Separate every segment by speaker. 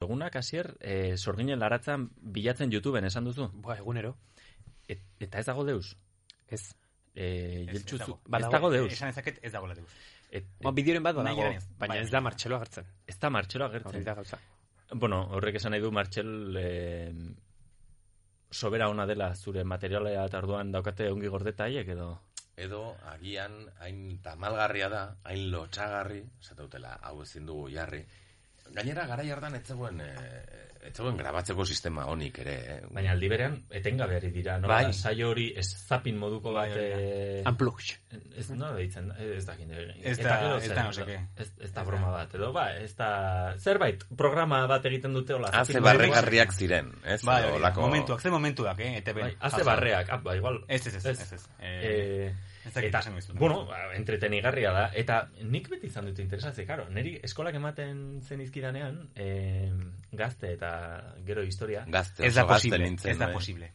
Speaker 1: egunak hasier e, sorginen laratzan bilatzen YouTubeen esan duzu.
Speaker 2: Boa, egunero.
Speaker 1: Et, eta ez dago deus.
Speaker 2: Ez.
Speaker 1: E,
Speaker 3: Ez- ez
Speaker 1: jeltsuzu-
Speaker 3: dago.
Speaker 1: ez dago deus.
Speaker 3: Eh, Esan ezaket ez dagoela deus.
Speaker 1: Et,
Speaker 2: Ba, bideoren bat
Speaker 3: Nahi
Speaker 2: badago,
Speaker 3: gerenez.
Speaker 2: baina
Speaker 3: Bai.
Speaker 2: ez da martxelo agertzen.
Speaker 1: ez da martxelo
Speaker 2: Hori
Speaker 1: agertzen.
Speaker 2: da gauza.
Speaker 1: Bueno, horrek esan nahi du Martxel eh, sobera ona dela zure materialea eta orduan daukate ongi gordeta haiek edo.
Speaker 4: Edo, agian, hain tamalgarria da, hain lotxagarri, esatautela, hau ezin dugu jarri. Gainera, gara jardan etzegoen, e, etzegoen grabatzeko sistema honik ere, eh?
Speaker 1: Baina aldi berean etengabe ari dira, no?
Speaker 4: Bai.
Speaker 1: Bai. Saio hori ez zapin moduko
Speaker 3: Bai,
Speaker 1: bat eh,
Speaker 2: Unplugged.
Speaker 1: ez nola deitzen, ez dakin. eh,
Speaker 3: Ez
Speaker 1: eta
Speaker 3: da-
Speaker 1: gero
Speaker 3: ez
Speaker 1: zer,
Speaker 3: da no sé qué.
Speaker 1: Ez, ez da broma bat, edo ba, ez da zerbait programa bat egiten dute hola. zapin
Speaker 4: Haze
Speaker 1: moduko.
Speaker 4: barregarriak ziren, ez?
Speaker 3: Bai,
Speaker 4: Edo
Speaker 3: hori da.
Speaker 4: holako-
Speaker 3: momentuak, ze momentuak, eh? ETB.
Speaker 1: Bai, haze barreak, ah, ba, igual.
Speaker 3: Ez, ez, ez,
Speaker 1: Ez.
Speaker 3: ez, ez. Eh,
Speaker 1: Eh,
Speaker 3: Ez dakit
Speaker 1: Eta,
Speaker 3: esango dizut.
Speaker 1: bueno, ba, entretenigarria da. Eta nik beti izan dut interesatze, karo. Neri eskolak ematen zen izkidanean, eh, gazte eta gero historia.
Speaker 4: Gazte,
Speaker 3: ez da
Speaker 4: oso gazte
Speaker 3: posible,
Speaker 4: nintzen.
Speaker 3: ez da
Speaker 4: eh?
Speaker 3: posible.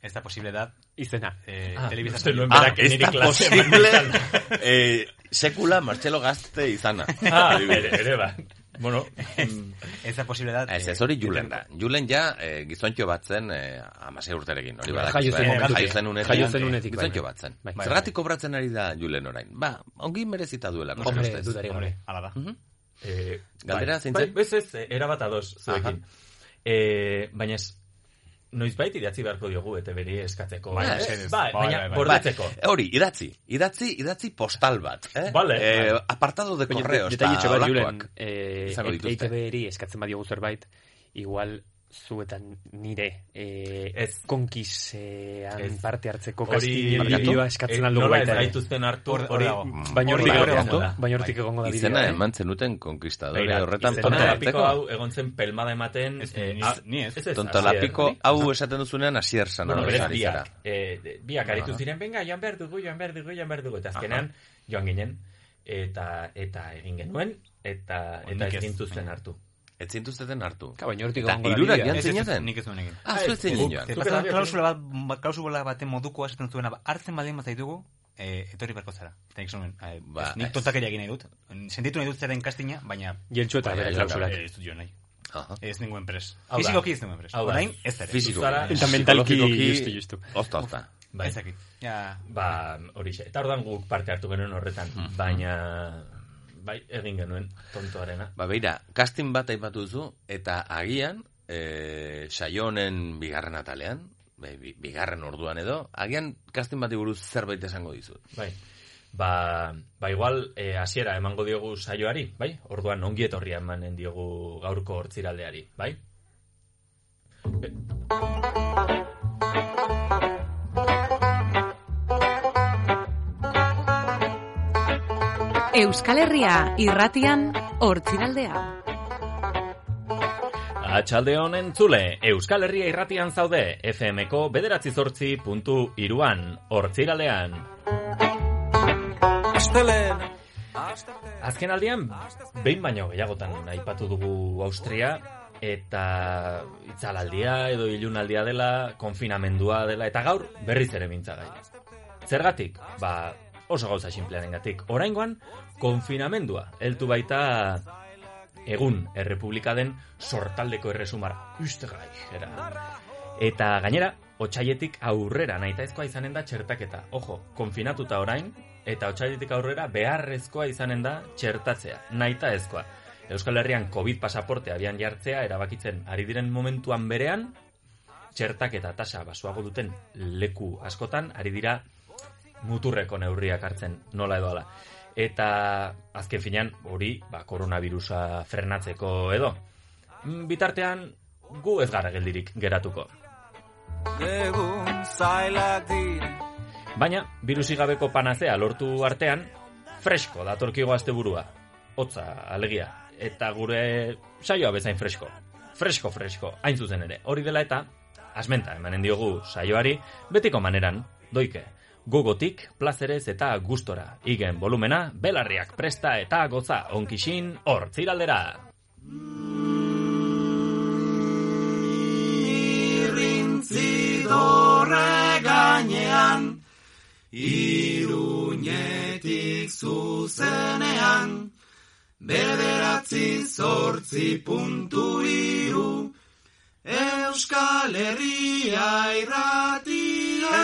Speaker 3: ez da posible da,
Speaker 2: Izena.
Speaker 3: eh,
Speaker 1: Ah,
Speaker 3: telebista
Speaker 1: uste nuen
Speaker 3: saioa.
Speaker 1: berak
Speaker 4: ez
Speaker 1: niri
Speaker 4: da
Speaker 1: klase eman
Speaker 4: posible.
Speaker 1: dezala.
Speaker 4: Eh, sekula Martxelo gazte izana.
Speaker 1: Ah, ere, ere ba. Bueno, mm,
Speaker 3: Ez da posible da.
Speaker 4: Ez,
Speaker 3: eh,
Speaker 4: ez Ah, hori Julen da. Julen ja eh, gizontxo bat zen eh, amasei urterekin, hori badak.
Speaker 2: Jaio Bai, zen momentutik.
Speaker 4: jaio zen unetik.
Speaker 2: Jaio zen unetik,
Speaker 4: Gizontxo
Speaker 2: bai.
Speaker 4: bat zen.
Speaker 2: Bai.
Speaker 4: Zergatik kobratzen ari da Julen orain. Ba, ongi merezita duela.
Speaker 2: Hombre, dudari gabe.
Speaker 3: Hombre, ala da.
Speaker 1: eh,
Speaker 4: Galdera
Speaker 1: bai.
Speaker 4: zein
Speaker 1: Bai,
Speaker 4: zen?
Speaker 1: Ez ez, eh, erabat ados zuekin. Eh, baina ez, noizbait idatzi beharko diogu, eta beri eskatzeko.
Speaker 3: Bai,
Speaker 1: Eh,
Speaker 3: mesedez.
Speaker 1: bai,
Speaker 3: Bai,
Speaker 1: baina
Speaker 3: bai, bai.
Speaker 1: bordetzeko.
Speaker 4: Hori, idatzi. Idatzi, idatzi postal bat. Eh?
Speaker 1: Vale.
Speaker 4: Eh, apartado de correos. eta
Speaker 2: Detalletxo bat, Julen,
Speaker 4: holakoak.
Speaker 2: eh,
Speaker 4: Izango dituzte.
Speaker 2: EITB-eri eskatzen badiogu zerbait, igual zuetan nire eh,
Speaker 1: Ez.
Speaker 2: konkisean
Speaker 1: Ez.
Speaker 2: parte hartzeko
Speaker 1: Hori-
Speaker 2: kastilioa eskatzen
Speaker 1: Eh,
Speaker 2: aldugu
Speaker 1: nola ez
Speaker 2: baita. ere.
Speaker 1: gaituzten hartu,
Speaker 3: Hor- hor
Speaker 1: hori-
Speaker 3: dago.
Speaker 2: Baina
Speaker 1: hori
Speaker 2: hortik
Speaker 4: Hori
Speaker 1: dago.
Speaker 2: egongo da.
Speaker 1: Bai.
Speaker 2: Baina hortik egongo da bidea.
Speaker 4: Izena
Speaker 2: eh?
Speaker 4: eman zenuten konkistadore
Speaker 1: Beira,
Speaker 4: horretan
Speaker 1: izena
Speaker 4: tontolapiko
Speaker 1: lapiko hau egon zen pelmada ematen
Speaker 3: Ez,
Speaker 1: eh,
Speaker 3: ni-
Speaker 1: a-
Speaker 3: ni ez.
Speaker 1: ez, ez,
Speaker 4: Tontolapiko
Speaker 1: hasier.
Speaker 4: hau esaten duzunean asier san
Speaker 1: bueno, berez
Speaker 4: ari zara.
Speaker 1: biak, eh, de- biak aritu ziren, venga, joan behar dugu, joan behar dugu, joan behar dugu, eta azkenean joan ginen, eta, eta egin genuen, eta, eta
Speaker 3: Nik
Speaker 1: ez
Speaker 3: ez.
Speaker 1: gintuzten hartu.
Speaker 4: Ez zintuzteten hartu.
Speaker 2: Ka, Baina hortik
Speaker 4: Eta
Speaker 2: egongo da
Speaker 4: hirurak
Speaker 2: bidea.
Speaker 4: jan-
Speaker 3: Ez, ez, ez,
Speaker 4: zineten?
Speaker 3: nik ez nuen egin.
Speaker 4: Ah,
Speaker 1: Ah,
Speaker 4: zu
Speaker 1: ez,
Speaker 4: ezin
Speaker 1: ez.
Speaker 4: joan.
Speaker 1: Zuk
Speaker 3: Zepazan,
Speaker 1: esan-
Speaker 3: klausula bat, ba- klausula baten moduko esaten zuena, ba, hartzen badin bat zaitugu, eh, etorri beharko zara. Eta nik zuen, eh,
Speaker 4: Ba,
Speaker 3: ez, nik
Speaker 4: ez.
Speaker 3: tontakeria egin nahi dut. Sentitu nahi dut zaren kastina, baina
Speaker 2: Jeltxo eta
Speaker 4: Baina,
Speaker 2: Bai, bere
Speaker 4: jeltxo eta
Speaker 2: klausulak.
Speaker 3: eh, ez dut jo nahi.
Speaker 4: Aha.
Speaker 3: Ez ninguen pres.
Speaker 1: Hau da.
Speaker 3: Fisikoki ez ninguen pres.
Speaker 1: Hau da.
Speaker 3: Orain, ez ere.
Speaker 4: Fisiko.
Speaker 1: Zara-
Speaker 2: Eta mentalki,
Speaker 4: Psikologikoki-
Speaker 2: justu, justu.
Speaker 4: Ozta, ozta.
Speaker 1: Bai.
Speaker 3: Ez dakit. Ja,
Speaker 1: Ba, hori Eta ordan guk parte hartu genuen horretan, baina bai, egin genuen tontoarena.
Speaker 4: Ba, beira, casting bat aipatu duzu, eta agian, e, saio honen bigarren atalean, be- bi- bigarren orduan edo, agian casting bati buruz zerbait esango dizut.
Speaker 1: Bai. Ba, ba igual eh, hasiera emango diogu saioari, bai? Orduan ongi etorria emanen diogu gaurko hortziraldeari, bai? E-
Speaker 5: Euskal Herria irratian hortziraldea.
Speaker 1: Atxalde honen zule, Euskal Herria irratian zaude, FMko bederatzi zortzi puntu iruan, hortziralean. Azken aldian, behin baino gehiagotan aipatu dugu Austria, eta itzalaldia edo ilunaldia dela, konfinamendua dela, eta gaur berriz ere mintzagai. Zergatik? Ba, oso gauza xinplearengatik. Oraingoan, konfinamendua, heltu baita egun errepublika den sortaldeko erresumara. Ustegai, era. Eta gainera, otxaietik aurrera nahitaezkoa izanen da txertaketa. Ojo, konfinatuta orain, eta otxailetik aurrera beharrezkoa izanen da txertatzea, nahitaezkoa. Euskal Herrian COVID pasaporte abian jartzea erabakitzen ari diren momentuan berean, txertaketa tasa basuago duten leku askotan ari dira muturreko neurriak hartzen, nola edo ala. Eta azken finean hori, ba, koronavirusa frenatzeko edo. Mm, Bitartean, gu ez gara geldirik geratuko.
Speaker 6: Egun zailak dira
Speaker 1: Baina, birusi gabeko panazea lortu artean, fresko datorkigo asteburua. Hotza, alegia. Eta gure saioa bezain fresko. Fresko, fresko, hain zuzen ere. Hori dela eta, asmenta emanen diogu saioari, betiko maneran, doike. Gogotik, plazerez eta gustora. Igen volumena, belarriak presta eta goza onkixin hortziraldera.
Speaker 6: Zidorre gainean Iruñetik zuzenean Bederatzi zortzi puntu iru, Euskal Herria irratia,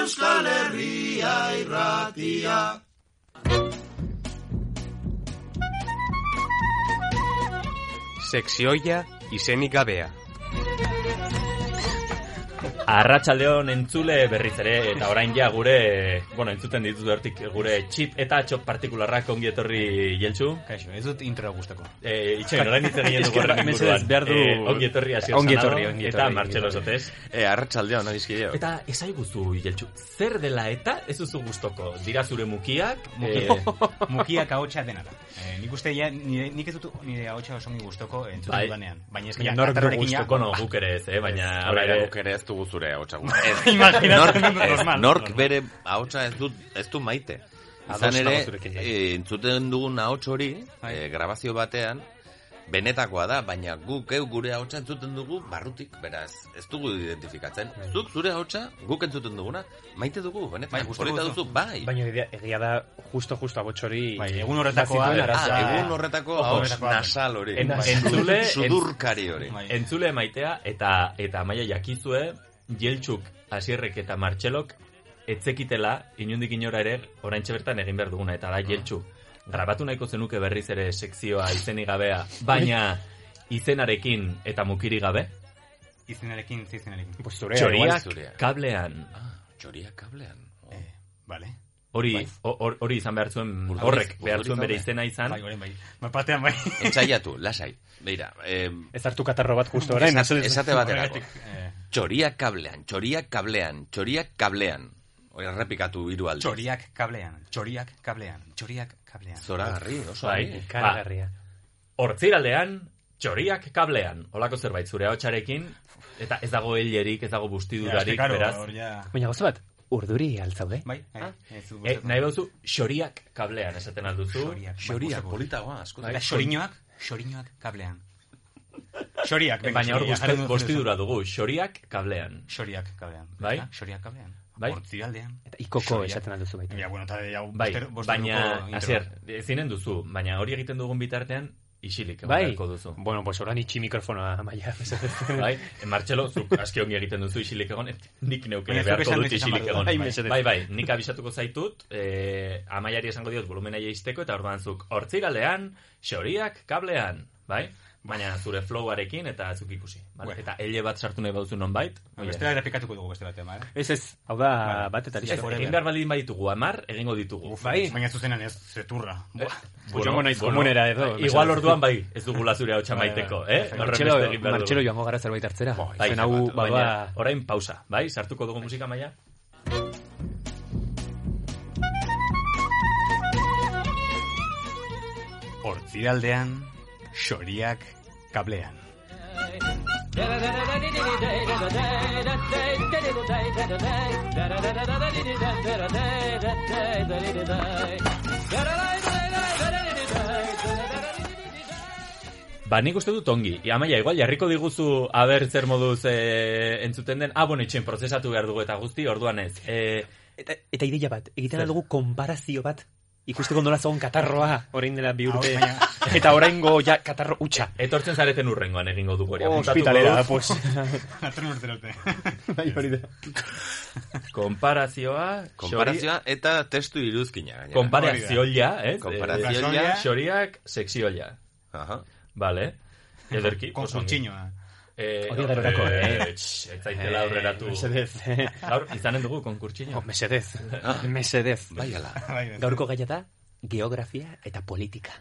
Speaker 6: Euskal Herria irratia.
Speaker 2: Sekzioia izenik gabea.
Speaker 1: Arratsaldeon entzule berriz ere eta orain ja gure, bueno, entzuten dituz bertik gure txip eta txop partikularrak ongi etorri jeltzu.
Speaker 3: Kaixo, ez dut intro gustako.
Speaker 1: Eh, itxain, orain hitz egin dugu
Speaker 2: Esker,
Speaker 1: horren
Speaker 2: mesedez,
Speaker 1: inguruan.
Speaker 2: behar du-
Speaker 1: Eh, ongi etorri hasi
Speaker 2: Ongi etorri, ongi
Speaker 1: Eta
Speaker 2: etorri,
Speaker 1: Martxelo
Speaker 2: ongi
Speaker 1: Sotes.
Speaker 4: E, arratxaldeo, nadizkideo.
Speaker 1: Eta esaiguzu jeltzu, zer dela eta ez duzu gustoko. Dira zure mukiak,
Speaker 3: Mukiak.
Speaker 1: eh,
Speaker 3: Mukiak ahotsa dena da. Eh, nik uste ja, nire, nik ez dut nire ahotsa oso ongi gustoko entzuten
Speaker 1: Bai.
Speaker 3: dudanean. Baina ez
Speaker 1: Baina
Speaker 3: ja,
Speaker 1: nork du
Speaker 3: katarrekin ja-
Speaker 1: gustuko no, guk ere ez, eh? baina
Speaker 4: Hala
Speaker 1: hala
Speaker 4: ere,
Speaker 1: ere,
Speaker 4: guk ere ez dugu zure ahotsa gu-
Speaker 3: Imaginatzen
Speaker 4: nork,
Speaker 3: dut,
Speaker 4: ez,
Speaker 3: normal,
Speaker 4: nork
Speaker 3: normal.
Speaker 4: bere ahotsa ez du, ez du maite.
Speaker 2: Ados
Speaker 4: Izan
Speaker 2: nago
Speaker 4: ere,
Speaker 2: zurekin, bai.
Speaker 4: e, entzuten dugun ahots hori, e, grabazio batean, benetakoa da, baina guk geu gure ahotsa entzuten dugu barrutik, beraz, ez dugu identifikatzen. Zuk zure ahotsa, guk entzuten duguna, maite dugu, benetan,
Speaker 3: Bai, gustuko
Speaker 4: polita
Speaker 3: duzu.
Speaker 4: duzu, bai.
Speaker 2: Baina egia- egia da, justo-justo abotxori...
Speaker 3: Bai, egun horretakoa-
Speaker 2: bazituen
Speaker 3: Ah,
Speaker 2: arazoa.
Speaker 4: ah, egun horretako
Speaker 3: Ojo,
Speaker 4: ahots
Speaker 3: horretakoa.
Speaker 4: nasal hori.
Speaker 1: En-
Speaker 4: Bai.
Speaker 1: entzule-
Speaker 4: Sudurkari hori.
Speaker 3: Bai.
Speaker 1: entzule maitea eta eta maia jakizue, jeltxuk, asierrek eta martxelok, etzekitela, inundik inora ere, oraintxe bertan egin behar duguna, eta da jeltxu. Grabatu nahiko zenuke berriz ere sekzioa izenik gabea, baina izenarekin eta mukiri gabe,
Speaker 3: Izenarekin, ze izenarekin.
Speaker 2: Pues zurea, igual.
Speaker 1: txoriak
Speaker 4: zurea.
Speaker 1: kablean.
Speaker 4: Ah, txoria kablean. Oh.
Speaker 1: Bai.
Speaker 3: Eh, vale. Bai.
Speaker 1: Hori, hor- hori izan behar zuen,
Speaker 4: Urduriz-
Speaker 1: horrek behar
Speaker 4: urduriz
Speaker 1: zuen bere
Speaker 4: daude.
Speaker 1: izena izan,
Speaker 3: Bai, orain bai. Ba, Batean bai.
Speaker 4: Entzaiatu, lasai. Beira, eh,
Speaker 2: Ez hartu katarro bat justo orain.
Speaker 4: Esate-
Speaker 2: mesedez.
Speaker 4: esate baterako.
Speaker 3: Horregatik, eh,
Speaker 4: Txoriak kablean, txoriak kablean, txoriak kablean. Hori errepikatu hiru aldiz.
Speaker 3: Txoriak kablean, txoriak kablean, txoriak kablean.
Speaker 4: Zoragarri, oso
Speaker 1: Bai.
Speaker 4: argi.
Speaker 2: Ikaragarria.
Speaker 1: Hortziraldean, txoriak kablean. Olako zerbait zure ahotsarekin, eta ez dago hilerik, ez dago
Speaker 3: Ja,
Speaker 1: bustidurarik,
Speaker 3: claro,
Speaker 1: beraz. Eh,
Speaker 3: hor ja-
Speaker 2: Ba, Baina gauza bat, urduri altzaude.
Speaker 3: Bai, bai. ez dut
Speaker 1: E,
Speaker 3: gustatzen.
Speaker 1: nahi bauzu, xoriak kablean esaten alduzu.
Speaker 3: Xoriak, bai,
Speaker 4: Txoriak
Speaker 3: gustatuko.
Speaker 4: politagoa, asko.
Speaker 1: Bai,
Speaker 3: Eta Bai, xoriñoak, xoriñoak kablean. Xoriak, venga,
Speaker 1: Eh, Baina hor
Speaker 3: xoriak,
Speaker 1: busti-
Speaker 3: jarri dut
Speaker 1: bustidura dugu, xoriak kablean.
Speaker 3: Xoriak kablean.
Speaker 1: Bai.
Speaker 3: Ah, Xoriak kablean.
Speaker 1: Bai.
Speaker 3: Hortziraldean.
Speaker 2: Eta ikoko
Speaker 3: Xoriak.
Speaker 2: esaten alduzu baita.
Speaker 3: Ja, bueno, eta jau
Speaker 1: Bai,
Speaker 3: boster- bosteruko
Speaker 1: baina,
Speaker 3: intro.
Speaker 1: azier, ezinen duzu, baina hori egiten dugun bitartean, isilik egon
Speaker 2: Bai,
Speaker 1: beharko duzu.
Speaker 2: bueno, pues orain itxi mikrofonoa, maia. mesedez.
Speaker 1: Bai, Martxelo, zuk aski ongi egiten duzu isilik egon, et- nik neuke
Speaker 3: Baina zuk
Speaker 1: beharko
Speaker 3: esan
Speaker 1: dut
Speaker 3: beti esan
Speaker 1: isilik
Speaker 3: behar
Speaker 1: egon.
Speaker 3: dut, bai,
Speaker 2: mesedez.
Speaker 1: Bai, bai, nik abisatuko zaitut, eh, amaiari esango diot volumena jeisteko, eta orduan zuk hortziralean, xoriak, kablean, bai? Baina zure flowarekin eta zuk ikusi. Bale?
Speaker 3: Bueno.
Speaker 1: Eta ele bat sartu nahi baduzu nonbait.
Speaker 3: Baina
Speaker 1: oie.
Speaker 3: Bestela errepikatuko dugu beste batean, bale?
Speaker 2: Ez ez, hau da, bat eta
Speaker 1: Ez,
Speaker 2: listo.
Speaker 1: egin behar baldin baditugu, amar, egingo ditugu.
Speaker 2: Bai.
Speaker 3: Baina zuzenan ez, zeturra.
Speaker 1: Eh.
Speaker 3: Buah.
Speaker 2: joango naiz komunera edo, mesedez.
Speaker 1: Igual orduan bai, ez dugula zure hau txamaiteko,
Speaker 3: eh, Bai, bai,
Speaker 1: eh?
Speaker 3: bai.
Speaker 1: Horren
Speaker 2: Martxelo,
Speaker 1: beste egin behar dugu.
Speaker 2: Martxelo joango gara zerbait hartzera.
Speaker 1: Bai,
Speaker 2: Zen hau,
Speaker 1: baina
Speaker 2: badoa,
Speaker 1: orain pausa, bai? Sartuko dugu musika maila?
Speaker 3: Hortziraldean, xoriak kablean.
Speaker 1: Ba, nik uste dut ongi. I, Amaia, igual, jarriko diguzu aber zer moduz eh, entzuten den. Ah, bueno, itxen, prozesatu behar dugu eta guzti, orduan ez. Eh,
Speaker 2: Eta, eta ideia bat, egiten aldugu konparazio bat, ikusteko nola zagon katarroa, orain dela bi urte, eta oraingo ja katarro utxa.
Speaker 1: etortzen zareten urrengoan egingo dugu hori. apuntatuko
Speaker 2: Hospitalera,
Speaker 1: dut.
Speaker 2: pues.
Speaker 3: Atren urte urte.
Speaker 2: bai, hori da.
Speaker 1: Konparazioa... xori-
Speaker 4: Konparazioa eta testu iruzkina. gainera.
Speaker 1: Konparazioa, eh?
Speaker 4: Konparazioa.
Speaker 1: Eh, Xoriak, sekzioa.
Speaker 4: Aha.
Speaker 1: Vale. Ederki. oso ongi.
Speaker 3: Konsultxinoa.
Speaker 1: Eh,
Speaker 2: Hori gerorako, eh?
Speaker 1: tx, Ez zaitela aurreratu.
Speaker 2: Mesedez.
Speaker 1: Gaur, izanen dugu konkurtxino.
Speaker 2: Oh, mesedez. mesedez.
Speaker 4: Bai, ala.
Speaker 3: Bai, bai.
Speaker 2: Gaurko gaia da, geografia eta politika.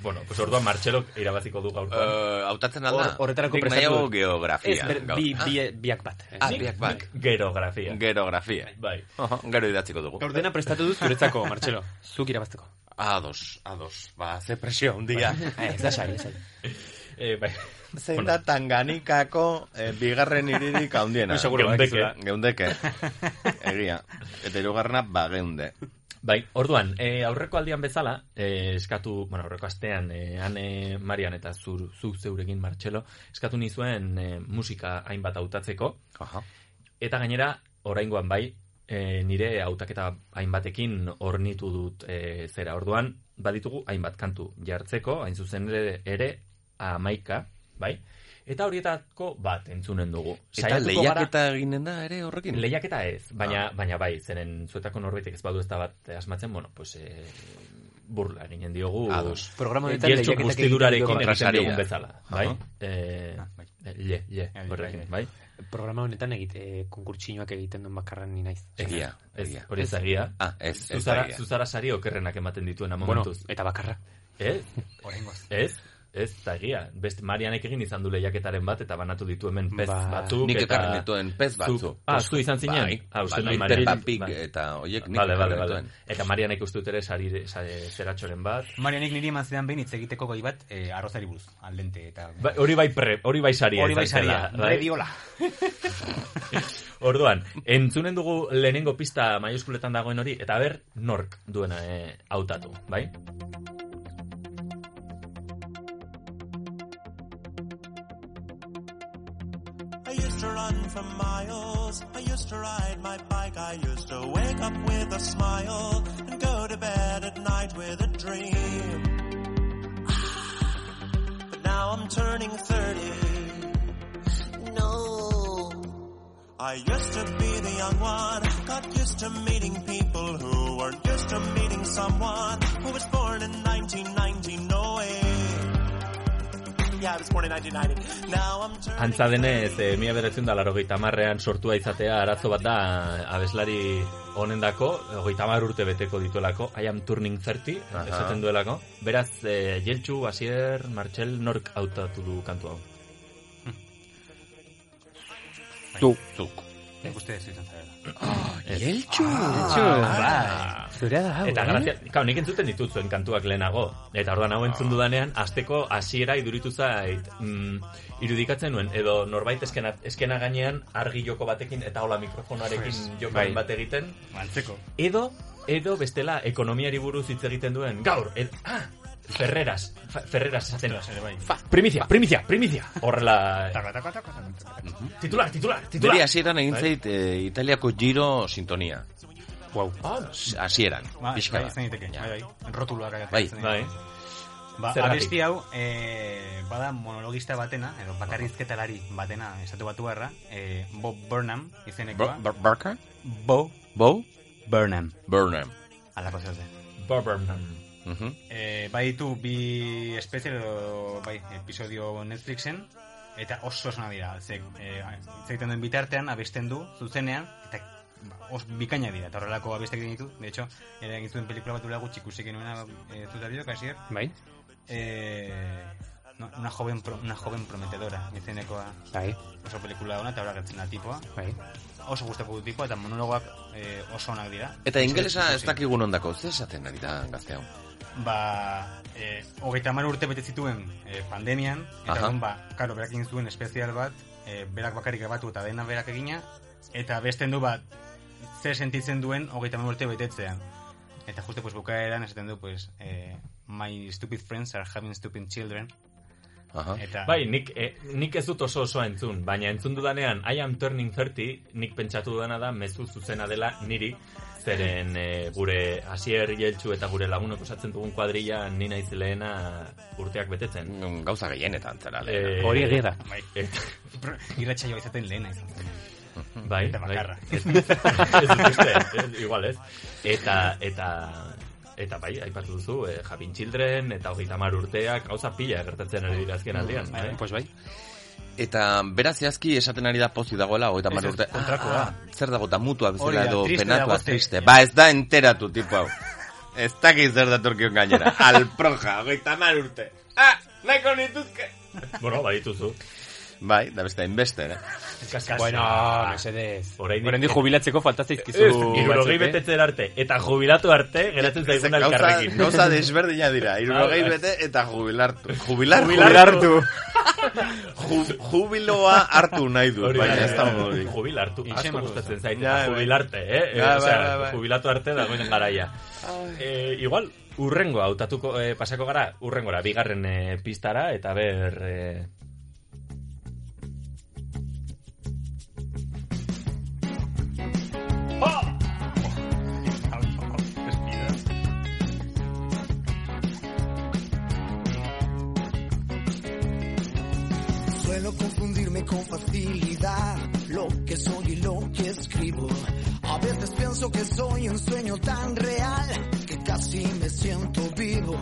Speaker 1: Bueno, pues orduan Martxelok irabaziko du gaurkoan.
Speaker 4: Eh, Hautatzen alda.
Speaker 2: Hor- horretarako
Speaker 4: Nik
Speaker 2: prestatu
Speaker 4: nahiago
Speaker 2: dut.
Speaker 4: geografia.
Speaker 2: Ez, ber,
Speaker 4: gaur.
Speaker 2: bi,
Speaker 4: Ah,
Speaker 2: bi, biak bat. Ez.
Speaker 4: Ah, biak bat.
Speaker 1: Gerografia.
Speaker 4: Gerografia.
Speaker 1: Bai.
Speaker 4: Oho, Gero idatziko dugu.
Speaker 2: Gaur dena prestatu dut zuretzako, Martxelo. Zuk irabazteko.
Speaker 4: Ados, ados. Ba, ze presio handia.
Speaker 2: Eh, Ez da sai, ez da sai.
Speaker 1: Eh, bai.
Speaker 4: Zein da tanganikako eh, bigarren iririk handiena.
Speaker 2: Muy seguro
Speaker 1: Geundeke.
Speaker 2: badakizula.
Speaker 4: Geundeke. Egia. Eta irugarrena, ba, geunde.
Speaker 1: Bai, orduan, eh, aurreko aldian bezala, eh, eskatu, bueno, aurreko astean, eh, ane Marian eta zur, zu zeurekin Martxelo, eskatu nizuen eh, musika hainbat hautatzeko,
Speaker 4: Aha.
Speaker 1: eta gainera, oraingoan bai, eh, nire hautaketa hainbatekin ornitu dut eh, zera. Orduan, baditugu hainbat kantu jartzeko, hain zuzen ere, ere amaika, bai? Eta horietako bat entzunen dugu.
Speaker 4: Eta
Speaker 1: Saiatuko gara-
Speaker 4: lehiaketa eginen da ere horrekin.
Speaker 1: Lehiaketa ez, baina, baina bai, zeren zuetako norbaitek ez badu ez da bat asmatzen, bueno, pues, e, burla ginen diogu.
Speaker 4: Ados.
Speaker 2: Programa honetan
Speaker 1: Gertxo
Speaker 2: lehiaketak egiten
Speaker 1: guztidurarekin
Speaker 2: diogu.
Speaker 1: egiten
Speaker 4: kontrasaria.
Speaker 1: diogun bezala, bai?
Speaker 4: Aha.
Speaker 1: Eh,
Speaker 3: Ah, bai.
Speaker 1: le, le,
Speaker 3: bai,
Speaker 1: horrekin,
Speaker 3: bai.
Speaker 1: bai?
Speaker 2: Programa honetan egite, eh, konkurtsinoak egiten duen bakarren ni naiz.
Speaker 4: Egia,
Speaker 1: Ez,
Speaker 4: egia.
Speaker 1: hori ez egia.
Speaker 4: Ah, ez, ez da
Speaker 1: Zuzara,
Speaker 4: egia.
Speaker 1: zuzara sari okerrenak ematen dituena
Speaker 2: Bueno,
Speaker 1: momentuz.
Speaker 2: eta bakarra.
Speaker 1: Ez,
Speaker 3: Horrengoz.
Speaker 1: ez, ez da egia. Best, Marianek egin izan du lehiaketaren bat eta banatu ditu hemen pez
Speaker 2: Ba,
Speaker 1: batzuk.
Speaker 4: Nik
Speaker 1: eta-
Speaker 4: ekarri nituen pez batzu.
Speaker 1: Zuk- Ah, zu izan zinen?
Speaker 4: Bai,
Speaker 1: Ah, uste
Speaker 4: bai,
Speaker 1: nuen
Speaker 4: Peppa
Speaker 1: Marian-
Speaker 4: Pig
Speaker 1: bai.
Speaker 4: eta oiek nik
Speaker 1: Vale, vale,
Speaker 4: ekarri
Speaker 1: vale.
Speaker 4: nituen.
Speaker 1: Eta Marianek uste dut ere sari, sare, zeratxoren bat.
Speaker 3: Marianik niri eman zidan behin hitz egiteko gai bat eh, arrozari buruz, aldente eta...
Speaker 1: Ba, hori bai pre, hori bai saria.
Speaker 3: Hori bai
Speaker 1: izan zela,
Speaker 3: saria,
Speaker 1: bai?
Speaker 3: rediola.
Speaker 1: Orduan, entzunen dugu lehenengo pista maiuskuletan dagoen hori, eta ber, nork duena e, hautatu, bai?
Speaker 7: I used to run for miles. I used to ride my bike. I used to wake up with a smile and go to bed at night with a dream. But now I'm turning 30. No. I used to be the young one, got used to meeting people who weren't used to meeting someone who was born in 1990. No way. Yeah, I was born in 1990. Now I'm turning
Speaker 1: Antza denez, e, mila beratzen da laro marrean sortua izatea arazo bat da abeslari honendako, hogeita hamar urte beteko dituelako, I am turning 30,
Speaker 4: Aha.
Speaker 1: esaten duelako. Beraz, e, Jeltxu, Asier, Martxel, nork hautatu du kantu hau.
Speaker 4: Zuk.
Speaker 3: Nik uste ez izan zarela.
Speaker 4: Jeltxu!
Speaker 2: Ah.
Speaker 3: Bai.
Speaker 1: Ah.
Speaker 2: Zurea da hau,
Speaker 1: Eta
Speaker 2: eh?
Speaker 1: grazia, kao, nik entzuten ditut zuen kantuak lehenago. Eta ordan hau entzun dudanean, asteko hasiera iduritu zait, mm, irudikatzen nuen, edo norbait eskena, eskena gainean argi joko batekin eta hola mikrofonoarekin joko
Speaker 2: Bai.
Speaker 1: bat egiten,
Speaker 3: Antzeko.
Speaker 1: edo, edo bestela ekonomiari buruz hitz egiten duen, gaur, et, ah, Ferreras, fa, Ferreras esaten.
Speaker 3: Zer bai.
Speaker 2: Primizia, primizia, primizia.
Speaker 1: Horrela,
Speaker 3: Taka, taka, taka, taka.
Speaker 1: titular, titular, titular.
Speaker 4: Niri hasieran
Speaker 1: Bai.
Speaker 4: egin zait eh, Italiako Giro sintonia.
Speaker 2: Wow.
Speaker 1: Ah,
Speaker 4: Hasieran,
Speaker 3: Ba,
Speaker 4: pixka
Speaker 3: bai,
Speaker 4: bat.
Speaker 3: izan diteke.
Speaker 4: Ja.
Speaker 3: Bai, bai. Rotuluak agatzen
Speaker 4: Bai.
Speaker 3: diteke.
Speaker 1: bai.
Speaker 3: Ba,
Speaker 1: Zergatik?
Speaker 3: abesti hau, e, bada monologista batena, edo bakarrizketalari batena, estatu batu erra, e, Bob Burnham
Speaker 4: Bur-
Speaker 3: izenekoa.
Speaker 4: Bur- Barker?
Speaker 3: Bo
Speaker 4: Bow?
Speaker 3: Burnham.
Speaker 4: Burnham.
Speaker 3: Alako zehazte.
Speaker 1: Bourbon.
Speaker 4: Mhm.
Speaker 3: E, bai ditu bi espezie edo bai, episodio Netflixen eta oso esona dira. Ze, e, hitz egiten den bitartean abesten du zuzenean eta ba, os bikaina dira. Eta horrelako abestek egin ditu. De hecho, ere egin zuen pelikula bat duela gutxi ikusi genuena e, zuta bideo, kasier.
Speaker 2: Bai?
Speaker 3: E, no, una, joven pro, una joven prometedora izenekoa
Speaker 2: Bai,
Speaker 3: oso pelikula ona eta hori gertzen da tipoa.
Speaker 2: bai.
Speaker 3: Oso gustatu du tipoa eta monologoak e, oso onak dira.
Speaker 4: Eta ingelesa ez
Speaker 3: Ikusi.
Speaker 4: dakigun ondako, ze esaten ari da gazte hau.
Speaker 3: ba, e, hogeita hamar urte bete zituen e, pandemian, eta
Speaker 4: Aha.
Speaker 3: orduan, ba, karo, berak egin zuen espezial bat, e, berak bakarrik grabatu eta dena berak egina, eta besten du bat, zer sentitzen duen hogeita hamar urte betetzean. Eta justu pues, bukaeran esaten du, pues, e, my stupid friends are having stupid children.
Speaker 4: Aha.
Speaker 3: Eta,
Speaker 1: Bai, nik, eh, nik ez dut oso oso entzun, baina entzun dudanean I am turning 30, nik pentsatu dudana da mezu zuzena dela niri, zeren eh, gure hasier jeltsu eta gure lagunok osatzen dugun kuadrilla ni naiz lehena urteak betetzen.
Speaker 4: Mm, Gauza gehienetan zara
Speaker 1: Eh,
Speaker 4: lehena.
Speaker 2: Hori egia da.
Speaker 3: bai,
Speaker 1: Eta,
Speaker 3: irratxa joa izaten lehena izan zen.
Speaker 1: bai,
Speaker 3: Eta
Speaker 1: bai.
Speaker 3: bakarra.
Speaker 1: Ez, ez dut uste, ez, igual ez. Eta, eta, eta bai, aipatu duzu, eh, Javin Children, eta hogeita mar urteak, gauza pila gertatzen ari dira azken aldian. Bai,
Speaker 2: Pues bai.
Speaker 4: Eta beraz zehazki esaten ari da pozik dagoela, hogeita hamar
Speaker 3: Ez, ez,
Speaker 4: urte. Ah,
Speaker 3: kontrakoa.
Speaker 4: zer dago, eta mutua
Speaker 3: Hori da,
Speaker 4: bezala edo
Speaker 3: triste
Speaker 4: penatua,
Speaker 3: dago, ze-
Speaker 4: triste. Ba, ez da enteratu, tipo hau. Ez dakit zer datorkion gainera. Alproja, hogeita hamar urte. Ah, nahiko nituzke.
Speaker 1: bueno, badituzu.
Speaker 4: Bai, da beste, inbeste, eh?
Speaker 2: Bueno, mesedez.
Speaker 1: Ah. Oraindik-
Speaker 2: Oraindik jubilatzeko falta zaizkizu.
Speaker 1: Ez, irurogei
Speaker 2: batzuk, eh?
Speaker 1: betetzen arte, eta jubilatu arte, geratzen zaigun
Speaker 4: Gauza,
Speaker 1: elkarrekin.
Speaker 4: gauza desberdina dira. Irurogei
Speaker 1: Ah,
Speaker 4: bete eta jubilartu. Jubilar,
Speaker 2: Jubilartu.
Speaker 4: Ju- jubiloa hartu nahi du,
Speaker 1: Hori da,
Speaker 4: baina ez da
Speaker 1: hori
Speaker 4: modurik.
Speaker 1: da. Jubilartu, asko
Speaker 3: Izen
Speaker 1: gustatzen zait,
Speaker 4: Ja, bai.
Speaker 1: jubilarte, eh? Eh,
Speaker 4: Ja, bai,
Speaker 1: osea,
Speaker 4: bai, bai.
Speaker 1: Jubilatu arte dagoen garaia. Eh, igual, urrengo hautatuko, eh, pasako gara, urrengora, bigarren eh, pistara, eta ber... Eh,
Speaker 8: Suelo confundirme con facilidad lo que soy y lo que escribo. A veces pienso que soy un sueño tan real que casi me siento vivo.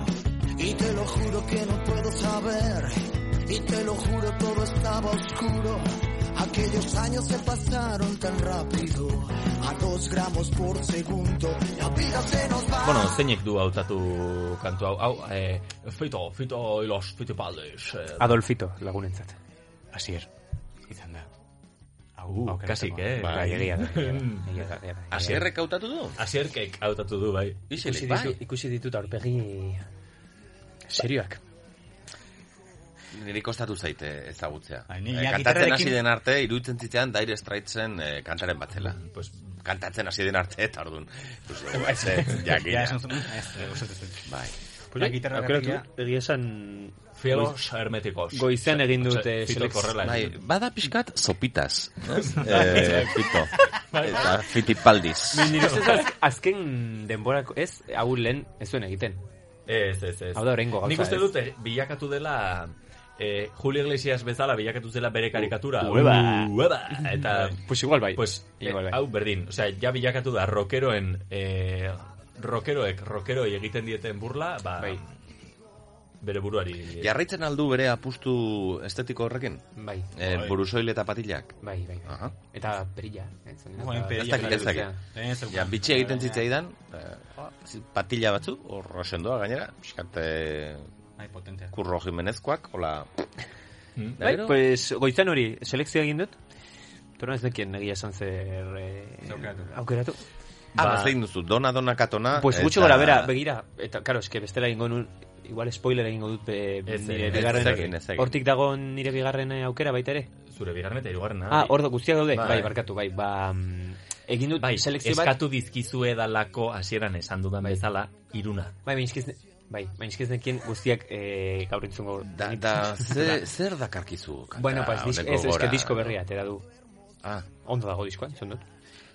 Speaker 8: Y te lo juro que no puedo saber. Y te lo juro todo estaba oscuro. Aquellos años se pasaron tan rápido. A dos gramos por segundo. La vida se nos va.
Speaker 1: Bueno, zeinek du hautatu kantu hau, hau, e, fito, fito, ilos, fito paldes. E,
Speaker 2: Adolfito lagunentzat.
Speaker 3: Asier, izan da. Hau,
Speaker 1: uh,
Speaker 3: aukeratu.
Speaker 1: kasik, eh?
Speaker 4: Bai.
Speaker 2: Bai, egia da. egia da, egia da, egia da.
Speaker 4: Asierrek hautatu du?
Speaker 1: Asierkek hautatu du, bai.
Speaker 4: Isilik,
Speaker 2: Ikusi,
Speaker 4: bai.
Speaker 2: ditu, ikusi ditut aurpegi serioak.
Speaker 4: Niri kostatu zaite ezagutzea.
Speaker 3: Ai, ni
Speaker 4: Eh,
Speaker 3: ja
Speaker 4: kantatzen hasi
Speaker 3: gitarrarekin-
Speaker 4: den arte, iruditzen zitean Dire Straitsen eh, kantaren batzela.
Speaker 1: Pues,
Speaker 4: Kantatzen hasi den arte, eta orduan. Pues, eh, ez,
Speaker 3: Ja,
Speaker 4: jakina.
Speaker 3: esan zuen, ez, gozatu zuen.
Speaker 4: Bai.
Speaker 2: Pues bai,
Speaker 3: gitarra
Speaker 2: aukeratu,
Speaker 3: grafia.
Speaker 2: egia esan
Speaker 1: fielos hermeticos.
Speaker 2: goizean egin dute
Speaker 1: Fito
Speaker 2: selekzio.
Speaker 1: korrela.
Speaker 4: Bai,
Speaker 1: egin.
Speaker 4: bada pixkat sopitas. eh, fito.
Speaker 3: Bai.
Speaker 4: Eta fitipaldiz.
Speaker 2: nire ustez az- azken denborako, ez, hau lehen ez zuen egiten.
Speaker 1: Ez, ez, ez.
Speaker 2: Hau da oraingo gauza,
Speaker 1: Nik uste
Speaker 2: ez?
Speaker 1: dut eh, bilakatu dela... Eh, Julio Iglesias bezala bilakatu zela bere karikatura.
Speaker 2: Ueba.
Speaker 1: Ueba. Eta
Speaker 2: Pues igual bai.
Speaker 1: Pues, eh,
Speaker 2: igual bai.
Speaker 1: hau berdin, osea, ja bilakatu da rockeroen, eh, rockeroek, rockeroi egiten dieten burla, ba,
Speaker 2: Bai.
Speaker 1: bere buruari. eh,
Speaker 4: Jarraitzen aldu bere apustu estetiko horrekin?
Speaker 2: bai.
Speaker 4: Eh, burusoil eta patilak?
Speaker 2: Bai, bai, bai.
Speaker 4: Aha.
Speaker 2: Eta perilla. ez zen, ez?
Speaker 3: Bueno,
Speaker 2: Ba-
Speaker 3: perilla,
Speaker 4: Ah. Ez dakit, ez dakit.
Speaker 2: Ja.
Speaker 3: Lehen ez
Speaker 4: Ja,
Speaker 3: zeukan.
Speaker 4: bitxi egiten zitzaidan, eh, patilla batzu, horro sendoa gainera, pixkat eh,
Speaker 3: Ai, potentea.
Speaker 4: kurro jimenezkoak, hola...
Speaker 1: Hmm.
Speaker 4: Da
Speaker 2: Bai,
Speaker 4: gero,
Speaker 2: pues goizan hori, selekzio egin dut. Toro ez nekien egia esan zer eh,
Speaker 3: Aukeratu.
Speaker 2: aukeratu.
Speaker 4: ah,
Speaker 1: ba-
Speaker 4: ba, zein duzu, dona, dona, katona...
Speaker 2: Pues gutxi
Speaker 4: eta-
Speaker 2: gora bera, begira, eta, karo, eske bestela egingo nun, igual spoiler egingo dut be,
Speaker 1: Ez,
Speaker 2: nire
Speaker 1: ez,
Speaker 4: ez egin,
Speaker 2: bigarren,
Speaker 4: ez egin.
Speaker 2: hortik dagoen nire bigarren eh, aukera baita ere.
Speaker 1: Zure bigarren eta hirugarrena.
Speaker 2: Ah, ordo guztiak daude,
Speaker 4: Bai.
Speaker 2: bai, barkatu, bai, ba, mm, egin dut
Speaker 1: bai,
Speaker 2: selekzio bat,
Speaker 1: eskatu dizkizue dalako hasieran esan dudan bezala, iruna.
Speaker 2: bai, bainizkiz, bai, bainizkiz nekien guztiak eh, gaur entzungo.
Speaker 4: Da, da, ze, zer dakarkizu? kanta
Speaker 2: bueno, pues, disk,
Speaker 4: honeko
Speaker 2: ez, ez,
Speaker 4: gora?
Speaker 2: que disko berria, te da du,
Speaker 4: Ah,
Speaker 2: ondo dago diskoan, zon dut.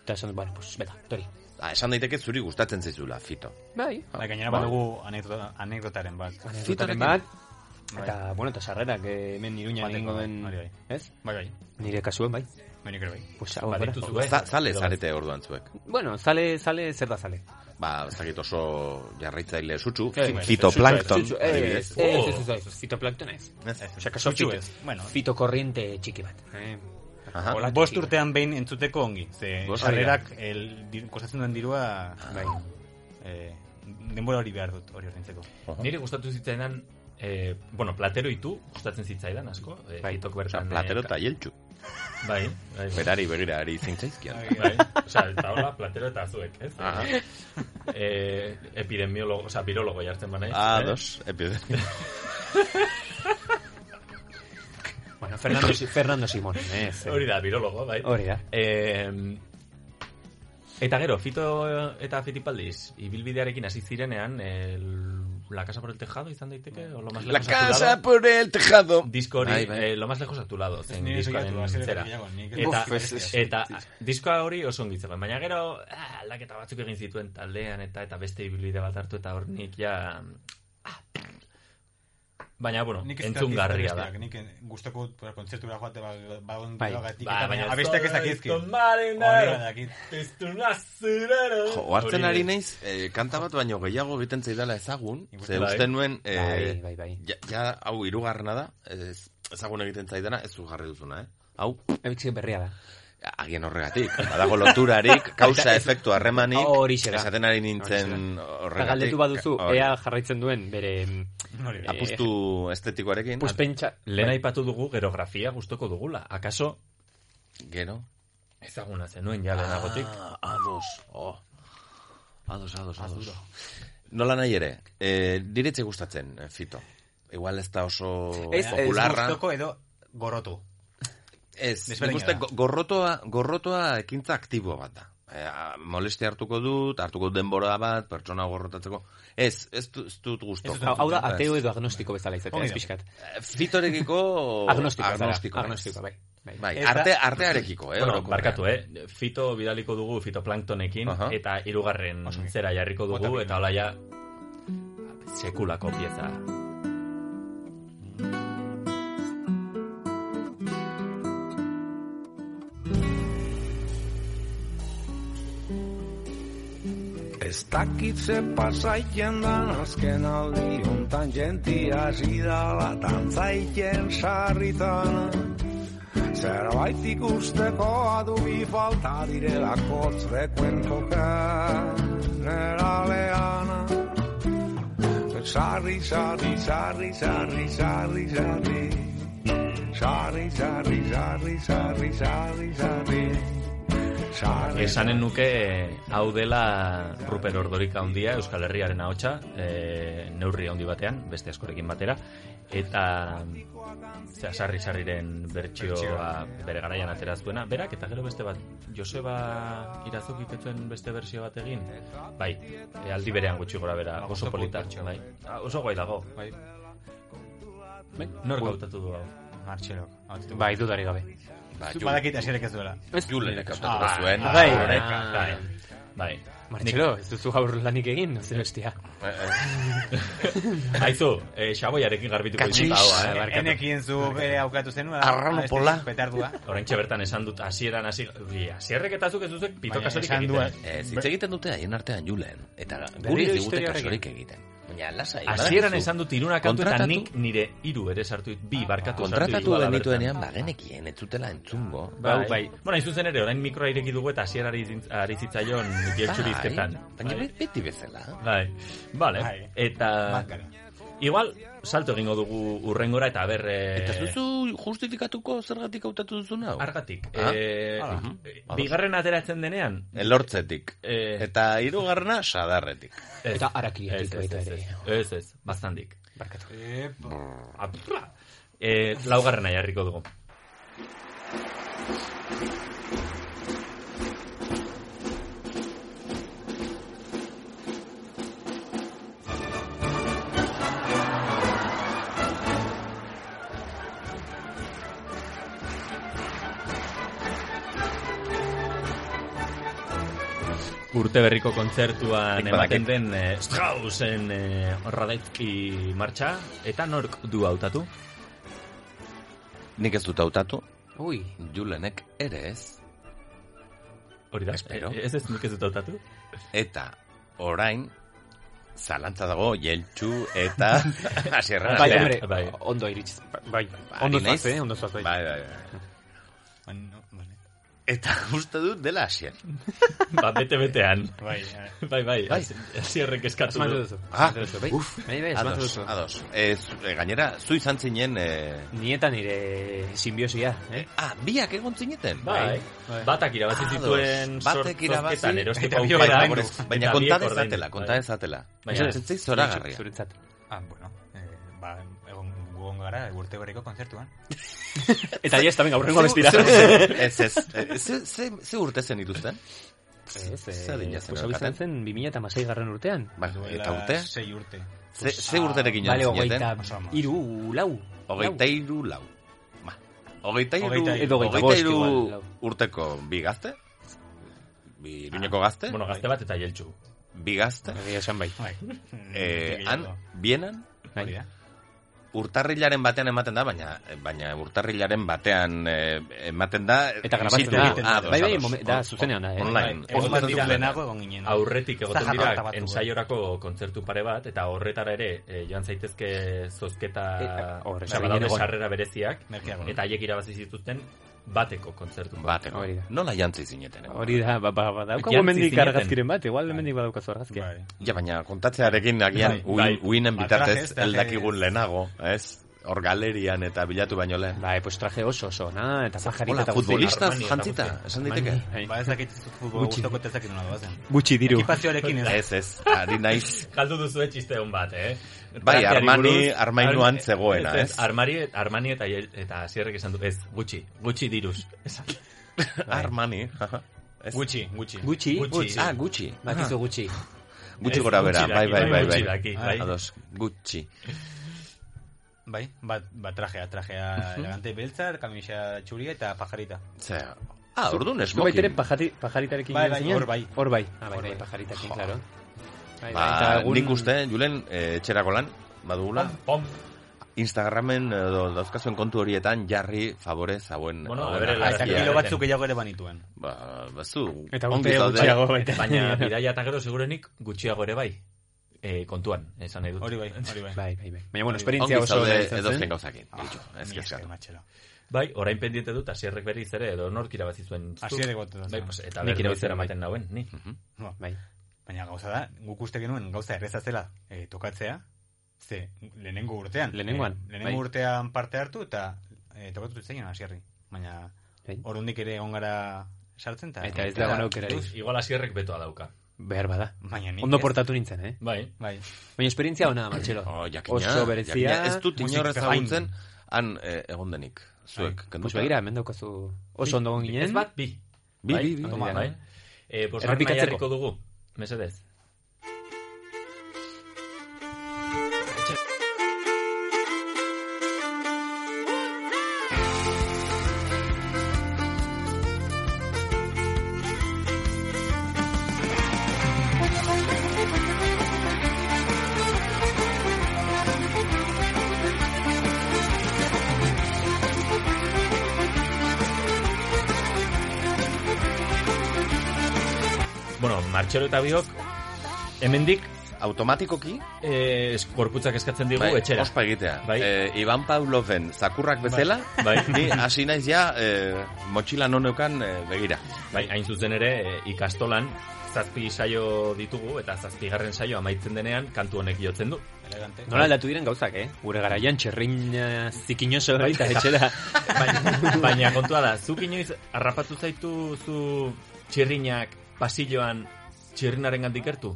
Speaker 2: Eta esan dut, bueno, pues, beta, tori.
Speaker 4: ah, esan daiteke zuri gustatzen zaizula, fito.
Speaker 2: Bai,
Speaker 3: Bai, gainera badugu anekdota, anekdotaren bat.
Speaker 2: anekdotaren bat, eta, bueno, eta sarrerak, eh, hemen iruñan
Speaker 3: Bateko,
Speaker 2: egingo
Speaker 3: bai,
Speaker 2: den,
Speaker 3: hori bai.
Speaker 2: ez?
Speaker 3: Bai, bai.
Speaker 2: Nire kasuen, bai.
Speaker 3: Bai, nik ere bai.
Speaker 2: Pues, hau, bera.
Speaker 1: Badituzu, eh?
Speaker 4: Za, zale zarete orduan zuek.
Speaker 2: Bueno, zale, zale, zer da zale?
Speaker 4: Ba, ez dakit oso jarraitzaile sutsu.
Speaker 2: Eh,
Speaker 4: Fitoplankton.
Speaker 2: Zutxu,
Speaker 4: adibidez.
Speaker 2: Ez, ez, ez, ez, ez, fitoplankton ez.
Speaker 4: Ez.
Speaker 2: Osea, kaso
Speaker 3: Zutxu
Speaker 2: fito,
Speaker 3: ez, bueno.
Speaker 2: fitokorriente txiki bat. Eh?
Speaker 4: Aha.
Speaker 2: Hola,
Speaker 3: Bost
Speaker 2: txiki bat.
Speaker 3: urtean behin entzuteko ongi. Ze,
Speaker 4: Bost,
Speaker 3: sarrerak, el, dir- kostatzen duen dirua,
Speaker 2: Bai.
Speaker 3: eh, denbora hori behar dut, hori ordaintzeko.
Speaker 1: Nire gustatu zitzaidan, eh, bueno, platero itu, gustatzen zitzaidan asko. Eh,
Speaker 2: Bai,
Speaker 1: hitok
Speaker 4: Osea,
Speaker 1: bertan.
Speaker 4: platero
Speaker 1: eh,
Speaker 4: eta jeltxu.
Speaker 1: Bai, bai.
Speaker 4: Berari begira, ari zintzaizkian.
Speaker 1: Bai, osea, eta hola, platero eta zuek, ez?
Speaker 4: Aha.
Speaker 1: Eh, epidemiologo, osea, virologo jartzen banaiz.
Speaker 4: Ah,
Speaker 1: eh?
Speaker 4: dos, epidemia.
Speaker 2: Bueno, Fernando, Si- Fernando Simón. Ez,
Speaker 1: Hori da, virologo, bai.
Speaker 2: Hori da.
Speaker 1: Eh, eta gero, Fito eta Fitipaldiz, ibilbidearekin hasi zirenean, el, La Casa por el Tejado izan daiteke, o Lo Más
Speaker 4: La
Speaker 1: Lejos a tu
Speaker 4: casa
Speaker 1: Lado.
Speaker 4: por el tejado.
Speaker 1: Disko hori,
Speaker 4: Bai, bai.
Speaker 1: eh, Lo Más Lejos a tu Lado, zen
Speaker 3: nire
Speaker 1: diskoaren
Speaker 3: saiatu, hasiera
Speaker 1: zera.
Speaker 3: gehiago, nik-
Speaker 1: Eta,
Speaker 3: Uf, ez, ez.
Speaker 1: eta ah, diskoa hori oso ongi zegoen, baina gero ah, aldaketa batzuk egin zituen taldean eta eta beste ibilbide bat hartu eta hor nik ja... ah, Baina, bueno,
Speaker 3: Nik ez dakit
Speaker 1: entzungarria da.
Speaker 3: besteak, Nik en- gustoko pues, kontzertura joate ba, badon
Speaker 2: Bai.
Speaker 3: gatik
Speaker 1: Ba,
Speaker 3: eta baina abesteak ez dakizki.
Speaker 1: Tomaren da.
Speaker 3: Hori bai dakit.
Speaker 1: Piztuna zurero.
Speaker 4: Jo, ohartzen
Speaker 1: Hori.
Speaker 4: ari naiz, eh, kanta bat baino gehiago egiten zaidala ezagun, ze
Speaker 1: Bai.
Speaker 4: uste nuen,
Speaker 2: Bai,
Speaker 4: eh,
Speaker 2: bai, bai.
Speaker 4: ja, ja, hau irugarrena da, ez, ezagun egiten zaidana, ez zu jarri duzuna, eh? Hau,
Speaker 2: Ebitzik berria da.
Speaker 4: agian horregatik, badago loturarik, kausa efektu harremanik,
Speaker 2: Horixe da.
Speaker 4: esaten ari
Speaker 2: Horixe
Speaker 4: nintzen
Speaker 2: Eta
Speaker 4: horregatik.
Speaker 2: galdetu baduzu,
Speaker 4: hori.
Speaker 2: ea jarraitzen duen bere... mm,
Speaker 3: Hori bai. da.
Speaker 4: Apustu estetikoarekin,
Speaker 2: Pues pentsa... bai.
Speaker 1: Lehen aipatu dugu gerografia gustoko dugula. Akaso
Speaker 4: gero.
Speaker 1: ezaguna zenuen ja lehenagotik.
Speaker 4: Ah, ados, oh. Ados, ados, ados. Nola nahi ere, eh, diretze gustatzen, eh, Fito. Igual ez da oso
Speaker 2: Ez, ez,
Speaker 4: popularra.
Speaker 3: Gustoko edo gorrotu.
Speaker 4: Ez, nik
Speaker 3: Desberdina
Speaker 4: uste
Speaker 3: da.
Speaker 4: go- gorrotoa, gorrotoa ekintza aktibo bat da. E, molestia hartuko dut, hartuko dut denbora bat, pertsona gorrotatzeko. Ez, ez, du- ez dut gustoko.
Speaker 2: Hau, hau da, ateo edo agnostiko bezala izatea,
Speaker 3: Hori
Speaker 2: ez
Speaker 3: da.
Speaker 2: pixkat.
Speaker 4: Eh, Fitorekiko...
Speaker 2: Agnostikoa zara,
Speaker 4: agnostikoa.
Speaker 2: agnostikoa, bai. bai.
Speaker 4: Bai,
Speaker 3: Ez da-
Speaker 4: arte, artearekiko, eh?
Speaker 1: Bueno,
Speaker 4: orokorrean.
Speaker 1: barkatu, eh? Fito bidaliko dugu fitoplanktonekin
Speaker 4: Aha.
Speaker 1: eta hirugarren
Speaker 3: Oso ongi.
Speaker 1: zera jarriko dugu
Speaker 3: Bota bi.
Speaker 1: eta hola ja sekulako pieza.
Speaker 9: Ez dakit ze pasaiten dan azken aldi hontan jentia hasi dala tantzaiten sarritan. Zerbait ikusteko adubi falta direlako frekuentoka neralean. Sarri, sarri, sarri, sarri, sarri, sarri. Sarri, sarri, sarri, sarri, sarri, sarri. Sarri,
Speaker 1: Esanen nuke eh, hau dela Ruper Ordorika handia Euskal Herriaren ahotsa, eh, neurri handi batean, beste askorekin batera eta zera, sarri sarriren bertsioa bere garaian atera zuena. Berak eta gero beste bat Joseba Irazok iketzen beste bertsio bat egin. Bai, eh, aldi berean gutxi gora bera, oso
Speaker 3: gustoko
Speaker 1: polita,
Speaker 3: bertsio.
Speaker 1: bai. Ah, Oso guai dago.
Speaker 3: Bai,
Speaker 1: Bai, Nork hautatu du hau?
Speaker 3: Martxelok.
Speaker 2: Bai, dudari gabe.
Speaker 4: Ba,
Speaker 3: Zu
Speaker 4: Jul-
Speaker 3: badakit asierek ez duela.
Speaker 4: Julenek hautatuko
Speaker 3: Ah,
Speaker 4: zuen.
Speaker 3: bai.
Speaker 4: Horrek,
Speaker 1: Ah,
Speaker 4: bai.
Speaker 1: Bai.
Speaker 2: Martxelo, ez duzu gaur lanik egin, zer bestia.
Speaker 4: Eh, eh,
Speaker 1: Aizu, eh, xaboiarekin garbituko dizut hau, eh?
Speaker 3: Enekien zu bere aukatu zenua.
Speaker 4: Arrano
Speaker 3: abesti
Speaker 4: pola.
Speaker 3: Petardua.
Speaker 1: Oraintxe bertan esan dut hasieran hasi Ui, hasierrek eta zuk ez duzuk pitokasorik
Speaker 3: esan du,
Speaker 1: egiten.
Speaker 4: Ez, hitz egiten dute haien artean Julen. Eta guri
Speaker 2: Berriro
Speaker 4: ez digute
Speaker 2: historiarekin.
Speaker 4: kasorik egiten. Baina, lasai.
Speaker 1: Hasieran
Speaker 4: badakizu.
Speaker 1: esan dut iruna kantu eta
Speaker 4: Kontratatu-
Speaker 1: nik nire hiru ere sartu dit, bi barkatu sartu
Speaker 4: Kontratatu
Speaker 1: ditudala
Speaker 4: genituenean
Speaker 1: bertan.
Speaker 4: bagenekien, ez zutela entzungo.
Speaker 1: Bai,
Speaker 2: Bai, bai.
Speaker 1: Bueno, hain zuzen ere, orain mikroa ireki dugu eta hasierari zin- ari zitzaion
Speaker 4: Bai.
Speaker 1: jeltxuri izketan.
Speaker 4: Baina
Speaker 1: Bai.
Speaker 4: beti bezala.
Speaker 1: Bai, vale.
Speaker 3: Bai.
Speaker 1: Eta,
Speaker 3: Bankara.
Speaker 1: igual, salto egingo dugu urrengora eta ber... eh,
Speaker 4: Eta zuzu justifikatuko zergatik hautatu duzun hau?
Speaker 1: Argatik.
Speaker 4: Ah,
Speaker 1: Eh,
Speaker 4: ala.
Speaker 1: eh,
Speaker 4: Ados.
Speaker 1: bigarren ateratzen denean,
Speaker 4: Elortzetik.
Speaker 1: eh,
Speaker 4: Eta hirugarrena sadarretik.
Speaker 1: ez,
Speaker 2: Eta harakiatik
Speaker 1: ez, ez,
Speaker 2: baita
Speaker 1: ez,
Speaker 2: ere.
Speaker 1: Ez, ez, ez, baztandik.
Speaker 2: Barkatu.
Speaker 1: Apra! Eh, laugarrena jarriko dugu. urte berriko kontzertuan
Speaker 4: Nik
Speaker 1: ematen
Speaker 4: badakit.
Speaker 1: den eh, Straussen eh, horradetki martxa eta nork du hautatu?
Speaker 4: Nik ez dut hautatu,
Speaker 2: Ui,
Speaker 4: Julenek ere ez.
Speaker 1: Hori da,
Speaker 4: Espero.
Speaker 1: eh, ez ez nik ez dut hautatu?
Speaker 4: Eta orain, zalantza dago jeltxu eta asierra.
Speaker 2: bai,
Speaker 1: Bai,
Speaker 2: hombre,
Speaker 1: bai.
Speaker 2: ondo iritz. Bai, ondo
Speaker 4: naiz.
Speaker 2: zuaz, eh, ondo zuaz, bai.
Speaker 4: Bai, bai, bai.
Speaker 3: Bueno, vale.
Speaker 4: Eta uste dut dela asier.
Speaker 1: ba, bete-betean.
Speaker 3: Bai, eh,
Speaker 1: Bai, bai,
Speaker 4: Bai.
Speaker 1: hasierrek eskatu
Speaker 2: Asmatu
Speaker 1: du.
Speaker 2: duzu.
Speaker 4: Ah,
Speaker 2: asmatu duzu, bai.
Speaker 4: uf,
Speaker 2: Bai, bai, asmatu
Speaker 4: Ados,
Speaker 2: duzu.
Speaker 4: ados. Ez, eh, gainera, zu izan zinen... Eh,
Speaker 2: Ni eta nire simbiosia, eh?
Speaker 4: ah, biak egon zineten.
Speaker 1: Bai,
Speaker 2: bai.
Speaker 1: batak irabazi
Speaker 4: Ados,
Speaker 1: zituen
Speaker 4: batek irabazi,
Speaker 1: sortzozketan erosteko
Speaker 4: eta biak
Speaker 1: aukera.
Speaker 4: ordaindu. Baina
Speaker 1: Eta
Speaker 4: konta
Speaker 1: biek ordaindu,
Speaker 4: dezatela, konta
Speaker 1: bai.
Speaker 4: dezatela.
Speaker 1: Baina-
Speaker 4: Baina, zentzei zoragarria.
Speaker 2: Zuretzat.
Speaker 3: Ah, bueno. Eh, ba, egon gugon gara, urte berriko kontzertuan.
Speaker 2: Eta ya está, venga, aurrengo abestira.
Speaker 4: Ez, ez. Eh, Ze, ze, ze urte zen dituzten?
Speaker 2: Ez, eh,
Speaker 4: Ze adina zen
Speaker 2: pues hau izan
Speaker 4: elkarten?
Speaker 2: zen 2016 garren urtean.
Speaker 4: Ba,
Speaker 3: Duela
Speaker 4: eta urte?
Speaker 3: Sei urte.
Speaker 4: Ze, ze urterekin joan
Speaker 2: Bale,
Speaker 4: zineten?
Speaker 2: hogeita
Speaker 3: Oso ondo.
Speaker 2: iru, lau.
Speaker 4: Hogeita iru lau. Ba. Hogeita iru,
Speaker 3: Hogeita
Speaker 2: iru. Edo hogeita
Speaker 4: hogeita
Speaker 2: bost
Speaker 4: iru
Speaker 2: igual, lau.
Speaker 4: urteko bi gazte? Bi iruñeko gazte?
Speaker 1: Ah, Bueno, Mm, gazte bat eta jeltxu.
Speaker 4: Bi gazte?
Speaker 2: Egia esan bai.
Speaker 3: Bai.
Speaker 4: Eh,
Speaker 3: Urte
Speaker 4: han,
Speaker 3: gehiago.
Speaker 4: bienan,
Speaker 3: Hori da.
Speaker 4: urtarrilaren batean ematen da, baina eh, baina urtarrilaren batean eh, ematen da...
Speaker 2: Eta grabatzen
Speaker 4: existitu.
Speaker 2: da.
Speaker 4: Ah, ados,
Speaker 2: Bai, bai,
Speaker 4: ados.
Speaker 2: momen- da, zuzenean da, eh.
Speaker 4: Online.
Speaker 3: Egon
Speaker 1: Online.
Speaker 3: bat
Speaker 1: Online.
Speaker 3: lehenago egon ginen.
Speaker 1: Aurretik egoten
Speaker 3: Zaharra
Speaker 1: dira
Speaker 3: bat tabatu, eh.
Speaker 1: ensaiorako kontzertu pare bat, eta horretara ere eh, joan zaitezke zozketa
Speaker 2: E, a- horre,
Speaker 1: eta
Speaker 2: sarri
Speaker 1: badaude
Speaker 2: ginen egon.
Speaker 1: sarrera bereziak,
Speaker 3: Merkeago.
Speaker 1: eta haiek irabazi zituzten bateko kontzertu.
Speaker 4: Bateko.
Speaker 2: Hori da.
Speaker 4: Nola jantzi zineten? eh?
Speaker 2: Hori da, ba, ba, ba, daukagu
Speaker 1: Jantzi
Speaker 2: hemendik
Speaker 1: zineten.
Speaker 2: argazkiren bat, igual hemendik badaukazu argazkia.
Speaker 3: Bai.
Speaker 4: Ja, baina kontatzearekin agian
Speaker 3: Bai,
Speaker 4: uin,
Speaker 1: bai.
Speaker 4: uinen
Speaker 3: Ba,
Speaker 4: bitartez
Speaker 3: trajes, trajes.
Speaker 4: eldakigun lehenago, ez? Hor galerian eta bilatu baino lehen.
Speaker 2: Bai, pues traje oso oso, na, eta pajarita
Speaker 4: Hola,
Speaker 2: eta guzti.
Speaker 4: futbolistaz
Speaker 1: Armani eta
Speaker 4: jantzita,
Speaker 1: guzti.
Speaker 4: esan
Speaker 2: Armani,
Speaker 4: daiteke?
Speaker 2: bai.
Speaker 3: Ba ez dakit futbol
Speaker 2: Gutxi.
Speaker 3: guztoko ez dakit nola bazen.
Speaker 2: Gutxi diru.
Speaker 3: Ekipazioarekin ez.
Speaker 4: Ez, ez, ari naiz.
Speaker 1: Galdu duzu txiste hon bat, eh?
Speaker 4: Bai,
Speaker 1: Tarteari
Speaker 4: Armani-
Speaker 1: buruz,
Speaker 4: Armainuan
Speaker 1: Ar-
Speaker 4: zegoena, ez?
Speaker 1: Armani, Armani eta, eta zierrek esan du, ez, gutxi, gutxi diruz. Esan-
Speaker 2: Bai.
Speaker 4: Armani. jaja. Ez.
Speaker 3: Gutxi, gutxi.
Speaker 2: Gutxi.
Speaker 1: Gutxi.
Speaker 4: Ah, gutxi.
Speaker 2: Batizu gutxi.
Speaker 4: Gutxi
Speaker 1: Ez,
Speaker 4: gora bera,
Speaker 1: gutxi
Speaker 4: bai,
Speaker 1: daki,
Speaker 4: bai, bai,
Speaker 1: gutxi
Speaker 4: bai.
Speaker 1: daki, bai.
Speaker 4: Ados, gutxi.
Speaker 3: Bai, bat, bat trajea, trajea elegante beltza, kamisa txuria eta pajarita.
Speaker 4: Zer, ah, orduan
Speaker 2: Zu baitere
Speaker 4: esmokin.
Speaker 2: pajari, pajaritarekin
Speaker 3: Bai,
Speaker 2: joan
Speaker 3: bai,
Speaker 2: zinen?
Speaker 3: hor bai.
Speaker 2: Hor bai. Ah, bai,
Speaker 3: Hor
Speaker 2: bai,
Speaker 3: bai.
Speaker 2: pajaritarekin, claro. Bai, bai,
Speaker 1: Ah.
Speaker 4: Ba, nik uste, Julen, eh, etxerako lan, badugula.
Speaker 1: Pom,
Speaker 4: Instagramen eh, edo dauzkazuen kontu horietan jarri favorez hauen.
Speaker 1: Bueno,
Speaker 4: hauen
Speaker 1: abere
Speaker 3: Ah,
Speaker 1: Eta
Speaker 3: Eta
Speaker 4: argazkia.
Speaker 1: kilo
Speaker 3: kilo batzuk gehiago ere banituen.
Speaker 4: Ba, bazu.
Speaker 2: Eta
Speaker 4: ongi
Speaker 2: urte
Speaker 4: zaude.
Speaker 2: gutxiago baita.
Speaker 1: Baina bidaia eta gero segurenik gutxiago ere bai. E, kontuan, esan nahi dut.
Speaker 3: Hori bai, hori bai. Ah,
Speaker 2: Bai, bai, bai. Baina, bueno,
Speaker 4: Ongi
Speaker 2: esperientzia oso
Speaker 4: zaude
Speaker 2: ona izan
Speaker 4: edo
Speaker 2: zen. Ah,
Speaker 4: zen gauzakin. Gillo, ez
Speaker 3: Mila esker,
Speaker 4: kezkatu.
Speaker 3: matxelo.
Speaker 1: Bai, orain pendiente dut, asierrek berriz ere, edo nork irabazi zuen. zuk.
Speaker 3: Asierrek botu da.
Speaker 2: ah.
Speaker 1: Bai, pues, eta
Speaker 2: Nik
Speaker 1: nik
Speaker 2: irabazi
Speaker 1: irabazi
Speaker 2: bai.
Speaker 1: maten nauen, ni.
Speaker 4: Mhm.
Speaker 3: Ba,
Speaker 2: Bai.
Speaker 3: Baina gauza da, guk uste genuen gauza erreza zela eh, tokatzea, ze lehenengo urtean.
Speaker 2: Lehenengoan,
Speaker 3: eh, lehenengo
Speaker 2: bai.
Speaker 3: urtean parte hartu eta eh, tokatu zitzaion asierri. Baina
Speaker 2: Bai.
Speaker 3: orundik ere ongara sartzen. Ta,
Speaker 2: Eta ez dago aukerari.
Speaker 1: Igual asierrek betoa dauka.
Speaker 2: Behar bada.
Speaker 3: Baina nik
Speaker 2: Ondo
Speaker 3: ez.
Speaker 2: portatu nintzen, eh?
Speaker 1: Bai,
Speaker 3: Bai.
Speaker 2: Baina esperientzia ona, Martxelo.
Speaker 4: Oh, jakina,
Speaker 2: oso
Speaker 4: jakina.
Speaker 2: berezia.
Speaker 4: Ez dut
Speaker 3: Musik
Speaker 4: inorrez
Speaker 3: behind.
Speaker 4: ezagutzen han eh, egon denik. Zuek,
Speaker 2: Bai. Pues
Speaker 4: kenduta.
Speaker 2: begira, hemen daukazu oso ondo egon
Speaker 1: ez
Speaker 2: ginen.
Speaker 1: bat, bi.
Speaker 4: Bi, bi, bi.
Speaker 1: Toma,
Speaker 2: Hori da.
Speaker 1: bai. E, bosgarren
Speaker 2: eh. Errepikatzeko.
Speaker 1: mailariko dugu, mesedez. Bueno, martxero eta biok, hemendik
Speaker 4: Automatikoki,
Speaker 1: e, korputzak eskatzen digu
Speaker 4: bai,
Speaker 1: etxera.
Speaker 4: ospa egitea.
Speaker 1: Bai.
Speaker 4: Eh, Ivan Pavloven zakurrak bezala,
Speaker 1: Bai.
Speaker 4: ni hasi naiz ja eh, motxila non neukan eh, begira.
Speaker 1: Bai, hain zuzen ere e, ikastolan zazpi saio ditugu eta zazpigarren saio amaitzen denean kantu honek jotzen du.
Speaker 3: Elegante.
Speaker 2: Nola aldatu diren gauzak, eh? Gure garaian txerrin eh, zikinoso baita etxera.
Speaker 1: Baina, baina kontua da, zuk inoiz harrapatu zaitu zu txirrinak pasilloan txirrinaren gandik gertu?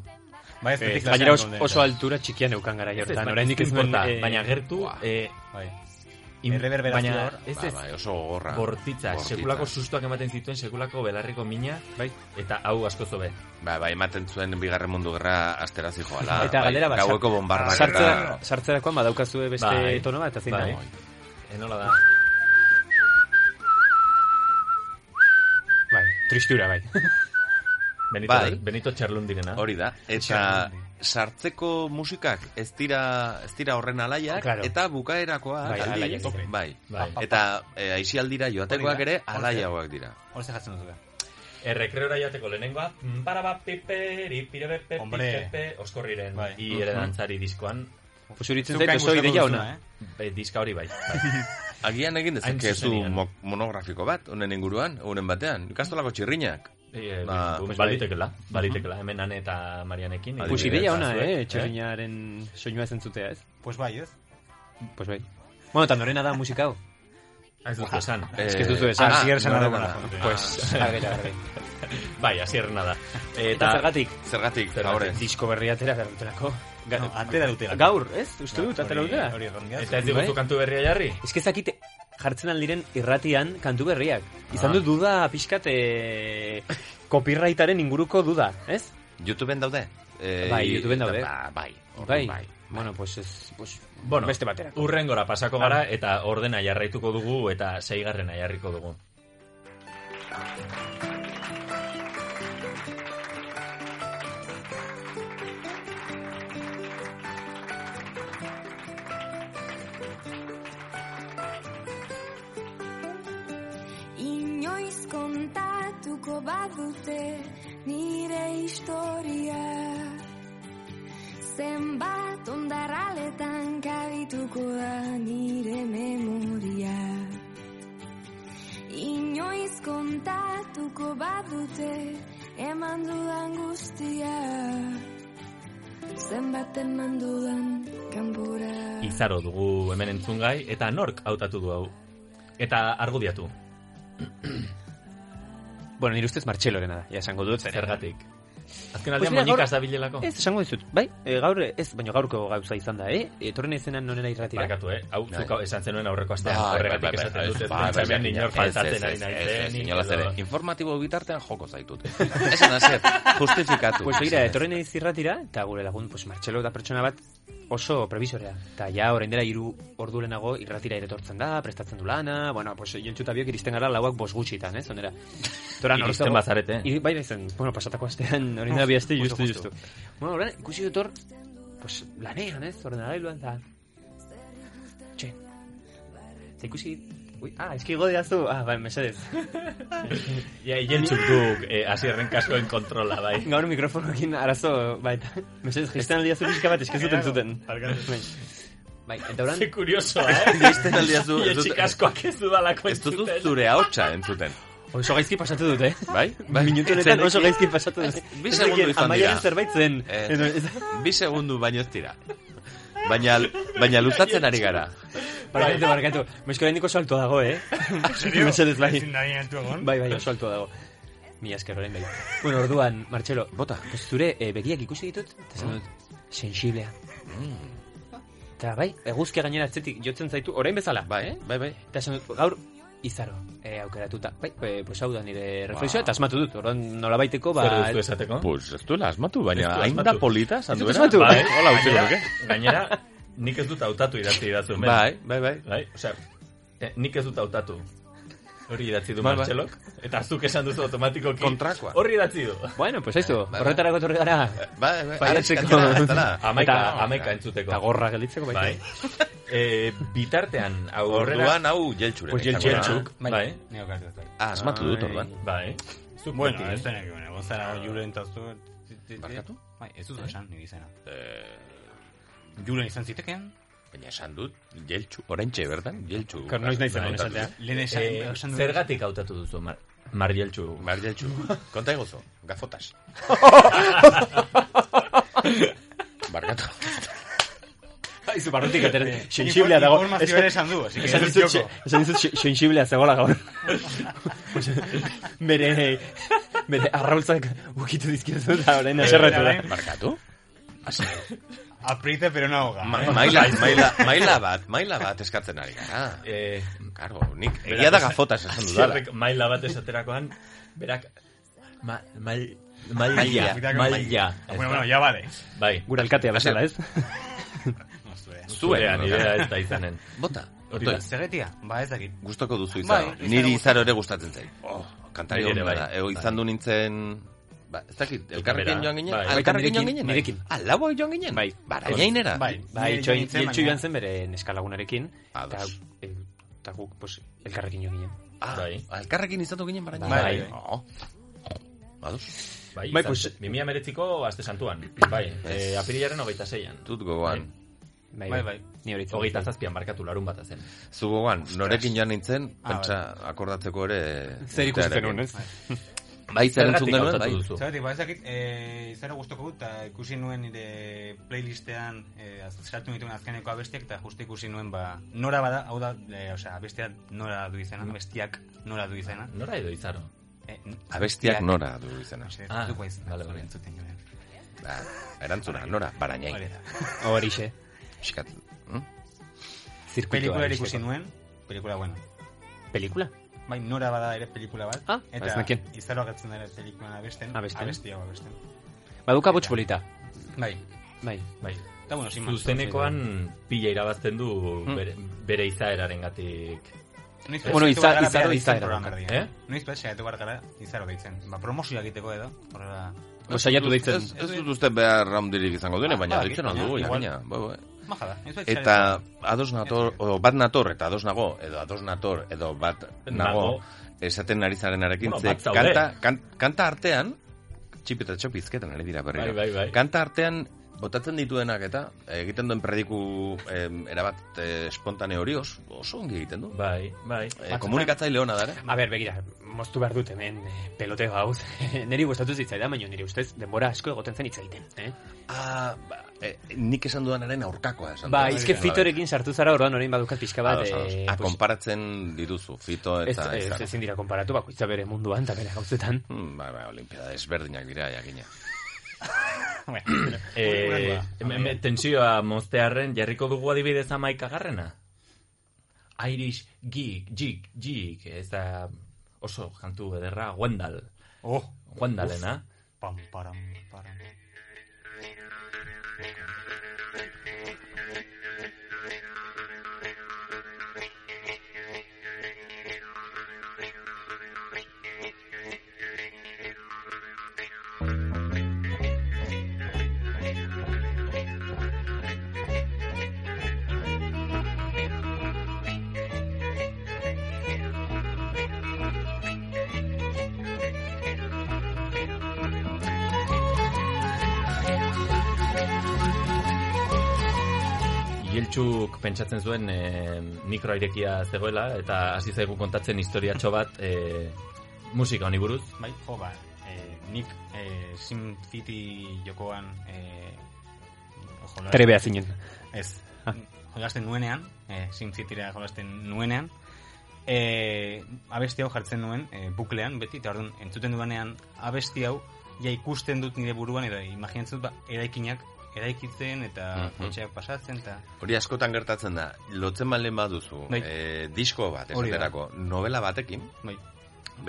Speaker 3: Bai, ez
Speaker 2: Eh,
Speaker 3: betik
Speaker 2: Gainera
Speaker 3: klasean
Speaker 2: os-
Speaker 3: geunden,
Speaker 2: oso
Speaker 3: eta-
Speaker 2: altura txikian eukan gara
Speaker 1: Ez,
Speaker 2: jortan.
Speaker 1: baina
Speaker 2: Oraindik ez
Speaker 1: ez
Speaker 2: nuen...
Speaker 1: importa,
Speaker 2: eh,
Speaker 1: baina gertu,
Speaker 4: Buah.
Speaker 1: eh,
Speaker 3: Bai.
Speaker 1: in-
Speaker 3: Erreberberazioa
Speaker 1: baina
Speaker 3: hor.
Speaker 1: ez
Speaker 4: Ba,
Speaker 1: ez,
Speaker 4: bai, oso gorra.
Speaker 1: bortitza,
Speaker 4: Bortitza.
Speaker 1: sekulako sustoak ematen zituen, sekulako belarriko mina,
Speaker 2: Bai.
Speaker 1: eta hau asko zobe.
Speaker 4: Ba, bai, ematen zuen bigarren mundu gerra asterazi joala.
Speaker 2: Eta
Speaker 4: bai,
Speaker 2: galdera bat,
Speaker 4: Gaueko bombardak
Speaker 2: Sartzera, sartzerakoan badaukazue beste
Speaker 1: Bai.
Speaker 2: tono bat, azin
Speaker 1: Bai.
Speaker 2: bai.
Speaker 1: Enola da.
Speaker 2: bai, tristura, bai.
Speaker 1: Benito,
Speaker 4: Bai.
Speaker 1: Benito Txarlundirena.
Speaker 4: Hori da. Eta sartzeko musikak ez dira, ez dira horren alaiak,
Speaker 2: Ah, Claro.
Speaker 4: eta bukaerakoa,
Speaker 2: Bai, alaiak
Speaker 4: aldiz,
Speaker 2: tope.
Speaker 4: bai.
Speaker 1: Bai.
Speaker 4: Eta e, aizialdira joatekoak
Speaker 3: Hori da.
Speaker 4: ere alaiagoak dira.
Speaker 3: Hor ze jatzen dut.
Speaker 1: Errekreora joateko lehenengoa, mm, baraba piperi, pirebepe,
Speaker 3: Hombre.
Speaker 1: pipepe, oskorriren,
Speaker 3: Bai.
Speaker 1: i ere dantzari diskoan,
Speaker 2: Pues uritzen
Speaker 3: Zukain
Speaker 2: zait oso
Speaker 3: gustatu
Speaker 2: ideia
Speaker 3: duzuna,
Speaker 2: ona.
Speaker 3: eh?
Speaker 1: e, diska hori bai. bai.
Speaker 4: Agian egin dezakezu
Speaker 1: zuzenean.
Speaker 4: mo- monografiko bat, honen inguruan, honen batean. Ikastolako txirrinak.
Speaker 1: E,
Speaker 4: Ba,
Speaker 1: ba,
Speaker 4: pues
Speaker 1: balitekela, balitekela, hemen ane eta Marianekin.
Speaker 4: Adibidez.
Speaker 2: Pues
Speaker 1: Ikusi
Speaker 2: ideia
Speaker 4: bai.
Speaker 2: ona,
Speaker 1: ezazuek,
Speaker 2: eh? Etxerrinaren soinua zentzutea, ez?
Speaker 3: Pues bai, ez?
Speaker 2: Pues bai. Bueno, tan norena da musikau.
Speaker 1: Ez duzu esan.
Speaker 4: Eh,
Speaker 2: Ez que ez duzu esan.
Speaker 4: ah,
Speaker 3: Asier Ah, Sanabona.
Speaker 4: norena da.
Speaker 2: Pues, agera, agera.
Speaker 1: Bai, asierrena da.
Speaker 2: Eta zergatik,
Speaker 4: Zergatik,
Speaker 1: Zergatik.
Speaker 4: favore.
Speaker 2: disko berri atera behar dutelako. Ga-
Speaker 3: No, atera dutela.
Speaker 2: Gaur, ez? Uste dut, atera
Speaker 3: Hori-
Speaker 2: dutela.
Speaker 3: Hori erran
Speaker 1: Eta
Speaker 3: diaz.
Speaker 1: ez diguzu
Speaker 2: Bai.
Speaker 1: kantu berria jarri?
Speaker 2: Ez que zakite jartzen aldiren irratian kantu berriak. Izan
Speaker 1: Ah.
Speaker 2: dut duda pixkat e, copyrightaren inguruko duda, ez?
Speaker 4: YouTubeen daude? Eh,
Speaker 2: Bai,
Speaker 4: i-
Speaker 2: YouTubeen daude.
Speaker 4: Ba, bai.
Speaker 2: Bai.
Speaker 4: Orduan bai.
Speaker 2: Bueno, pues ez... Pues,
Speaker 1: Bueno,
Speaker 2: beste batera.
Speaker 1: Urrengora pasako gara
Speaker 4: Bai.
Speaker 1: eta ordena jarraituko dugu eta seigarrena jarriko dugu.
Speaker 10: Inoiz kontatuko badute nire historia Zenbat ondarraletan kabituko da nire memoria Inoiz kontatuko badute eman dudan guztia Zenbat eman dudan kanpora
Speaker 1: Izaro dugu hemen entzungai eta nork hautatu du hau. Eta argudiatu,
Speaker 2: Bueno, nire ustez Martxelorena da, ja esango dut. zeren.
Speaker 1: zergatik. Azken
Speaker 2: Pues
Speaker 1: aldean
Speaker 2: mira,
Speaker 1: moñikaz
Speaker 2: gaur-
Speaker 1: dabilelako.
Speaker 2: Ez, esango dizut. Bai, e, gaur, ez, baina gaurko gauza izan da, eh? Etorren ezenan nonera irratira.
Speaker 1: Barkatu, eh? Hau,
Speaker 4: Bai.
Speaker 1: zuk hau esan zenuen aurreko astean,
Speaker 4: Bai, bai,
Speaker 1: horregatik
Speaker 4: bai,
Speaker 1: esaten
Speaker 4: bai,
Speaker 1: dut,
Speaker 4: bai,
Speaker 1: ez
Speaker 4: bai,
Speaker 1: pentsatzen
Speaker 4: bai, ez,
Speaker 1: inor
Speaker 4: ez,
Speaker 1: faltatzen ari
Speaker 4: ez, ez,
Speaker 1: naizen,
Speaker 4: ez, inolaz
Speaker 1: edo-
Speaker 4: ere. Informatibo bitartean joko zaitut. Esan haser, justifikatu.
Speaker 2: Pues begira,
Speaker 4: Esan
Speaker 2: etorren naiz irratira, eta gure lagun, pues Martxelo da pertsona bat oso prebisorea. Eta ja, orain dela hiru ordu lehenago irratira ere etortzen da, prestatzen du lana, bueno, pues jontxu eta biok iristen gara lauak bos gutxitan, ez, onera. Tora, nor
Speaker 1: Iristen
Speaker 2: dago-
Speaker 1: bazarete.
Speaker 2: Ir, bai, zen, bueno, pasatako astean, orain dela bi aste,
Speaker 3: Justu,
Speaker 2: justu,
Speaker 3: justu.
Speaker 2: justu. Bueno, orain, ikusi dut hor, pues lanean, ez, ordenagailuan, eta... Txin. Eta ikusi... Ui, ah, eski godeazu. Ah, bai, mesedez.
Speaker 1: Ja, ientzuk duk eh, azierren kaskoen kontrola, bai.
Speaker 2: Gaur mikrofonoekin arazo, bai, eta mesedez, jisten aldia zu pixka bat eskizuten zuten. Bai, Bai, eta oran...
Speaker 1: Ze kuriosoa, eh?
Speaker 4: Jaisten aldia zu... ez dut-
Speaker 1: Ietxik askoak ez dudalako
Speaker 4: Ez dut
Speaker 1: entzuten.
Speaker 4: zure ahotsa entzuten.
Speaker 2: Oso gaizki pasatu dute, eh?
Speaker 4: Bai? bai.
Speaker 2: Minutu honetan oso gaizki pasatu dute.
Speaker 4: Bi
Speaker 2: Ez
Speaker 4: segundu
Speaker 2: dakien,
Speaker 4: izan
Speaker 2: Amaiaren
Speaker 4: dira.
Speaker 2: zerbait zen.
Speaker 4: Eh.
Speaker 2: Edo, ez-
Speaker 4: Bi segundu baino ez dira. Baina, baina luzatzen ari gara. Bai.
Speaker 2: Barkatu, barkatu. Mesko oraindik oso altua dago, eh? Mesedez, bai.
Speaker 3: Ezin da egin altu egon.
Speaker 2: Bai, bai, oso altua dago. Mi esker orain bai. Bueno, orduan, Martxelo, bota, pues zure eh, begiak ikusi ditut, eta zen dut, sensiblea. Eta bai, eguzkia gainera atzetik jotzen zaitu, orain bezala.
Speaker 4: Bai, bai, bai.
Speaker 2: Eta esan dut, gaur, izaro, eh, aukeratuta. Bai, eh, pues hau da nire reflexioa, eta asmatu dut, orduan nola baiteko, ba...
Speaker 1: Zer
Speaker 4: Bai.
Speaker 1: duzu esateko?
Speaker 4: Pues ez duela asmatu,
Speaker 1: Ez
Speaker 4: baina
Speaker 1: du
Speaker 4: hain
Speaker 1: asmatu.
Speaker 4: da polita, esan
Speaker 2: Ez dut
Speaker 4: duena.
Speaker 2: asmatu.
Speaker 4: Bai, hola, utzi
Speaker 1: Gainera-
Speaker 4: nuke.
Speaker 1: Gainera, nik ez dut hautatu idatzi idatzu. hemen.
Speaker 4: Bai, bai, bai.
Speaker 1: Bai, osea, eh, nik ez dut hautatu. Hori idatzi du
Speaker 4: Bai, bai.
Speaker 1: Martxelok, eta zuk esan duzu automatikoki.
Speaker 4: Kontrakoa.
Speaker 1: Horri idatzi du.
Speaker 2: Bueno, pues aizu,
Speaker 4: bai.
Speaker 2: horretarako torri gara.
Speaker 4: Bai, bai,
Speaker 2: Faiatzeko.
Speaker 4: eskatzera, ez dela.
Speaker 1: Amaika,
Speaker 2: Eta-
Speaker 1: amaika entzuteko.
Speaker 2: Eta gorra gelditzeko bai.
Speaker 1: Bai. Eh, bitartean, aurrera...
Speaker 4: Orduan hau jeltxure.
Speaker 1: Pues
Speaker 4: izango da.
Speaker 1: jeltxuk, bai,
Speaker 3: Nio katu ez da.
Speaker 4: Ah, asmatu dut, orduan.
Speaker 1: bai. Zuk
Speaker 3: Bueno,
Speaker 1: beti,
Speaker 3: ez
Speaker 1: eh?
Speaker 3: da nire gona. Gozara julen eta zu...
Speaker 4: Barkatu?
Speaker 3: Bai, ez dut esan nire izena.
Speaker 4: Eh,
Speaker 3: Julen izan ziteken?
Speaker 4: Baina esan dut, jeltxu, oraintxe bertan, jeltxu. Bai,
Speaker 2: Kor, noiz naiz egon
Speaker 4: Kontatu
Speaker 2: esatea.
Speaker 4: dut.
Speaker 3: Lehen esan...
Speaker 1: Eh,
Speaker 3: esan dut-
Speaker 1: zergatik hautatu duzu, Mar, Mar Jeltxu?
Speaker 4: bai. Bar jeltxu. Konta egozo, gafotas. Barkatu.
Speaker 2: Aizu, barrutik atera.
Speaker 3: Eh,
Speaker 2: Sensiblea dago.
Speaker 3: Informazio ere esan du, así que
Speaker 2: Esan
Speaker 3: ez
Speaker 2: dizut,
Speaker 3: dut joko.
Speaker 2: esan dizut se- sensiblea zegoela gaur. Pues, bere, bere arraultzak ukitu dizkizu eta orain eh, aserretu
Speaker 1: eh?
Speaker 2: da.
Speaker 3: Orain,
Speaker 4: Barkatu?
Speaker 3: Aprieta, pero no ahoga.
Speaker 4: Ma- Maila, maila, maila bat, maila bat eskatzen ari gara.
Speaker 1: Eh,
Speaker 4: Karo, nik egia
Speaker 1: Berak
Speaker 4: da
Speaker 1: esan-
Speaker 4: gafotas esan dudala.
Speaker 1: Zierrek maila bat esaterakoan, berak... Ma, mal, maila,
Speaker 4: Maila.
Speaker 1: maila.
Speaker 3: Bueno, bueno, ya vale.
Speaker 1: Bai,
Speaker 2: Gure alkatea bezala, ez?
Speaker 1: zurean idea ez da izanen.
Speaker 4: Bota.
Speaker 1: Hori da.
Speaker 4: Otoi,
Speaker 3: Zerretia? Ba, ez dakit.
Speaker 4: gustoko
Speaker 2: Ah,
Speaker 4: duzu izaro.
Speaker 3: Bai, izaro
Speaker 4: Niri
Speaker 3: gustu.
Speaker 4: izaro ere gustatzen zait. Oh, kantari
Speaker 1: Niri
Speaker 4: hori
Speaker 1: ere bai.
Speaker 4: da. Ego izan du nintzen... Ba, ez dakit, elkarrekin
Speaker 1: bera,
Speaker 4: joan ginen?
Speaker 1: bai.
Speaker 4: Ah, Elkarrekin joan
Speaker 2: Nirekin,
Speaker 4: ginen?
Speaker 2: nirekin.
Speaker 4: Ah, labo joan ginen?
Speaker 2: Bai.
Speaker 4: Barainainera?
Speaker 3: Bai.
Speaker 2: Bai,
Speaker 3: Nire
Speaker 2: txoi,
Speaker 3: nintzen,
Speaker 2: jeltxu
Speaker 3: baina-
Speaker 2: joan zen bere neskalagunarekin. Eta
Speaker 4: Ados.
Speaker 2: eh, eta guk, pues, elkarrekin jo ginen.
Speaker 4: Ah,
Speaker 1: Bai.
Speaker 4: elkarrekin izatu ginen barainain?
Speaker 1: Bai.
Speaker 4: Oh. Ados,
Speaker 2: Bai,
Speaker 1: Bai, bai
Speaker 2: pues-
Speaker 1: pues... 2008ko Aste Santuan. Bai, eh, apirilaren hogeita zeian.
Speaker 4: dut gogoan.
Speaker 2: Bai,
Speaker 3: Bai,
Speaker 2: bai.
Speaker 3: bai.
Speaker 2: Ni hori itzan.
Speaker 1: Hogeita zazpian barkatu larun bat zen.
Speaker 4: Zu gogoan, norekin joan nintzen,
Speaker 3: Ah,
Speaker 4: pentsa
Speaker 1: bai.
Speaker 4: akordatzeko ere...
Speaker 2: Zer ikusten
Speaker 4: urtearekin.
Speaker 2: nuen, ez?
Speaker 4: Bai, zer entzun genuen,
Speaker 1: hautatu
Speaker 4: bai.
Speaker 1: duzu?
Speaker 3: Zergatik, ba, ez dakit, eh, izaro guztoko dut, eta ikusi nuen nire playlistean, eh, az- sartu nituen azkeneko abestiak, eta justu ikusi nuen, ba, nora bada, hau da, eh, osea, abestia nora du izena, abestiak nora du izena.
Speaker 1: Nora edo izaro?
Speaker 3: Eh, n-
Speaker 4: Abestiak
Speaker 1: Bai.
Speaker 4: nora du izena.
Speaker 3: Mesedez,
Speaker 1: Ah,
Speaker 3: duko izena,
Speaker 1: bale, bale.
Speaker 3: entzuten joan.
Speaker 4: Ah, erantzuna, nora, barainain.
Speaker 1: Bai.
Speaker 3: Hori da.
Speaker 2: Horixe.
Speaker 4: Xkat. Hm?
Speaker 2: Zirkuitua
Speaker 3: Pelikula ere
Speaker 2: erosteko.
Speaker 3: ikusi nuen, pelikula, bueno.
Speaker 2: Pelikula?
Speaker 3: Bai, nora bada ere pelikula bat,
Speaker 2: Ah, ba, ez
Speaker 3: eta
Speaker 2: nekien.
Speaker 3: izaro agatzen dara pelikulan abesten,
Speaker 2: Abesten.
Speaker 3: abesti hau abesten.
Speaker 2: Baduka botx bolita.
Speaker 3: Bai,
Speaker 2: Bai.
Speaker 1: Bai.
Speaker 3: eta bueno, sin más.
Speaker 1: Zuzenekoan pila irabazten du bere, bere izaerarengatik.
Speaker 3: Noiz
Speaker 2: Bueno,
Speaker 3: bueno,
Speaker 2: iza-
Speaker 3: izar, izaro,
Speaker 2: izaro- izaro.
Speaker 3: izaro,
Speaker 1: Eh?
Speaker 3: eh? Noiz bat saiatu behar gara izaro deitzen. Ba, promozioa egiteko edo, horrela...
Speaker 2: Osaiatu deitzen.
Speaker 4: Ez, ez dut uste behar raundirik izango duene,
Speaker 3: Ah,
Speaker 4: baina
Speaker 3: ba,
Speaker 4: deitzen
Speaker 3: baina,
Speaker 4: aldugu,
Speaker 3: igual.
Speaker 4: jakina. Bai, bai.
Speaker 3: Maja da, noiz bat
Speaker 4: Eta ados nator, o, bat nator eta ados nago, edo ados nator, edo bat nago,
Speaker 1: Nago.
Speaker 4: esaten ari zarenarekin,
Speaker 1: Bueno,
Speaker 4: ze
Speaker 1: bat zaude.
Speaker 4: kanta, kan, kanta artean, txipi eta txopi izketan ari dira berriro.
Speaker 1: Bai, bai, bai.
Speaker 4: Kanta artean, botatzen dituenak eta egiten duen prediku em, erabat eh, espontane hori oso, oso ongi egiten du.
Speaker 1: Bai, bai.
Speaker 4: Eh, komunikatzaile hona da,
Speaker 2: A ber, begira, moztu behar dut hemen eh, peloteo hau. niri gustatu zitzaidan, baina nire ustez denbora asko egoten zen hitz egiten. Eh?
Speaker 4: Ah, ba, eh, nik esan dudanaren aurkakoa esan
Speaker 2: Ba,
Speaker 4: dudan.
Speaker 2: izke
Speaker 4: Bai.
Speaker 2: fitorekin sartu zara, orduan orain badukat pixka bat.
Speaker 4: Ados, ados.
Speaker 2: eh,
Speaker 4: Ah,
Speaker 2: pues,
Speaker 4: konparatzen dituzu, fito
Speaker 2: ez,
Speaker 4: eta...
Speaker 2: ez,
Speaker 4: izarra.
Speaker 2: ezin dira konparatu, bakoitza bere munduan eta bere gauzetan.
Speaker 4: Hmm, ba, ba, olimpiada ezberdinak dira, jakina.
Speaker 1: Eh, me- me- tensioa moztearren jarriko dugu adibidez amaikagarrena. Irish Geek, Geek, Geek, ez da oso kantu ederra, Wendal.
Speaker 3: Oh,
Speaker 1: Wendalena.
Speaker 3: pam, param, param.
Speaker 10: Thank
Speaker 1: Jeltxuk pentsatzen zuen e, mikroa irekia zegoela, eta hasi zaigu kontatzen historiatxo bat e, musika honi buruz.
Speaker 3: Bai, jo, ba, e, nik e, Sim City jokoan... E, jolas-
Speaker 2: Trebea zinen.
Speaker 3: Ez.
Speaker 2: Ah.
Speaker 3: Jolasten nuenean, e, Sim Cityra jolasten nuenean, e, abesti hau jartzen nuen e, buklean beti, eta orduan entzuten dudanean abesti hau ja ikusten dut nire buruan edo imaginatzen dut ba, eraikinak eraikitzen eta
Speaker 4: Mhm.
Speaker 3: kotxeak pasatzen eta
Speaker 4: Hori askotan gertatzen da, lotzen balen baduzu,
Speaker 3: Bai.
Speaker 4: eh, disko bat,
Speaker 3: Hori da.
Speaker 4: esaterako, novela batekin,
Speaker 3: bai,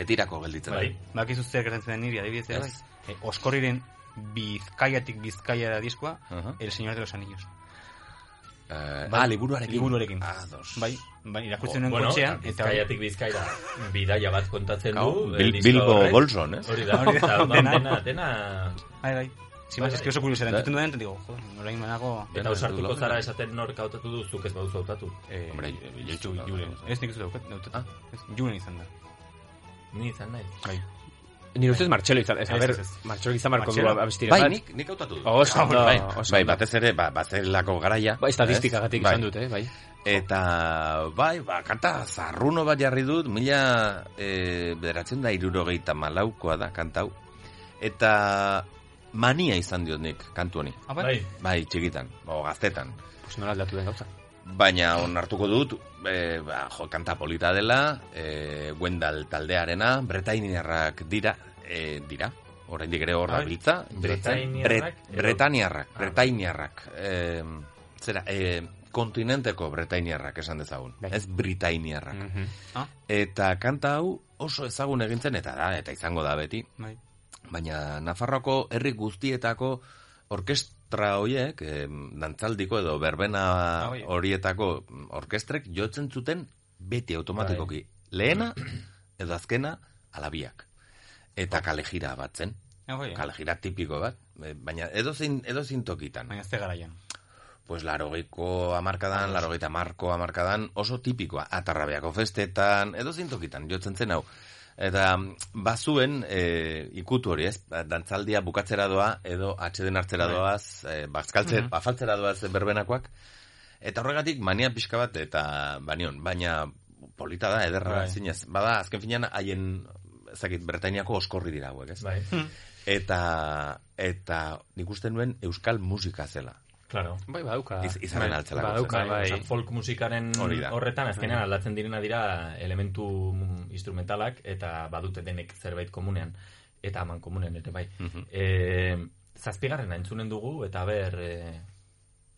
Speaker 4: betirako gelditzen da.
Speaker 1: Bai.
Speaker 3: bakizu zer gertatzen den niri adibidez ere,
Speaker 4: Ez.
Speaker 3: bai. E, oskorriren bizkaiatik bizkaiara diskoa
Speaker 4: Aha.
Speaker 3: El Señor de los Anillos
Speaker 4: Eh,
Speaker 3: Bai.
Speaker 4: ah, liburuarekin.
Speaker 3: Liburuarekin.
Speaker 4: Ados.
Speaker 3: bai, bai, irakurtzen nuen
Speaker 1: Ah. Bueno,
Speaker 3: kotxean eta
Speaker 1: bizkaiatik bizkaira bidaia bat kontatzen
Speaker 4: Gau,
Speaker 1: du. e,
Speaker 4: Bil-
Speaker 1: disko
Speaker 4: Bilbo
Speaker 1: horrek.
Speaker 4: Bolson, eh? ez?
Speaker 1: Hori da,
Speaker 3: Hori da,
Speaker 1: eta orduan
Speaker 3: dena.
Speaker 1: dena, dena,
Speaker 3: bai, bai, zimaz,
Speaker 1: Bai.
Speaker 3: eski oso kuriosera
Speaker 4: Da-
Speaker 3: entzuten duen, eta digo, jo, orain banago
Speaker 1: eta
Speaker 4: Dena
Speaker 1: ausartuko
Speaker 4: dudalako.
Speaker 1: zara esaten nork hautatu du, zuk ez baduzu hautatu.
Speaker 3: Eh,
Speaker 4: Hombre, Jeltsu
Speaker 3: Julen.
Speaker 4: Julen.
Speaker 3: Ez nik uste daukat, daukat.
Speaker 4: Ah.
Speaker 3: Ez, Julen izan da.
Speaker 1: Ni izan nahi.
Speaker 3: Bai.
Speaker 2: Nire ustez Martxelo izan, ez,
Speaker 3: Ez,
Speaker 2: a ber,
Speaker 3: ez, ez.
Speaker 2: Martxelo izan barko du
Speaker 3: Martxelo.
Speaker 2: abestira
Speaker 4: Bai,
Speaker 2: bat.
Speaker 4: nik, nik hautatu dut.
Speaker 2: Oso,
Speaker 4: Ah,
Speaker 2: ondo,
Speaker 4: bai,
Speaker 2: oso
Speaker 4: bai,
Speaker 2: ondo.
Speaker 4: batez ere, ba, bazelako garaia.
Speaker 2: Ba, estatistikagatik
Speaker 4: ez? Bai.
Speaker 2: izan dute, eh, bai.
Speaker 4: Eta, bai, ba, kanta zarruno bat jarri dut, mila e, bederatzen da irurogeita malaukoa da kantau. Eta mania izan diot nik kantu honi.
Speaker 3: Ah,
Speaker 1: Bai,
Speaker 4: Bai, txikitan, o gaztetan.
Speaker 2: Pues nola aldatu den gauza.
Speaker 4: Baina onartuko dut, e, ba, jo, kanta polita dela, e, Wendal taldearena, Bretainiarrak dira, e, dira, oraindik ere hor
Speaker 1: Bai.
Speaker 4: dabiltza. jotzen.
Speaker 1: Bretainiarrak edo-
Speaker 4: Bretainiarrak,
Speaker 1: Ah.
Speaker 4: Bretainiarrak. E, zera, e, kontinenteko Bretainiarrak esan dezagun,
Speaker 2: Bai.
Speaker 4: ez Britainiarrak.
Speaker 2: Mhm.
Speaker 1: Ah.
Speaker 4: Eta kanta hau oso ezagun egintzen eta da, eta izango da beti.
Speaker 3: Bai.
Speaker 4: Baina Nafarroako herri guztietako orkestra hoiek, eh, dantzaldiko edo berbena
Speaker 3: Ah, bai.
Speaker 4: horietako mm, orkestrek jotzen zuten beti automatikoki.
Speaker 3: Bai.
Speaker 4: Lehena edo azkena alabiak. Eta kale jira bat zen.
Speaker 3: Ah, bai.
Speaker 4: Kale jira tipiko bat. eh, Baina edozein, edozein tokitan.
Speaker 3: Baina ze garaian.
Speaker 4: Pues larogeiko amarkadan, larogeita marko amarkadan, oso tipikoa, atarrabeako festetan, edo zintokitan, jotzen zen hau. Eta mm, bazuen e, ikutu hori, ez? Dantzaldia bukatzera doa, edo atxeden hartzera doaz, e, bazkaltze, afaltzera doaz berbenakoak. Eta horregatik mania pixka bat, eta banion, baina polita da, ederra
Speaker 3: Bai.
Speaker 4: zinez. Bada, azken finean, haien, ezakit, Bretainiako oskorri dira hauek, ez?
Speaker 1: bai,
Speaker 4: Eta, eta nik uste nuen euskal musika zela.
Speaker 1: claro.
Speaker 2: Bai, badauka.
Speaker 4: Iz- izanen
Speaker 2: Bai,
Speaker 4: altzalako
Speaker 2: Badauka,
Speaker 4: zer.
Speaker 2: bai.
Speaker 1: Osea, folk musikaren
Speaker 4: Hori da.
Speaker 1: horretan azkenean aldatzen direna dira elementu instrumentalak eta badute denek zerbait komunean eta aman komunen ere bai. Eh, zazpigarrena entzunen dugu eta ber eh,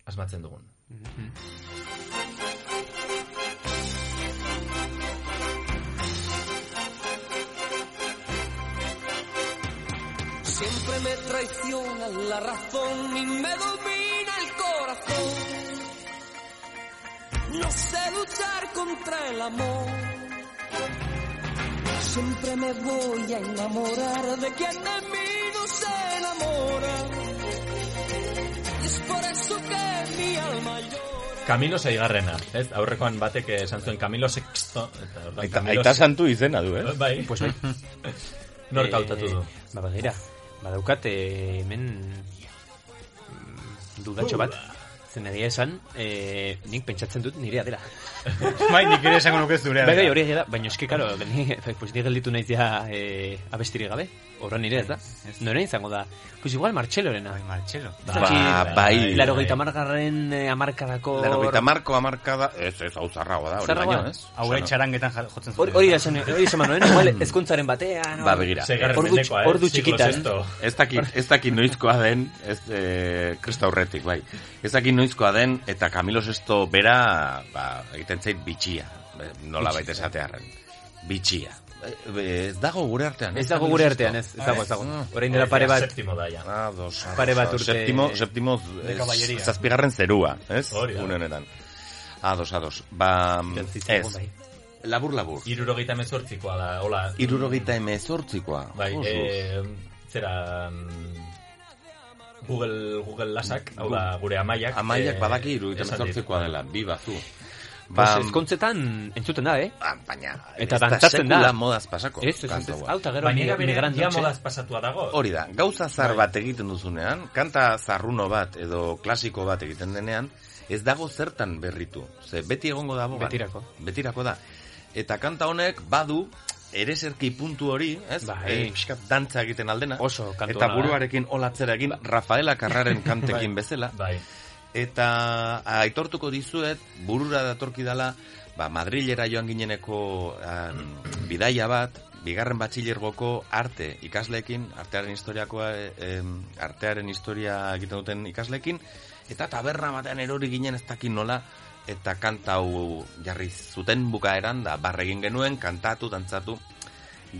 Speaker 1: asmatzen dugun.
Speaker 8: Siempre me traiciona la razón y me domina el corazón. No sé luchar contra el amor. Siempre me voy a enamorar de quien de mí no se enamora. Y es por eso que mi alma llora.
Speaker 1: Camilo seigarrena, ez? Aurrekoan batek esan zuen Camilo sexto. Eta, orduan
Speaker 4: Aita,
Speaker 1: Camilo
Speaker 4: aita
Speaker 1: se-
Speaker 4: santu izena du, eh?
Speaker 1: Bai,
Speaker 2: Pues bai.
Speaker 1: nork
Speaker 2: Eh,
Speaker 1: hautatu du.
Speaker 2: Ba, begira, badaukat eh, hemen mm, dudatxo bat. Zen egia esan, eh, nik pentsatzen dut nirea dela.
Speaker 3: bai, nik ere esango nuke zurea.
Speaker 2: Bai, bai, hori egia da, baina eski, karo, ni, bai, pues, ni gelditu naiz ja eh, abestirik gabe. Horra nire ez da.
Speaker 3: Ez.
Speaker 2: Nore izango da. Pues igual Martxelorena.
Speaker 3: Bai, Martxelo.
Speaker 4: Ba, bai.
Speaker 2: Laro gehieta margarren eh, amarkadako...
Speaker 4: Laro gita marko amarkada, ez, ez, hau zarragoa da, hori
Speaker 2: Zarragoa?
Speaker 4: baino, ez?
Speaker 3: Hau ere txarangetan ja- jotzen
Speaker 2: Hor-
Speaker 3: zuten.
Speaker 2: Hori da esan, hori esan manuen, igual ezkontzaren batean...
Speaker 4: Ba, begira.
Speaker 1: Seigarren
Speaker 2: Ordu-
Speaker 1: mendekoa, eh?
Speaker 2: ordu
Speaker 1: Siglo
Speaker 2: txikitan.
Speaker 1: sexto.
Speaker 4: Ez dakit, ez dakit noizkoa den, ez, e, krista horretik, bai. Ez dakit noizkoa den, eta Camilo Sesto bera, ba, egiten zait bitxia, eh, nola baita esatearen. Bitxia. Eh, eh, Ez dago gure artean.
Speaker 2: Ez
Speaker 4: eh,
Speaker 2: dago
Speaker 4: Camilo
Speaker 2: gure
Speaker 4: Sesto.
Speaker 2: artean, ez, ez dago, ez dago.
Speaker 4: Ah.
Speaker 2: Orain dela pare bat,
Speaker 1: Septimo da, ja.
Speaker 4: Ah, dos, ah,
Speaker 2: Pare bat
Speaker 4: dos,
Speaker 2: urte-
Speaker 4: Septimo, septimo
Speaker 3: De
Speaker 4: eh,
Speaker 3: caballería.
Speaker 4: zazpigarren zerua, ez?
Speaker 1: Hori da.
Speaker 4: Une honetan. Ados, ados. Ba,
Speaker 2: Zitzaizkigun,
Speaker 4: ez.
Speaker 2: bai.
Speaker 4: Labur, labur.
Speaker 1: Hirurogeita hemezortzikoa da, hola.
Speaker 4: Irurogeita emezortzikoa.
Speaker 1: Bai,
Speaker 4: Josuz.
Speaker 2: eh,
Speaker 1: e, zera... mm, Google, Google lasak, hau da, gure amaiak.
Speaker 4: Amaiak
Speaker 1: eh,
Speaker 4: badaki irurogeita
Speaker 1: esan dit.
Speaker 4: emezortzikoa dela, bi bazu. Ba,
Speaker 2: pues ezkontzetan entzuten da, eh?
Speaker 4: ba, baina,
Speaker 2: Eta
Speaker 4: ez da
Speaker 2: dantzatzen da.
Speaker 4: sekula modaz pasako.
Speaker 2: Ez, ez, ez,
Speaker 4: kanta
Speaker 2: ez.
Speaker 4: hau.
Speaker 2: Hau eta gero
Speaker 1: Baina era berean,
Speaker 2: migrante
Speaker 1: ja modaz pasatua dago.
Speaker 4: Hori da,
Speaker 2: Bai.
Speaker 4: gauza zar bat egiten duzunean, kanta zarruno bat edo klasiko bat egiten denean, ez dago zertan berritu. Ze beti egongo da bogan.
Speaker 2: Betirako.
Speaker 4: Betirako da. Eta kanta honek badu ereserki puntu hori, ez?
Speaker 2: Bai.
Speaker 4: Eh, pixka bat dantza egiten aldena.
Speaker 2: Oso Ba- kantu
Speaker 4: Eta
Speaker 2: ona,
Speaker 4: buruarekin olatzera egin Rafaela Carraren kantekin bezala.
Speaker 1: Bai.
Speaker 4: Eta aitortuko dizuet, burura datorki dala, ba, Madrilera joan gineneko em, bidaia bat, bigarren batxilergoko arte ikasleekin, artearen historiakoa, e, em, artearen historia egiten duten ikasleekin, eta taberna batean erori ginen ez dakin nola, eta kanta hau jarri zuten bukaeran, da barregin genuen, kantatu, dantzatu.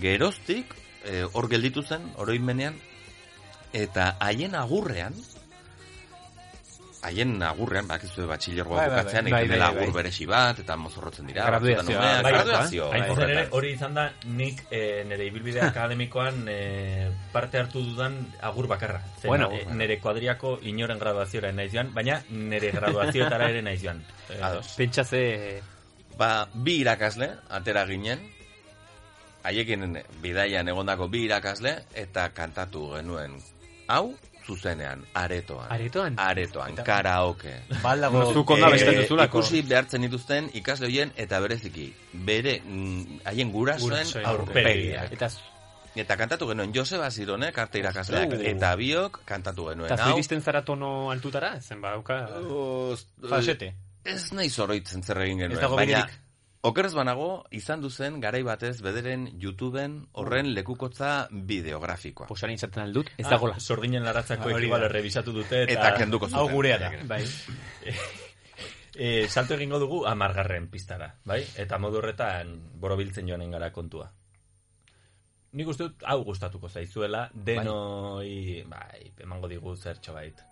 Speaker 4: Geroztik, eh, hor gelditu zen, oroimenean, eta haien agurrean, haien agurrean, bakizue batxilergoa
Speaker 2: Bai, bai, bai.
Speaker 4: bukatzean,
Speaker 2: Bai,
Speaker 4: egiten
Speaker 2: bai,
Speaker 4: dela
Speaker 2: bai,
Speaker 4: agur
Speaker 2: bai.
Speaker 4: beresi bat, eta mozorrotzen dira.
Speaker 2: Graduazioa,
Speaker 4: batzuetan umeak,
Speaker 2: bai,
Speaker 4: graduazio,
Speaker 1: Hain zuzen ere,
Speaker 4: horretan.
Speaker 1: hori izan da, nik eh, nire ibilbide akademikoan eh, parte hartu dudan agur bakarra. Zena,
Speaker 2: Bueno,
Speaker 1: eh,
Speaker 2: bueno.
Speaker 1: nire kuadriako inoren graduazioa naiz joan, baina nire graduazioetara ere naiz joan. Eh,
Speaker 4: Ados.
Speaker 2: Pentsa ze...
Speaker 4: Ba, bi irakasle, atera ginen, haiekin eh, bidaian egondako bi irakasle, eta kantatu genuen, hau, zuzenean, aretoan.
Speaker 2: Aretoan?
Speaker 4: Aretoan, karaoke.
Speaker 3: Baldago...
Speaker 2: Zuk ondo
Speaker 4: Eh,
Speaker 2: abesten duzulako.
Speaker 4: Ikusi behartzen dituzten ikasle hoien eta bereziki, bere, mm, haien gurasoen
Speaker 2: Gurasoen
Speaker 4: aurpegiak.
Speaker 2: Eta zu-
Speaker 4: Eta kantatu genuen Joseba Zironek arte irakasleak
Speaker 2: Uh.
Speaker 4: eta biok kantatu
Speaker 2: eta
Speaker 4: genuen
Speaker 2: zu
Speaker 4: hau. Uh.
Speaker 2: iristen zara tono altutara? Zen bauka...
Speaker 4: Oz-
Speaker 3: Falsete.
Speaker 4: Ez nahi zoroitzen zer egin
Speaker 3: Ez
Speaker 4: genuen,
Speaker 3: dago
Speaker 4: baina
Speaker 3: biderik.
Speaker 4: okerrez banago izan duzen garai batez bederen YouTubeen horren lekukotza bideografikoa.
Speaker 2: Posarin izaten aldut, ez
Speaker 1: ah,
Speaker 2: dagola.
Speaker 1: Sorginen laratzako
Speaker 3: Hori da.
Speaker 1: ekibale revisatu dute. Eta,
Speaker 4: Eta kenduko zuten.
Speaker 3: Hau gurea da.
Speaker 1: Bai. e, salto egingo dugu amargarren piztara, bai? Eta modu horretan borobiltzen joanen gara kontua. Nik uste dut hau gustatuko zaizuela, denoi, bai, emango digu zertxo bait.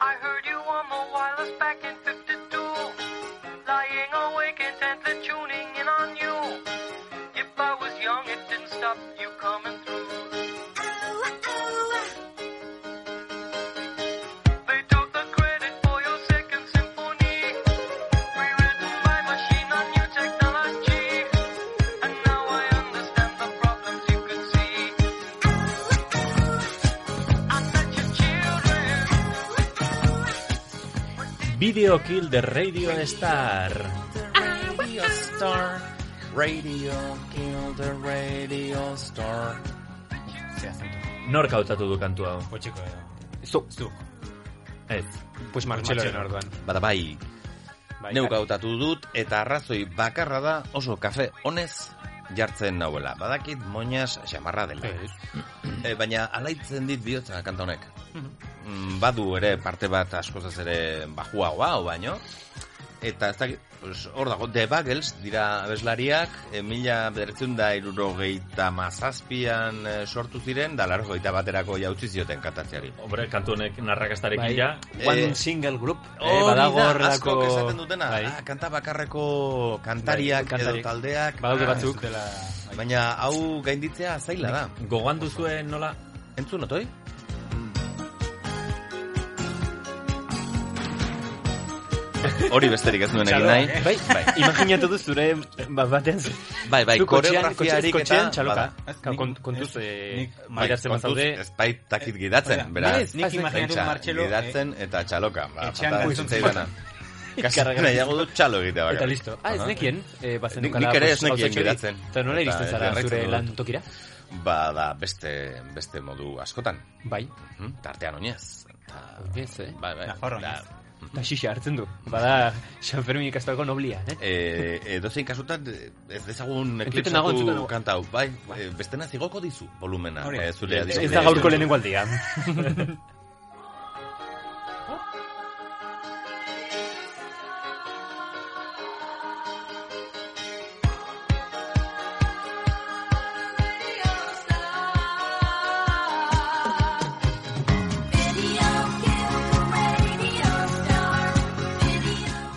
Speaker 11: I heard you on the wireless back in 52. Lying awake intently tuning in on you. If I was young, it didn't stop you coming through. They took the credit for your second symphony. Rewritten by machine on new technology. And now I understand the problems you could see. I met your children.
Speaker 1: Video Kill the Radio Star.
Speaker 4: Radio Star, Radio Kill the Radio Star.
Speaker 3: Ze azentu.
Speaker 1: Nork hautatu du kantu hau?
Speaker 3: Potxeko edo.
Speaker 2: Zu,
Speaker 3: Zu.
Speaker 1: Ez.
Speaker 2: pues Martxeloren
Speaker 3: Martxelo.
Speaker 2: orduan.
Speaker 4: Bada bai,
Speaker 2: Bai,
Speaker 4: neuk hautatu dut eta arrazoi bakarra da oso kafe honez jartzen nauela. Badakit moñaz xamarra dela. E, baina alaitzen dit bihotza kanta honek.
Speaker 2: Mhm.
Speaker 4: Mm, Badu ere parte bat askozaz ere bajuagoa, o baino. Eta ez dakit, pues, hor dago, The Bagels dira abeslariak, e, mila bederatzen da irurogeita mazazpian e, sortu ziren, da laro baterako jautzi zioten kantatzeari.
Speaker 1: Hombre, kantu honek narrakastarekin
Speaker 2: Bai.
Speaker 1: ja.
Speaker 2: One
Speaker 4: Eh,
Speaker 2: single group.
Speaker 4: Hori
Speaker 2: eh, badago
Speaker 4: da,
Speaker 2: horrelako...
Speaker 4: askok esaten dutena,
Speaker 2: Bai.
Speaker 4: ah, kanta bakarreko kantariak,
Speaker 2: Bai, kantariak.
Speaker 4: edo taldeak,
Speaker 2: Badaude
Speaker 4: ah,
Speaker 2: batzuk. Bai.
Speaker 4: ez dela- Baina hau gainditzea zaila da.
Speaker 1: Gogoan duzuen nola?
Speaker 4: Entzun, otoi? Hori besterik ez nuen egin nahi.
Speaker 2: Bai, imaginatu du zure bat batean zu-
Speaker 4: Bai, bai,
Speaker 2: zu kotxean-
Speaker 4: koreografiarik
Speaker 2: kotxe- kotxean
Speaker 4: eta-
Speaker 2: txaloka.
Speaker 4: bada.
Speaker 3: Ez,
Speaker 2: Ka-
Speaker 3: nik-
Speaker 2: kont- Kontuz,
Speaker 3: ez,
Speaker 2: eh,
Speaker 3: nik-
Speaker 4: Bai,
Speaker 2: baitartzen
Speaker 4: kontuz,
Speaker 2: bazaude.
Speaker 4: ez baitakit
Speaker 3: Hori
Speaker 4: gidatzen,
Speaker 3: da.
Speaker 4: beraz.
Speaker 3: Nik imaginatu
Speaker 4: pentsa,
Speaker 2: eh?
Speaker 3: Martxelo,
Speaker 4: Gidatzen eta txaloka. Ba,
Speaker 3: etxean
Speaker 4: falta ez
Speaker 3: goizon
Speaker 4: zitzaidana. Kasi nahiago dut txalo egitea
Speaker 2: Eta
Speaker 4: bakarrik.
Speaker 2: listo. Ah, ez
Speaker 4: Aha.
Speaker 2: nekien, eh, bazen
Speaker 4: bai, Nik- nik ere ez nekien gidatzen.
Speaker 2: Eta nola
Speaker 4: Eta
Speaker 2: iristen zara
Speaker 4: jarraitzen
Speaker 2: zure
Speaker 4: dut.
Speaker 2: lan tokira?
Speaker 4: Ba, da, beste, beste modu askotan.
Speaker 2: Bai,
Speaker 4: Hm? Tartean oinez. Eta-
Speaker 2: oinez, eh?
Speaker 4: Bai, bai.
Speaker 3: Nafarroa
Speaker 4: Da,
Speaker 2: Eta xixa hartzen du. Bada, San Fermin ikastako noblia, eh?
Speaker 4: e, edozein kasutan eh, ez dezagun
Speaker 2: Entzuten nago, entzuten
Speaker 4: eklipsatu
Speaker 2: nago.
Speaker 4: kanta hau. Bai, e, bestena zigoko dizu volumena.
Speaker 3: Hori da.
Speaker 4: E, zure
Speaker 2: Ez
Speaker 4: adiskidea.
Speaker 2: da gaurko lehenengo aldia.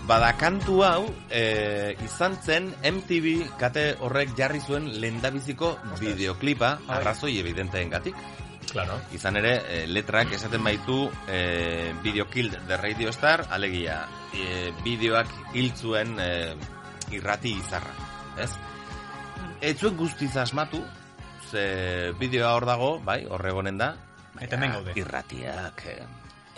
Speaker 4: Bada kantu hau e, izan zen MTV kate horrek jarri zuen lehendabiziko bideoklipa arrazoi evidenteengatik.
Speaker 1: Claro.
Speaker 4: Izan ere, e, letrak esaten baitu e, Video Killed the Radio eh, Star, alegia, e, bideoak hil zuen e, eh, irrati izarra. ez? Ez zuen guztiz asmatu, ze bideoa hor dago, bai, horregonen da.
Speaker 3: Eta hemen gaude.
Speaker 4: Irratiak, eh,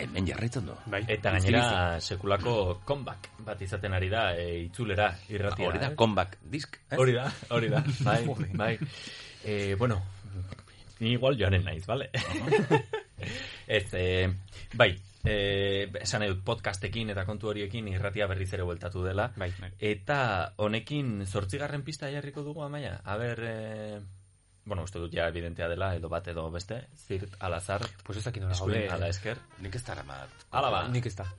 Speaker 4: hemen jarraitzen du.
Speaker 2: Bai.
Speaker 1: Eta gainera sekulako comeback bat izaten ari da e, itzulera irratia.
Speaker 4: Hori da,
Speaker 1: eh?
Speaker 4: comeback disk. Ez?
Speaker 1: Hori da, hori da. Bai, bai. E, bueno, ni igual joanen naiz, bale? Ez, e, bai, e, esan edut podcastekin eta kontu horiekin irratia berriz ere bueltatu dela.
Speaker 2: Bai.
Speaker 1: Eta honekin zortzigarren pista jarriko dugu, amaia? Aber, e, bueno, uste dut ja evidentea dela, edo bat edo beste, zirt alazar,
Speaker 2: Pues ez dakit nola
Speaker 1: eskuin ala
Speaker 2: gaude.
Speaker 1: esker.
Speaker 4: Nik ez dara mat.
Speaker 1: Ala ba,
Speaker 2: Nik ez da.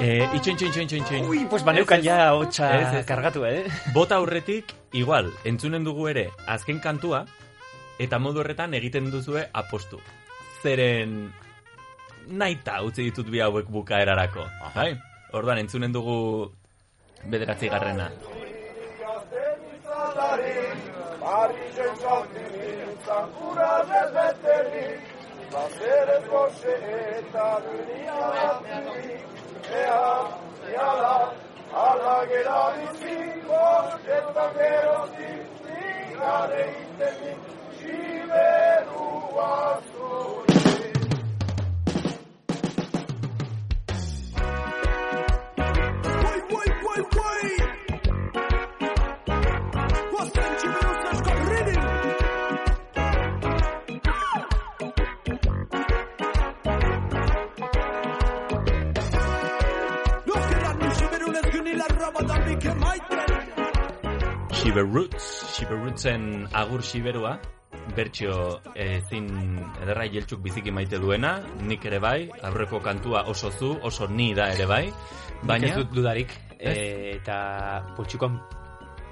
Speaker 1: e, itxoin, itxoin, itxoin, itxoin, itxoin.
Speaker 2: Ui, pues
Speaker 1: Ez,
Speaker 2: baneukan
Speaker 1: ez.
Speaker 2: ja hotxa
Speaker 1: Ez, ez.
Speaker 2: kargatu, eh?
Speaker 1: Bota aurretik, igual, entzunen dugu ere azken kantua, eta modu horretan egiten duzue apostu. Zeren naita utzi ditut bi hauek bukaerarako. Bai? Orduan, entzunen dugu bederatzi garrena. Shiver Roots, Shiver Rootsen agur Shiberua, bertxio ezin ederra jeltsuk biziki maite duena, nik ere bai, aurreko kantua oso zu, oso ni da ere bai,
Speaker 2: Baina
Speaker 1: baina...
Speaker 2: ez dut dudarik.
Speaker 1: Ez?
Speaker 2: Eh, eta poltsikoan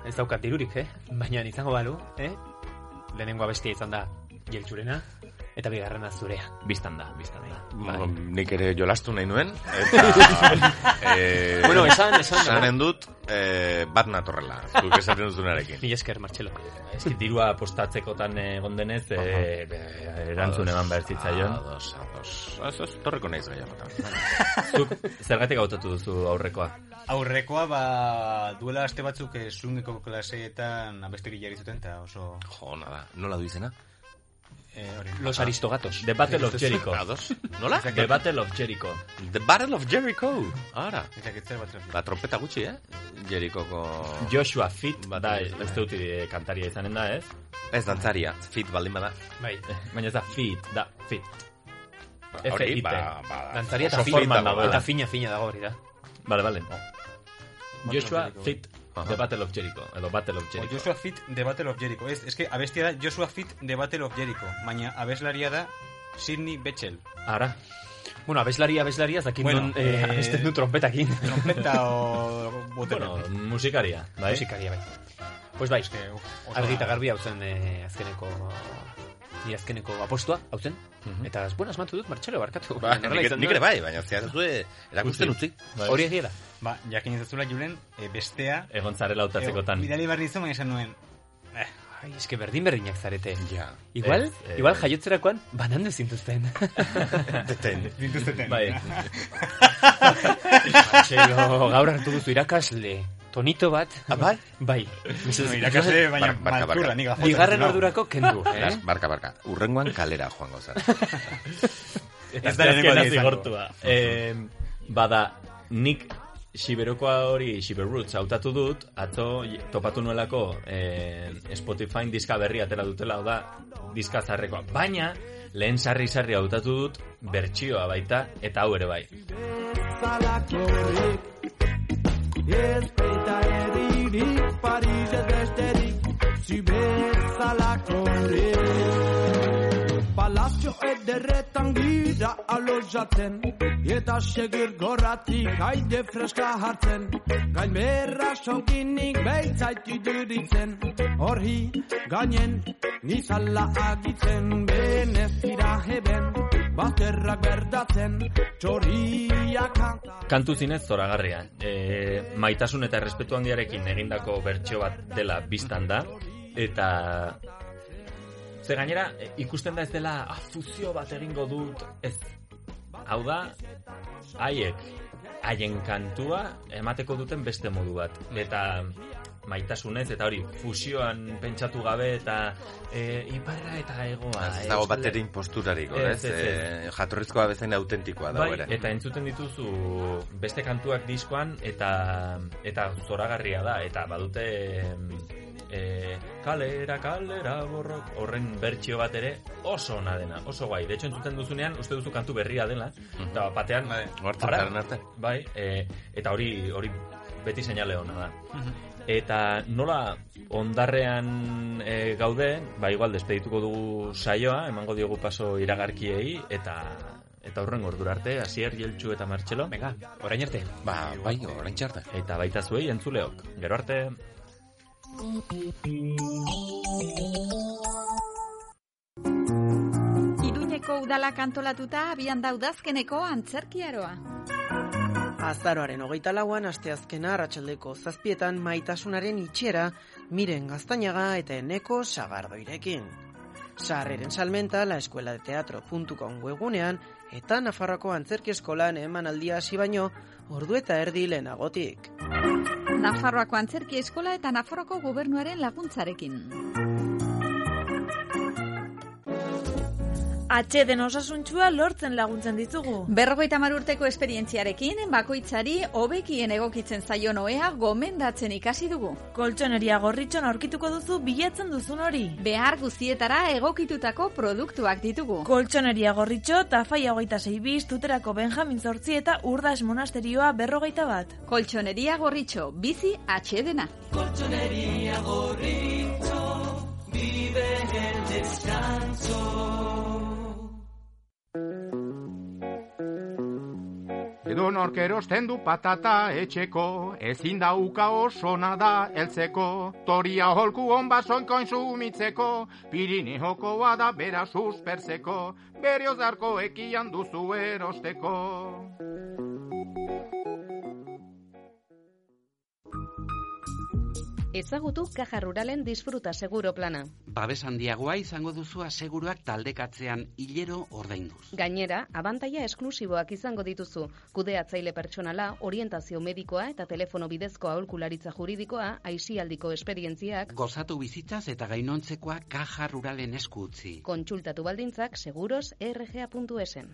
Speaker 2: ez daukat dirurik, eh? Baina izango balu, eh? Lehenengo abestia izan da jeltsurena eta bigarrena zurea. Bai.
Speaker 1: Bistan da, bistan da.
Speaker 4: Bai. Nik ere jolastu nahi nuen. Eta, eh,
Speaker 2: Bueno, esan, esan.
Speaker 4: Zanen dut, eh, bat natorrela, zuk esaten duzunarekin.
Speaker 2: Mila esker, Martxelo.
Speaker 1: Ez que dirua postatzekotan egon denez, eh, e, be- erantzun eman behar zitzaion.
Speaker 4: Ados, ados. Ez, ez, torreko nahiz gehiagotan.
Speaker 1: Zuk, zergatik hautatu duzu aurrekoa?
Speaker 3: Aurrekoa, ba, duela aste batzuk eh, zungeko klaseetan abesteri jarri zuten, eta oso...
Speaker 4: Jo, ona da. Nola du izena?
Speaker 3: Eh, hori.
Speaker 2: Los Aristogatos.
Speaker 1: The Battle of Jericho.
Speaker 4: Ados. Nola?
Speaker 1: The Battle of Jericho.
Speaker 4: The Battle of Jericho. Ara.
Speaker 3: Eta ketzer bat
Speaker 4: Ba, trompeta gutxi, eh? Jerikoko...
Speaker 1: Joshua Fit,
Speaker 4: Battle
Speaker 1: da,
Speaker 4: of-
Speaker 1: ez dut eh, kantaria izanen da, ez?
Speaker 4: Ez dantzaria, fit baldin bada.
Speaker 2: Bai.
Speaker 1: Baina ez da Fit, da Fit.
Speaker 4: Ba, Hori,
Speaker 1: FIT.
Speaker 4: ba, ba,
Speaker 2: Dantzaria eta
Speaker 4: oso
Speaker 2: fina
Speaker 4: fit dago,
Speaker 1: dago,
Speaker 4: bada.
Speaker 2: Eta fina, fina dago hori da.
Speaker 1: Vale, vale. Joshua
Speaker 3: Jericho,
Speaker 1: Fit,
Speaker 4: Aha.
Speaker 1: The Battle of Jericho, edo Battle of
Speaker 3: O
Speaker 1: Jericho.
Speaker 3: Joshua Fit The Battle of Jericho. Ez, eske abestia da Joshua Fit The Battle of Jericho, baina abeslaria da Sidney Betchel.
Speaker 1: Ara,
Speaker 2: Bueno, abeslaria, abeslaria, ez dakit
Speaker 3: Bueno,
Speaker 2: non eh,
Speaker 3: eh,
Speaker 2: abesten du trompetakin.
Speaker 3: Trompeta o botere.
Speaker 1: bueno, musikaria, bai?
Speaker 2: Musikaria, bai. Pues bai,
Speaker 3: Eske, oso-
Speaker 2: argi eta garbi hau zen eh, azkeneko nire azkeneko apostua, hau zen. Eta, bueno, asmatu dut, Martxelo, barkatu.
Speaker 4: Mhm. Ba,
Speaker 2: Horrela
Speaker 4: nik,
Speaker 2: izan
Speaker 4: nik
Speaker 2: da.
Speaker 4: ere bai, baina zehazue erakusten utzi.
Speaker 1: Bai.
Speaker 2: Hori egia da.
Speaker 3: Ba, jakin ez duzula Julen, e, bestea
Speaker 1: Egon zarela hautatzekotan.
Speaker 3: e, bidali behar nizun, baina esan nuen. Eh,
Speaker 2: Ai, eske berdin berdinak zarete.
Speaker 4: Ja.
Speaker 2: Igual,
Speaker 1: Ez, eh,
Speaker 2: igual jaiotzerakoan banandu zintuzten.
Speaker 4: Deten.
Speaker 3: Dintuzteten.
Speaker 1: Bai,
Speaker 2: Martxelo, gaur hartu duzu irakasle. Tonito bat.
Speaker 4: bai?
Speaker 2: Bai. Mesedez,
Speaker 3: No, irakasle, baina
Speaker 4: Barka, barka,
Speaker 3: maltzurra,
Speaker 4: barka.
Speaker 3: nik gafotzen.
Speaker 2: Bai. Bigarren
Speaker 3: Lau.
Speaker 2: ordurako kendu, eh?
Speaker 4: Las- Barka, barka. Urrengoan kalera joango zen.
Speaker 3: da
Speaker 1: Ez da
Speaker 3: lehenengoa
Speaker 1: azkena
Speaker 3: izango.
Speaker 1: zigortua. Eh, bada, nik Siberokoa hori, Siberroots hautatu dut, atzo topatu nuelako eh, Spotify diska berri atera dutela, hau da, diska zarrekoa. Baina, lehen sarri-sarri hautatu dut, bertsioa baita, eta hau ere bai.
Speaker 6: Palazzo ederretan gira alojaten Eta segir gorratik haide freska hartzen Gainberra sonkinik baitzait iduritzen Horri gainen nizala agitzen Benez dira heben bakerrak berdatzen, txoriak kanta.
Speaker 1: Kantu zinez zoragarria. E, maitasun eta errespetu handiarekin egindako bertxo bat dela biztan da. Eta... Ze gainera, e, ikusten da ez dela "Ah, fusio bat egingo dut, ez. Hau da, haiek, haien kantua emateko duten beste modu bat. Eta maitasunez, eta hori, fusioan pentsatu gabe, eta e, iparra eta egoa. e,
Speaker 4: Ez dago
Speaker 1: Euskal-
Speaker 4: baterin posturarik,
Speaker 1: Ah,
Speaker 4: ez?
Speaker 1: Ez, ez, ez.
Speaker 4: Eh, Jatorrizkoa bezain autentikoa da,
Speaker 1: Bai,
Speaker 4: bera.
Speaker 1: eta entzuten dituzu beste kantuak diskoan eta eta zoragarria da eta badute em, e, kalera, kalera, borrok horren bertsio bat ere oso ona dena, oso guai. De hecho, entzuten duzunean, uste duzu kantu berria dela, eta bat batean...
Speaker 4: Ohartzen
Speaker 1: "Ara!"
Speaker 4: zaren arte.
Speaker 1: Bai, e, eta hori hori beti seinale ona da.
Speaker 3: Mhm.
Speaker 1: Eta nola ondarrean e, gaude, ba igual despedituko dugu saioa, emango diogu paso iragarkiei eta eta horren ordura arte, Asier, Jeltxu eta Martxelo.
Speaker 2: Venga, orain arte.
Speaker 4: Ba, bai, orain txarta.
Speaker 1: Eta baita zuei entzuleok. Gero arte.
Speaker 12: Iruñeko udalak antolatuta abian daudazkeneko antzerkiaroa.
Speaker 13: Azaroaren hogeita lauan asteazkena arratsaldeko zazpietan maitasunaren itxera miren gaztainaga eta eneko sagardoirekin. Sarreren salmenta laeskueladeteatro.com webunean eta Nafarroko Antzerki Eskolan emanaldia hasi baino ordu eta erdi lehenagotik.
Speaker 12: Nafarroako antzerki eskola eta Nafarroako gobernuaren laguntzarekin.
Speaker 14: Atxeden osasuntsua lortzen laguntzen dizugu.
Speaker 12: Berrogeita hamar urteko esperientziarekin, bakoitzari hobekien egokitzen zaion ohea gomendatzen ikasi dugu.
Speaker 14: Koltsoneria gorritxon aurkituko duzu bilatzen duzun hori.
Speaker 12: Behar guztietara egokitutako produktuak ditugu.
Speaker 14: Koltsoneria gorritxo, tafaia hogeita zei biz, tuterako Benjamin zortzi eta urdas monasterioa berrogeita bat.
Speaker 12: Koltsoneria gorritxo, bizi atxedena.
Speaker 11: Colchonería Gorrito vive el descanso.
Speaker 15: Edo nork erosten du patata etxeko, ezin dauka osona da eltzeko, toria holku honba soinkoin sumitzeko, pirinejokoa da bera suspertzeko, berriozarko ekian duzu erosteko.
Speaker 16: Ezagutu Caja Ruralen disfruta seguro plana.
Speaker 17: Babes handiagoa izango duzu aseguruak taldekatzean hilero ordainduz.
Speaker 16: Gainera, abantaia esklusiboak izango dituzu. Kudeatzaile pertsonala, orientazio medikoa eta telefono bidezko aholkularitza juridikoa, aisialdiko esperientziak,
Speaker 17: Gozatu bizitzaz eta gainontzekoa kaja ruralen esku utzi.
Speaker 16: kontsultatu baldintzak seguros rga.esen.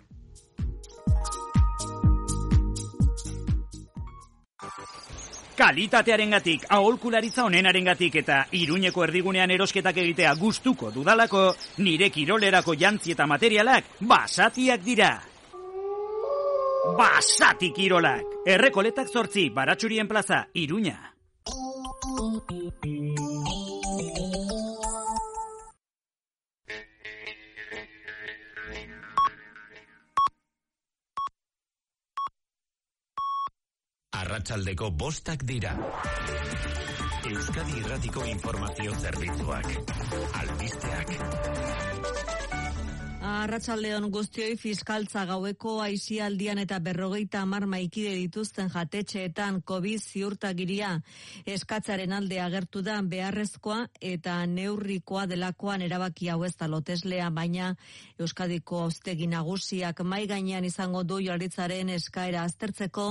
Speaker 18: Kalitatearengatik, aholkularitza onenarengatik eta Iruñeko erdigunean erosketak egitea gustuko dudalako, nire kirolerako jantzi eta materialak basatiak dira. Basati kirolak! Errekoletak zortzi, baratxurien plaza, Iruña.
Speaker 19: Arratsaldeko bostak dira. Euskadi Irratiko Informazio Zerbitzuak. Albisteak.
Speaker 20: Arratsaldeon guztioi fiskaltza gaueko aizialdian eta berrogeita hamar maikide dituzten jatetxeetan COVID ziurtagiria eskatzaren alde agertu da beharrezkoa eta neurrikoa delakoan erabaki hau ez da loteslea, baina Euskadiko auztegi nagusiak mai gainean izango du jaurlaritzaren eskaera aztertzeko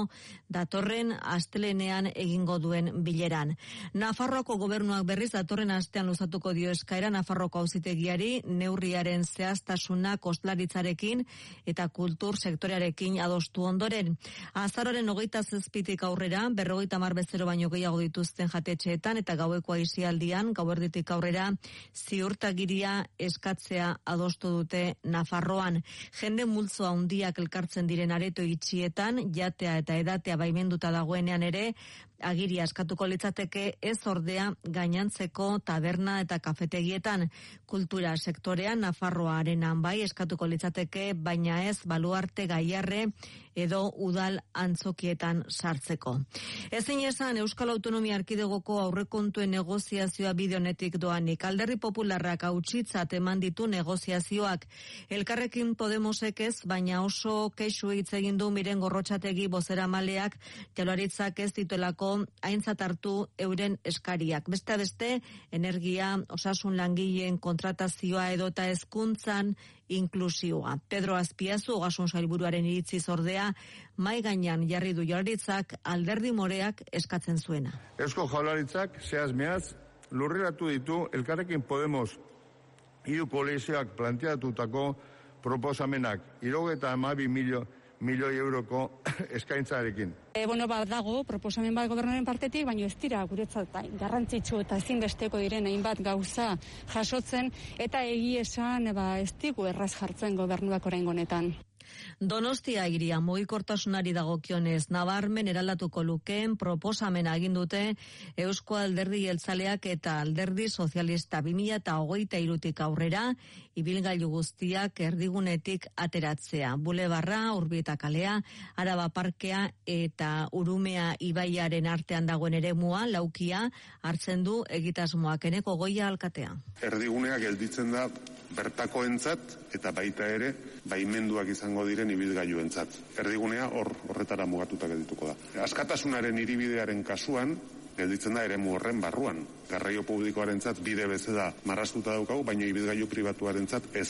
Speaker 20: datorren astelenean egingo duen bileran. Nafarroako gobernuak berriz datorren astean luzatuko dio eskaera Nafarroko auzitegiari neurriaren zehaztasuna kostlaritzarekin eta kultur sektorearekin adostu ondoren. Azaroren hogeita zazpitik aurrera, berrogeita mar bezero baino gehiago dituzten jatetxeetan eta gaueko aizialdian, gauerditik aurrera, ziurtagiria eskatzea adostu dute Nafarroan. Jende multzoa handiak elkartzen diren areto itxietan, jatea eta edatea baimenduta dagoenean ere, agiri askatuko litzateke ez ordea gainantzeko taberna eta kafetegietan kultura sektorean Nafarroa arenan bai eskatuko litzateke, baina ez baluarte gaiarre edo udal antzokietan sartzeko. Ezin esan Euskal Autonomia Arkidegoko aurrekontuen negoziazioa bide honetik doanik. Alderri popularrak hautsitzat eman ditu negoziazioak. Elkarrekin Podemosek ez, baina oso keixu hitz egin du miren gorrotxategi bozera maleak, jalaritzak ez dituelako aintzat hartu euren eskariak. Beste beste, energia, osasun langileen kontratazioa edota hezkuntzan inklusioa. Pedro Azpiazu ogasun sailburuaren iritziz ordea mai gainean jarri du jalaritzak alderdi moreak eskatzen zuena.
Speaker 21: Eusko jaularitzak zehaz mehaz lurreratu ditu elkarrekin Podemos hiru koalizioak planteatutako proposamenak irogeta amabi milio, milioi euroko eskaintzarekin.
Speaker 22: E, bueno, bat dago, proposamen bat gobernuaren partetik, baina ez dira guretzat bai, garrantzitsu eta ezinbesteko diren hainbat gauza jasotzen, eta egi esan ba, ez digu erraz jartzen gobernuak orain honetan.
Speaker 20: Donostia iria mugikortasunari dagokionez nabarmen eraldatuko lukeen proposamen agin dute Eusko Alderdi Jeltzaleak eta Alderdi Sozialista 2023tik aurrera ibilgailu guztiak erdigunetik ateratzea. Bulebarra, Urbieta kalea, Araba parkea eta Urumea ibaiaren artean dagoen eremua laukia hartzen du egitasmoak eneko goia alkatea.
Speaker 23: Erdiguneak gelditzen da bertakoentzat eta baita ere baimenduak izango diren ibilgailuentzat. Erdigunea hor horretara mugatuta geldituko da. Askatasunaren iribidearen kasuan gelditzen da eremu horren barruan. Garraio publikoarentzat bide bezala marrastuta daukagu, baina ibilgailu pribatuarentzat ez.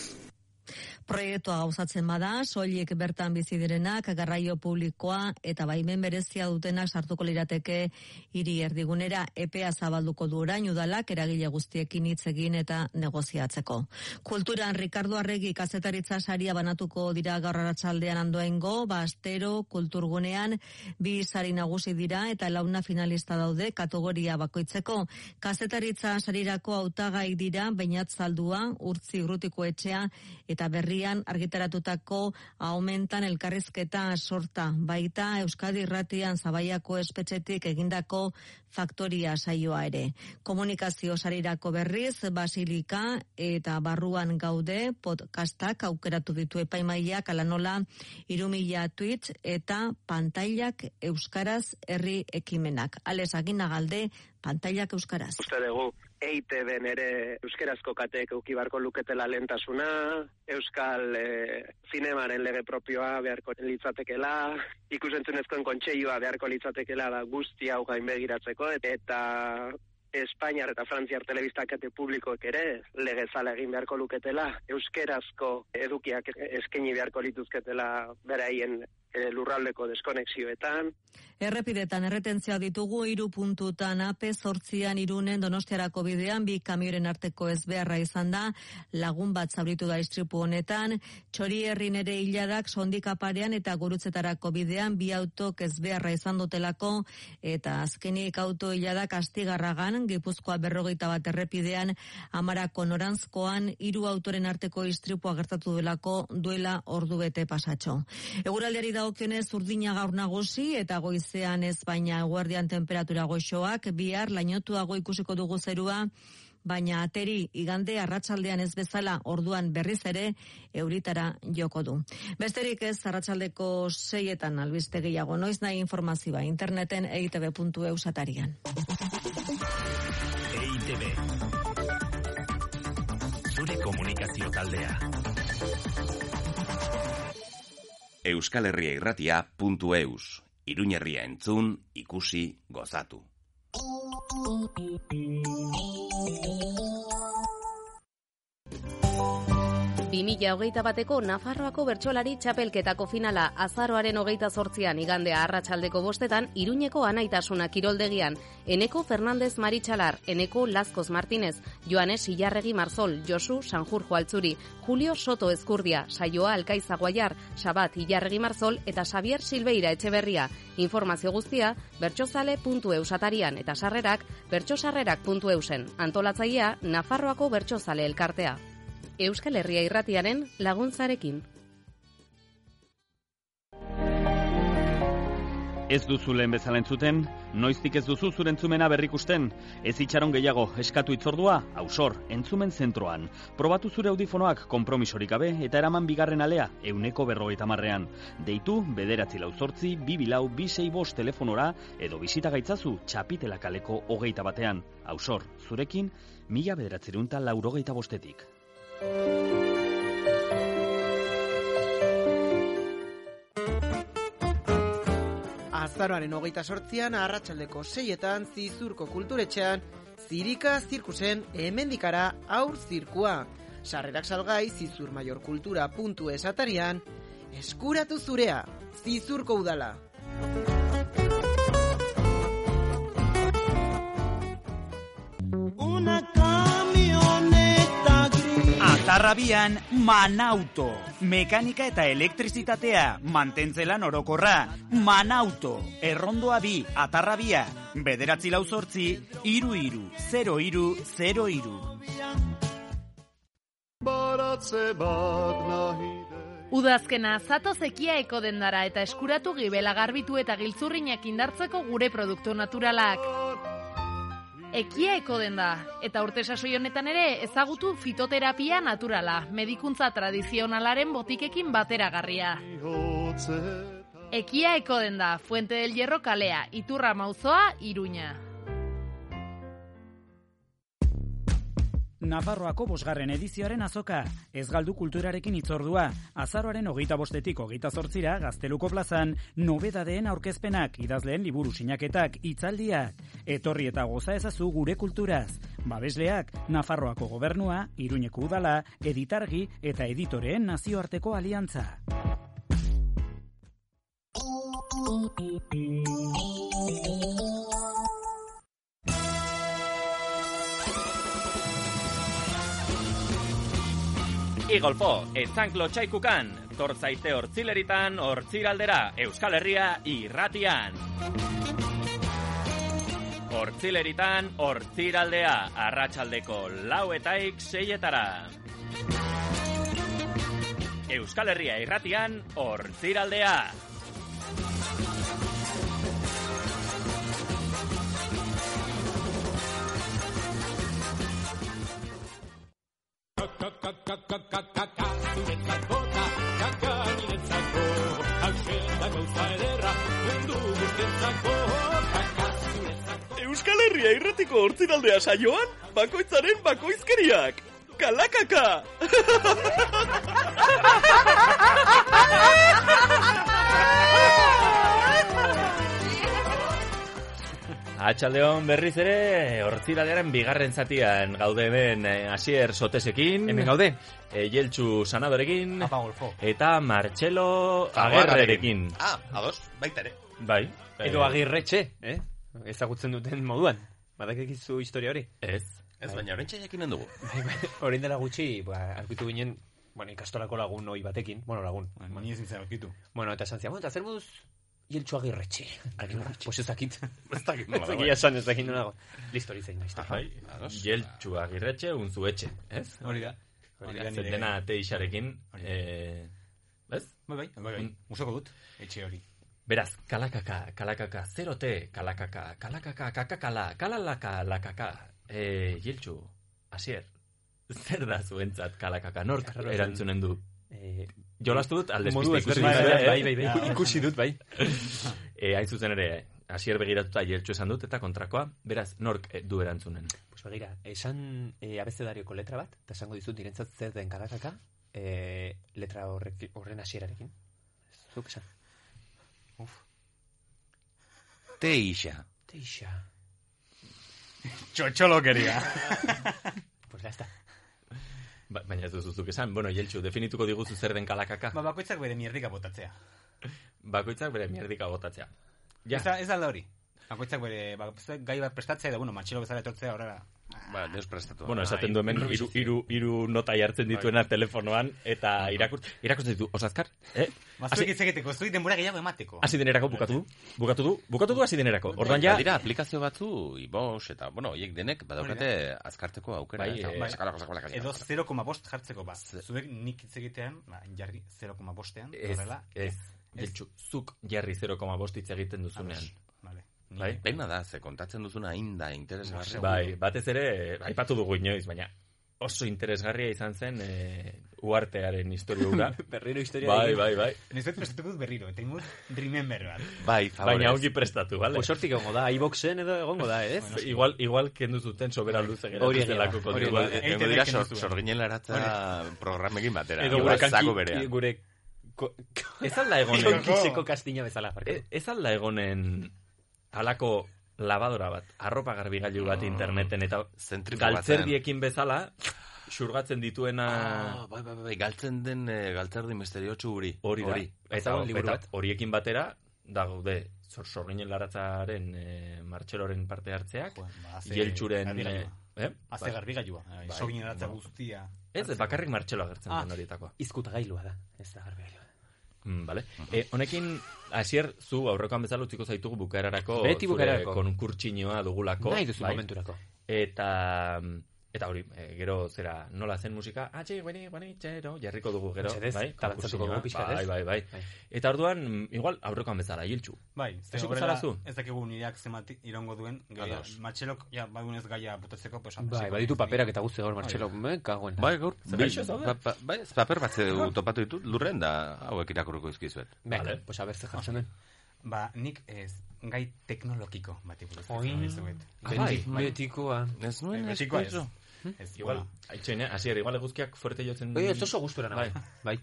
Speaker 20: Proiektua gauzatzen bada, soilik bertan bizi direnak, garraio publikoa eta baimen berezia dutenak sartuko lirateke hiri erdigunera epea zabalduko du orain udalak eragile guztiekin hitz egin eta negoziatzeko. Kulturan Ricardo Arregi kazetaritza saria banatuko dira gaur arratsaldean andoengo, bastero kulturgunean bi sari nagusi dira eta launa finalista daude kategoria bakoitzeko. Kazetaritza sarirako hautagai dira Beinat Zaldua, Urtzi Grutiko etxea eta berri berrian argitaratutako aumentan elkarrizketa sorta. Baita Euskadi irratian zabaiako espetxetik egindako faktoria saioa ere. Komunikazio sarirako berriz, basilika eta barruan gaude podcastak aukeratu ditu epaimaiak alanola irumila tweet eta pantailak euskaraz herri ekimenak. Ales aginagalde, pantailak euskaraz.
Speaker 24: Uste dugu, EITB-en ere euskarazko kateek eukibarko luketela lentasuna, euskal e, zinemaren lege propioa beharko litzatekela, ikusentzunezkoen kontseioa beharko litzatekela da guzti hau gainbegiratzeko, eta Espainiar eta Frantziar telebistakate publikoek ere legezala egin beharko luketela, euskerazko edukiak eskaini beharko lituzketela beraien e, lurraldeko deskonexioetan.
Speaker 20: Errepidetan erretentzia ditugu hiru puntutan AP zortzian irunen donostiarako bidean bi kamioren arteko ez beharra izan da lagun bat zauritu da istripu honetan txori herrin ere hiladak sondikaparean eta gurutzetarako bidean bi autok ez beharra izan dutelako eta azkenik auto hiladak astigarragan gipuzkoa berrogeita bat errepidean amarako norantzkoan hiru autoren arteko istripua gertatu delako duela ordubete pasatxo. Eguraldiari da dagokionez urdina gaur nagusi eta goizean ez baina eguerdian temperatura goxoak, bihar lainotuago ikusiko dugu zerua, baina ateri igande arratsaldean ez bezala orduan berriz ere euritara joko du. Besterik ez arratsaldeko seietan albiste gehiago noiz nahi informazioa interneten eitb.eu satarian.
Speaker 19: EITB. Zure komunikazio taldea.
Speaker 4: euskalherriairratia.eus. Iruñerria entzun, ikusi, gozatu.
Speaker 16: Bi mila hogeita bateko Nafarroako bertsolari txapelketako finala azaroaren hogeita zortzian igandea arratsaldeko bostetan iruñeko anaitasuna kiroldegian. Eneko Fernandez Maritxalar, Eneko Lazkoz Martínez, Joanes Ilarregi Marzol, Josu Sanjurjo Altzuri, Julio Soto Ezkurdia, Saioa Alkaiza Guaiar, Sabat Ilarregi Marzol eta Xavier Silveira Etxeberria. Informazio guztia bertsozale.eusatarian eta sarrerak bertsosarrerak.eusen. Antolatzailea Nafarroako bertsozale elkartea. Euskal Herria Irratiaren laguntzarekin.
Speaker 5: Ez duzu lehen bezala entzuten, noiztik ez duzu zure entzumena berrikusten. Ez itxaron gehiago, eskatu itzordua, ausor, entzumen zentroan. Probatu zure audifonoak konpromisorik gabe eta eraman bigarren alea, euneko berrogeita marrean. Deitu, bederatzi lau zortzi, bibilau, bisei bost telefonora, edo bisita gaitzazu txapitela kaleko hogeita batean. Ausor, zurekin, mila bederatzerunta laurogeita bostetik.
Speaker 13: Azaroaren hogeita sortzian, arratsaldeko seietan, zizurko kulturetxean, zirika zirkusen emendikara aur zirkua. Sarrerak salgai zizurmaiorkultura.es atarian, eskuratu zurea, zizurko udala.
Speaker 6: Una camioneta gris.
Speaker 18: Atarrabian Manauto. Mekanika eta elektrizitatea, mantentzelan orokorra. Manauto, errondoa bi, atarrabia. Bederatzi lau sortzi, iru iru, zero iru, zero iru.
Speaker 7: Baratze bat nahi
Speaker 9: Udazkena, zato zekia ekodendara eta eskuratu gibela garbitu eta giltzurrinak indartzeko gure produktu naturalak. Ekia ekodenda, eta urte sasoi honetan ere ezagutu fitoterapia naturala, medikuntza tradizionalaren botikekin bateragarria.
Speaker 7: hotze
Speaker 9: Ekia ekodenda, Fuente del Hierro kalea, Iturra Mauzoa, Iruña.
Speaker 18: Nafarroako bosgarren edizioaren azoka, ez galdu kulturarekin itzordua, azaroaren hogeita bostetik hogeita zortzira gazteluko plazan, nobedadeen aurkezpenak, idazleen liburu sinaketak, itzaldiak, etorri eta goza ezazu gure kulturaz, babesleak, Nafarroako gobernua, iruñeko udala, editargi eta editoreen nazioarteko aliantza.
Speaker 10: Igolfo, etzanklo txaikukan, tortzaite hortzileritan, hortziraldera, Euskal Herria irratian. Hortzileritan, hortziraldea, arratsaldeko lauetaik seietara. Euskal Herria irratian, hortziraldea.
Speaker 25: Euskal Herria irratiko hortziraldea saioan, bakoitzaren bakoizkeriak. Kalakaka!
Speaker 1: Atxaldeon berriz ere, hortziralearen bigarren zatian gaude hemen eh, Asier Sotesekin.
Speaker 2: Hemen gaude.
Speaker 1: E, Jeltsu Sanadorekin. Eta Martxelo Agerrerekin.
Speaker 4: Ah, ados, baita ere.
Speaker 1: Bai.
Speaker 2: Edo agirretxe, eh? Ezagutzen duten moduan. Badakikizu historia hori?
Speaker 1: Ez.
Speaker 4: Ez, baina oraintxe jakinen dugu.
Speaker 2: Orain dela gutxi, ba, arkitu ginen, bueno, ikastolako lagun hoi batekin, bueno, lagun. Baina ezin zen aurkitu. Bueno, eta esan zian, bueno, eta zer moduz jeltsu agirretxe. Bai, Pues ez dakit. Ez dakit
Speaker 1: nola
Speaker 2: Ez dakit
Speaker 1: dagoen.
Speaker 2: esan, ez dakit nola dago. Listo, hori zein naiz.
Speaker 1: Bai, Jeltsu Agirretxe, unzu etxe, ez?
Speaker 3: Hori da.
Speaker 1: Hori
Speaker 3: Hori
Speaker 1: da,
Speaker 3: da
Speaker 1: zen
Speaker 3: nire-
Speaker 1: dena teixarekin, eh, ez?
Speaker 3: Bai, bai, bai, bai. Usoko dut, etxe hori.
Speaker 1: Beraz, kalakaka, kalakaka, zerote, kalakaka, kalakaka, kakakala, kalalaka, lakaka. E, Giltxu, asier, zer da zuentzat kalakaka, nork
Speaker 2: Arraro zen.
Speaker 1: erantzunen du?
Speaker 2: Eh,
Speaker 1: Jolastu dut, aldez
Speaker 2: modu
Speaker 1: pizte
Speaker 2: ezberdin
Speaker 1: duzu,
Speaker 2: bai,
Speaker 1: eh?
Speaker 2: bai, bai, bai. Ja. Ikusi dut, bai.
Speaker 1: e, hain zuzen ere, asier begiratuta jeltxu esan dut, eta kontrakoa, beraz, nork eh, du erantzunen?
Speaker 2: Pues begira, esan e, abezedarioko letra bat, eta esango dizut nirentzat zer den kalakaka, e, letra horrek, horren hasierarekin. Zuk esan. Uf,
Speaker 4: Teixa.
Speaker 2: teixa.
Speaker 3: Txotxolokeria.
Speaker 2: pues ya está.
Speaker 1: Ba, baina ez duzuzuk esan, bueno, jeltxu, definituko diguzu zer den kalakaka,
Speaker 3: Ba, bakoitzak bere mierdika botatzea.
Speaker 1: bakoitzak bere mierdika botatzea.
Speaker 3: Ja.
Speaker 1: Ja.
Speaker 3: Ez, da, ez da alda hori. Bakoitzak bere, bakoitzak gai bat prestatzea, eta, bueno, matxilo bezala etortzea horrela.
Speaker 4: Ba, deus prestatu.
Speaker 1: Bueno, esaten du hemen iru, iru, iru nota jartzen dituena telefonoan eta irakut, irakutzen ditu, osazkar? Eh?
Speaker 3: Bazuek Ba, hitz egiteko, zuik denbora gehiago emateko.
Speaker 1: Hasi denerako bukatu du? Bukatu du? Bukatu du hasi denerako? Ordan ja...
Speaker 4: Bai, Badira aplikazio batzu, ibox, eta, bueno, oiek denek, badaukate azkarteko aukera.
Speaker 1: Bai,
Speaker 4: eta,
Speaker 1: eh,
Speaker 4: bai, sakalako, sakalako,
Speaker 3: Edo
Speaker 4: sakalako.
Speaker 3: 0,5 jartzeko, ba. Zuek nik hitz egitean, ba, jarri 0,5ean,
Speaker 1: Ez,
Speaker 3: horrela.
Speaker 1: ez. Jeltxu, zuk jarri 0,5 hitz egiten duzunean. Bai?
Speaker 4: Pena da, ze kontatzen duzuna inda interesgarri.
Speaker 1: Bai, batez ere, aipatu dugu inoiz, baina oso interesgarria izan zen eh, uartearen historia hura.
Speaker 2: Berriro historia
Speaker 1: Bai,
Speaker 2: egin.
Speaker 1: bai, bai.
Speaker 3: Niz dut prestatu dut berriro, eta ingut remember bat.
Speaker 4: Bai, favorez.
Speaker 1: Baina ongi prestatu, bale?
Speaker 2: Pues hortik egongo da, iBoxen edo egongo da, ez?
Speaker 1: igual, igual kendu zuten sobera luze
Speaker 2: Hori
Speaker 1: geratu
Speaker 2: egia
Speaker 1: zelako
Speaker 2: da, hori
Speaker 1: kontua.
Speaker 2: egia da.
Speaker 4: Tengo dira sor, sorginen laratza
Speaker 1: Hori.
Speaker 4: programekin batera.
Speaker 1: Edo
Speaker 4: Igual
Speaker 1: gure kanki,
Speaker 4: zaku berean.
Speaker 1: gure... ko- Ez alda egonen...
Speaker 2: Konkitzeko kastina bezala. barkatu.
Speaker 1: E- Ez alda egonen halako labadora bat, arropa garbigailu bat interneten eta
Speaker 4: Zentrifugatzen.
Speaker 1: galtzerdiekin bezala xurgatzen dituena
Speaker 4: Ah, bai, bai, bai, galtzen den e, galtzerdi misteriotsu hori.
Speaker 1: hori da. Eta,
Speaker 4: Bazagon liburu
Speaker 1: eta
Speaker 4: bat.
Speaker 1: horiekin batera daude zor sorginen laratzaren eh, martxeloren parte hartzeak,
Speaker 3: ba, haze
Speaker 1: jeltxuren...
Speaker 3: garbigailua.
Speaker 1: eh, eh?
Speaker 3: Haze
Speaker 1: Bai.
Speaker 3: garbigailua, eh,
Speaker 1: Bai,
Speaker 3: sorginen laratza
Speaker 1: bueno.
Speaker 3: guztia.
Speaker 1: Ez, ez, bakarrik martxelo agertzen
Speaker 3: Ah.
Speaker 1: den horietakoa.
Speaker 2: Izkutagailua da, ez da garbigailua.
Speaker 1: Mm, vale. E, honekin, asier, zu aurrekoan bezala utziko zaitugu bukaerarako
Speaker 2: Beti bukaerarako.
Speaker 1: zure konkurtsinoa dugulako. Bai.
Speaker 2: Nahi duzu momenturako.
Speaker 1: Eta, mm, eta hori, e, gero zera, nola zen musika, atxe, gueni, gueni, txero, jarriko dugu gero.
Speaker 2: Mesedez,
Speaker 1: bai,
Speaker 2: talantzatuko
Speaker 1: konkurtsinoa.
Speaker 2: dugu pixkat, ez?
Speaker 1: Bai, bai, bai,
Speaker 2: Bai.
Speaker 1: Eta orduan, mm, igual, aurrekoan bezala, hiltxu.
Speaker 3: Bai, ze
Speaker 1: Hasiko
Speaker 3: horrela,
Speaker 1: zara zu?
Speaker 3: ez dakigu nireak zemat irongo duen, gero,
Speaker 1: Ados.
Speaker 3: matxelok, ja, badunez gaia botatzeko, pues,
Speaker 2: Bai, baditu paperak eta guzti hor, Martxelo, me, kagoen.
Speaker 4: Bai, gaur.
Speaker 1: Zer
Speaker 4: bi-
Speaker 1: gaixo zaude?
Speaker 4: pa- pa- Bai, ez paper bat zeu topatu ditut, lurren da hauek irakurriko izkizuet.
Speaker 2: Bek,
Speaker 1: Vale.
Speaker 2: pues a ber, ze jartzen den.
Speaker 3: Ba, nik ez, gai teknologiko bati buruz.
Speaker 2: Oin. Ah,
Speaker 3: Ez duet.
Speaker 2: Beti- betikoa.
Speaker 4: Ez nuen
Speaker 3: Betikoa ez.
Speaker 4: eskuizu.
Speaker 3: Ez,
Speaker 1: Igual,
Speaker 3: bueno,
Speaker 1: haitxein, eh? asier, igual eguzkiak fuerte jotzen...
Speaker 2: Hm? Oie, ez oso gustura nago.
Speaker 1: Bai.
Speaker 2: Bai.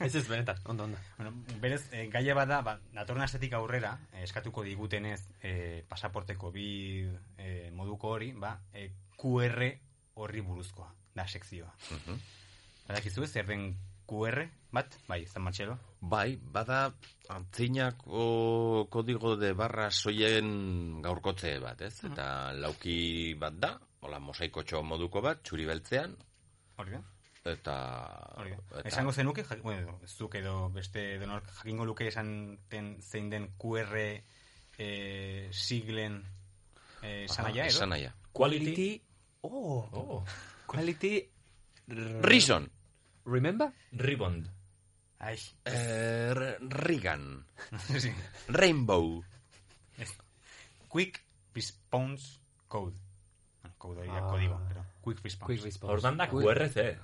Speaker 2: Ez ez benetan, ondo, ondo.
Speaker 3: Bueno, berez, e, gaia bada, ba, datorren astetik aurrera, eh, eskatuko digutenez eh, pasaporteko bi eh, moduko hori, ba, eh, QR horri buruzkoa, da sekzioa. Badakizu ez, zer den QR bat? Bai, zan matxelo?
Speaker 4: Bai, bada antzinako kodigo de barra soien gaurkotze bat, ez? Eta lauki bat da, hola mosaikotxo moduko bat, txuri beltzean,
Speaker 3: Hori da?
Speaker 4: eta...
Speaker 3: Hori da.
Speaker 4: eta-
Speaker 3: Esango zenuke, jak, bueno, zuk edo beste donork jakingo luke esan ten, zein den QR eh, siglen eh,
Speaker 4: Aha,
Speaker 3: sanaia, edo?
Speaker 4: Esanaia.
Speaker 1: Quality...
Speaker 2: Oh,
Speaker 1: Oh,
Speaker 2: quality... r-
Speaker 4: Rison.
Speaker 2: Remember?
Speaker 1: ribond.
Speaker 3: Ai,
Speaker 4: Er, Reagan.
Speaker 3: sí.
Speaker 4: Rainbow.
Speaker 3: Quick Response Code. Bueno, code hori da
Speaker 2: Ah.
Speaker 3: kodigo, pero quick response. Eh,
Speaker 2: Quick response.
Speaker 1: Ordan da
Speaker 2: Quick-
Speaker 1: QRC.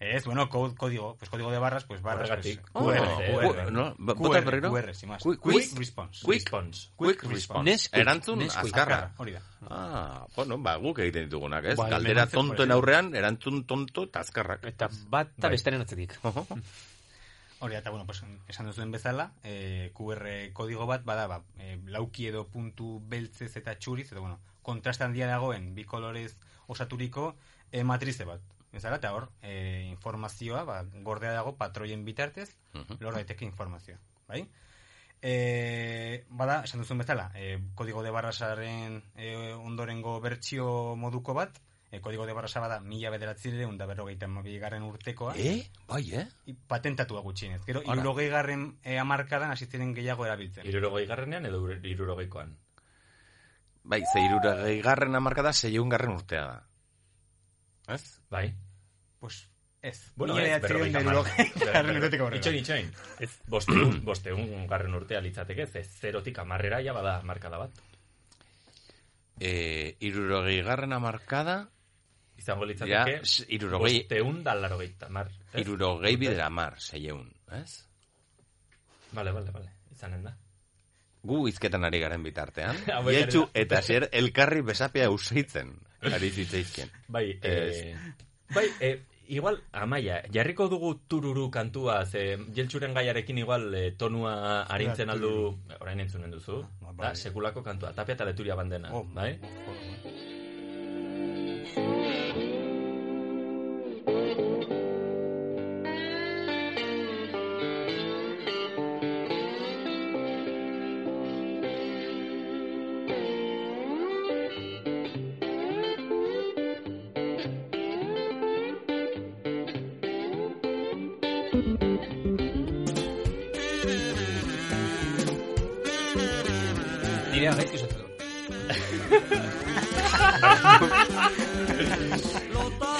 Speaker 3: Es, bueno, code, código, pues código de barras, pues barras. Pues,
Speaker 1: Horregatik.
Speaker 4: Oh,
Speaker 1: QRC.
Speaker 4: cu- no, bo- bota
Speaker 3: QR,
Speaker 4: berriro?
Speaker 3: QR, sin más.
Speaker 4: Quick-
Speaker 3: Quick,
Speaker 4: quick-
Speaker 3: response.
Speaker 4: quick-
Speaker 1: Response.
Speaker 4: Quick response.
Speaker 2: Nesquik.
Speaker 4: Erantzun
Speaker 2: Nesquik.
Speaker 4: azkarra.
Speaker 3: Hori da.
Speaker 4: Ah, bueno, ba, guk egiten ditugunak, ez?
Speaker 2: Bai,
Speaker 4: Galdera
Speaker 2: mementzen,
Speaker 4: tontoen
Speaker 2: bai.
Speaker 4: aurrean, erantzun tonto eta azkarrak.
Speaker 2: Eta bat
Speaker 1: Bai.
Speaker 2: eta bestaren atzetik.
Speaker 3: Hori da, eta, bueno, pues, esan duzuen bezala, eh, QR kodigo bat, bada, ba, eh, lauki edo puntu beltzez eta txuriz, eta, bueno, kontrastan handia dagoen, bi kolorez osaturiko eh, matrize bat. Bezala, eta hor, eh, informazioa, ba, gordea dago patroien bitartez,
Speaker 4: Mhm.
Speaker 3: lor daiteke informazioa, bai? E, bada, esan duzun bezala, e, kodigo de barrasaren e, ondorengo bertsio moduko bat, e, kodigo de barrasa bada mila bederatzireun da berrogeita mabigarren urtekoa,
Speaker 4: Eh? Bai, eh?
Speaker 3: i- patentatua gutxienez. Gero,
Speaker 4: Hala.
Speaker 3: irurogei garren e, amarkadan hasi ziren gehiago erabiltzen.
Speaker 1: Irurogei garrenean edo irurogeikoan.
Speaker 4: Bai, ze iruragei garren amarkada, seion garren urtea da. Ez? bai,
Speaker 1: Bai.
Speaker 3: Pues, ez.
Speaker 1: Bueno,
Speaker 3: Mila
Speaker 1: ez,
Speaker 3: bederatziehun
Speaker 1: berrogeita
Speaker 3: eta hirurogei garren urtetik
Speaker 1: mar.
Speaker 3: aurrera.
Speaker 1: Itxoin, itxoin. Ez, bosteun, bosteun garren urtea litzateke, ez zerotik amarrera ja bada markada bat.
Speaker 4: E, irurogei garren amarkada,
Speaker 1: Izango
Speaker 4: ja,
Speaker 1: litzateke,
Speaker 4: s- irurogei,
Speaker 1: bosteun da larogeita mar. ez?
Speaker 4: irurogei bidera amar, seieun, ez?
Speaker 1: Vale, vale, vale. Izanen da.
Speaker 4: Gu izketan ari garen bitartean,
Speaker 1: Ah, bai,
Speaker 4: Ietxu
Speaker 1: garen da.
Speaker 4: eta zer elkarri besapia usaitzen, ari zitzaizkien.
Speaker 1: Bai,
Speaker 4: Ez.
Speaker 1: eh, bai, eh, igual, amaia, jarriko dugu tururu kantua, ze jeltxuren gaiarekin igual eh, tonua arintzen aldu, orain entzunen duzu,
Speaker 3: Ah, bai.
Speaker 1: da, sekulako kantua, tapia eta leturia bandena,
Speaker 3: Oh,
Speaker 1: bai?
Speaker 2: Nirea gaizki sotzen du.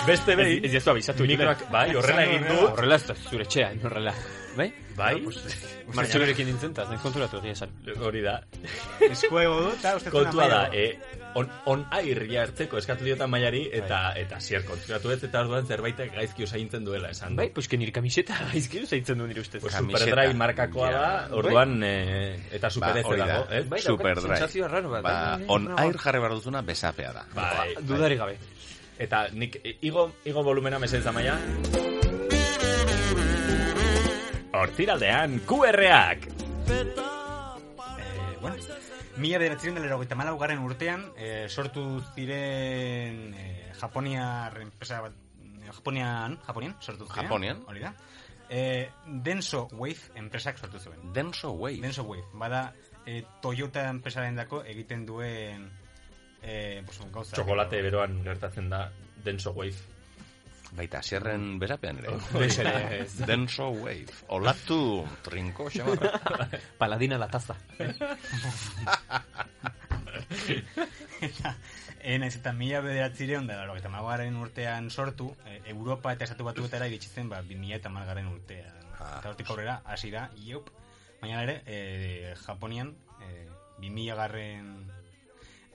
Speaker 1: Beste behin,
Speaker 2: Ez, ez diazu abizatu.
Speaker 1: mikroak- bai, horrela egin du.
Speaker 2: Horrela ez da zure txean, horrela. Bai?
Speaker 1: Bai.
Speaker 2: Bueno, pues, Martxelorekin nintzen, eta ez naiz konturatu egia esan.
Speaker 1: Hori da.
Speaker 3: Eskua ego du, eta uste zuen
Speaker 1: Kontua da,
Speaker 3: amaia.
Speaker 1: e, on, on airria hartzeko eskatu diotan maiari, eta eta zier konturatu ez, eta orduan zerbaitek gaizki osaintzen duela esan.
Speaker 2: Bai, pues que nire kamiseta gaizki usaitzen du nire
Speaker 4: Bai.
Speaker 2: ustez.
Speaker 1: Pues Superdry markakoa da, orduan, eh, eta super
Speaker 4: hori da.
Speaker 1: dago, eh? ez?
Speaker 4: Bai, daukat Superdry. sentsazio
Speaker 2: raro bat.
Speaker 4: Ba, on air jarri behar duzuna besapea da.
Speaker 1: Bai,
Speaker 2: dudari gabe.
Speaker 1: Eta nik e, igo, igo volumena mesedez amaia. Hortiraldean QRak.
Speaker 3: Eh, bueno, mila bederatzen dela erogeita malaugarren urtean eh, sortu ziren eh, Japoniar enpresa bat eh, Japonian, Japonian sortu ziren.
Speaker 4: Japonian.
Speaker 3: Hori da. Eh, Denso Wave enpresak sortu zuen.
Speaker 4: Denso Wave.
Speaker 3: Denso Wave. Bada eh, Toyota enpresaren dako egiten duen eh, pues, gauza.
Speaker 1: Txokolate beroan gertatzen da Denso Wave.
Speaker 4: Baita, sierren berapean ere.
Speaker 1: Hori da, Eh, ez.
Speaker 4: Denso Wave. Olatu, trinko, xamarra.
Speaker 2: Paladina la taza.
Speaker 3: eta eh, naiz eta mila bederatzireun da laro, eta malgaren urtean sortu, eh, Europa eta estatu batuetara iritsi zen, ba, bi mila eta malgaren urtean.
Speaker 1: Ah.
Speaker 3: eta hortik aurrera, hasi da, iup. Baina ere, eh, Japonian, eh, bi mila garren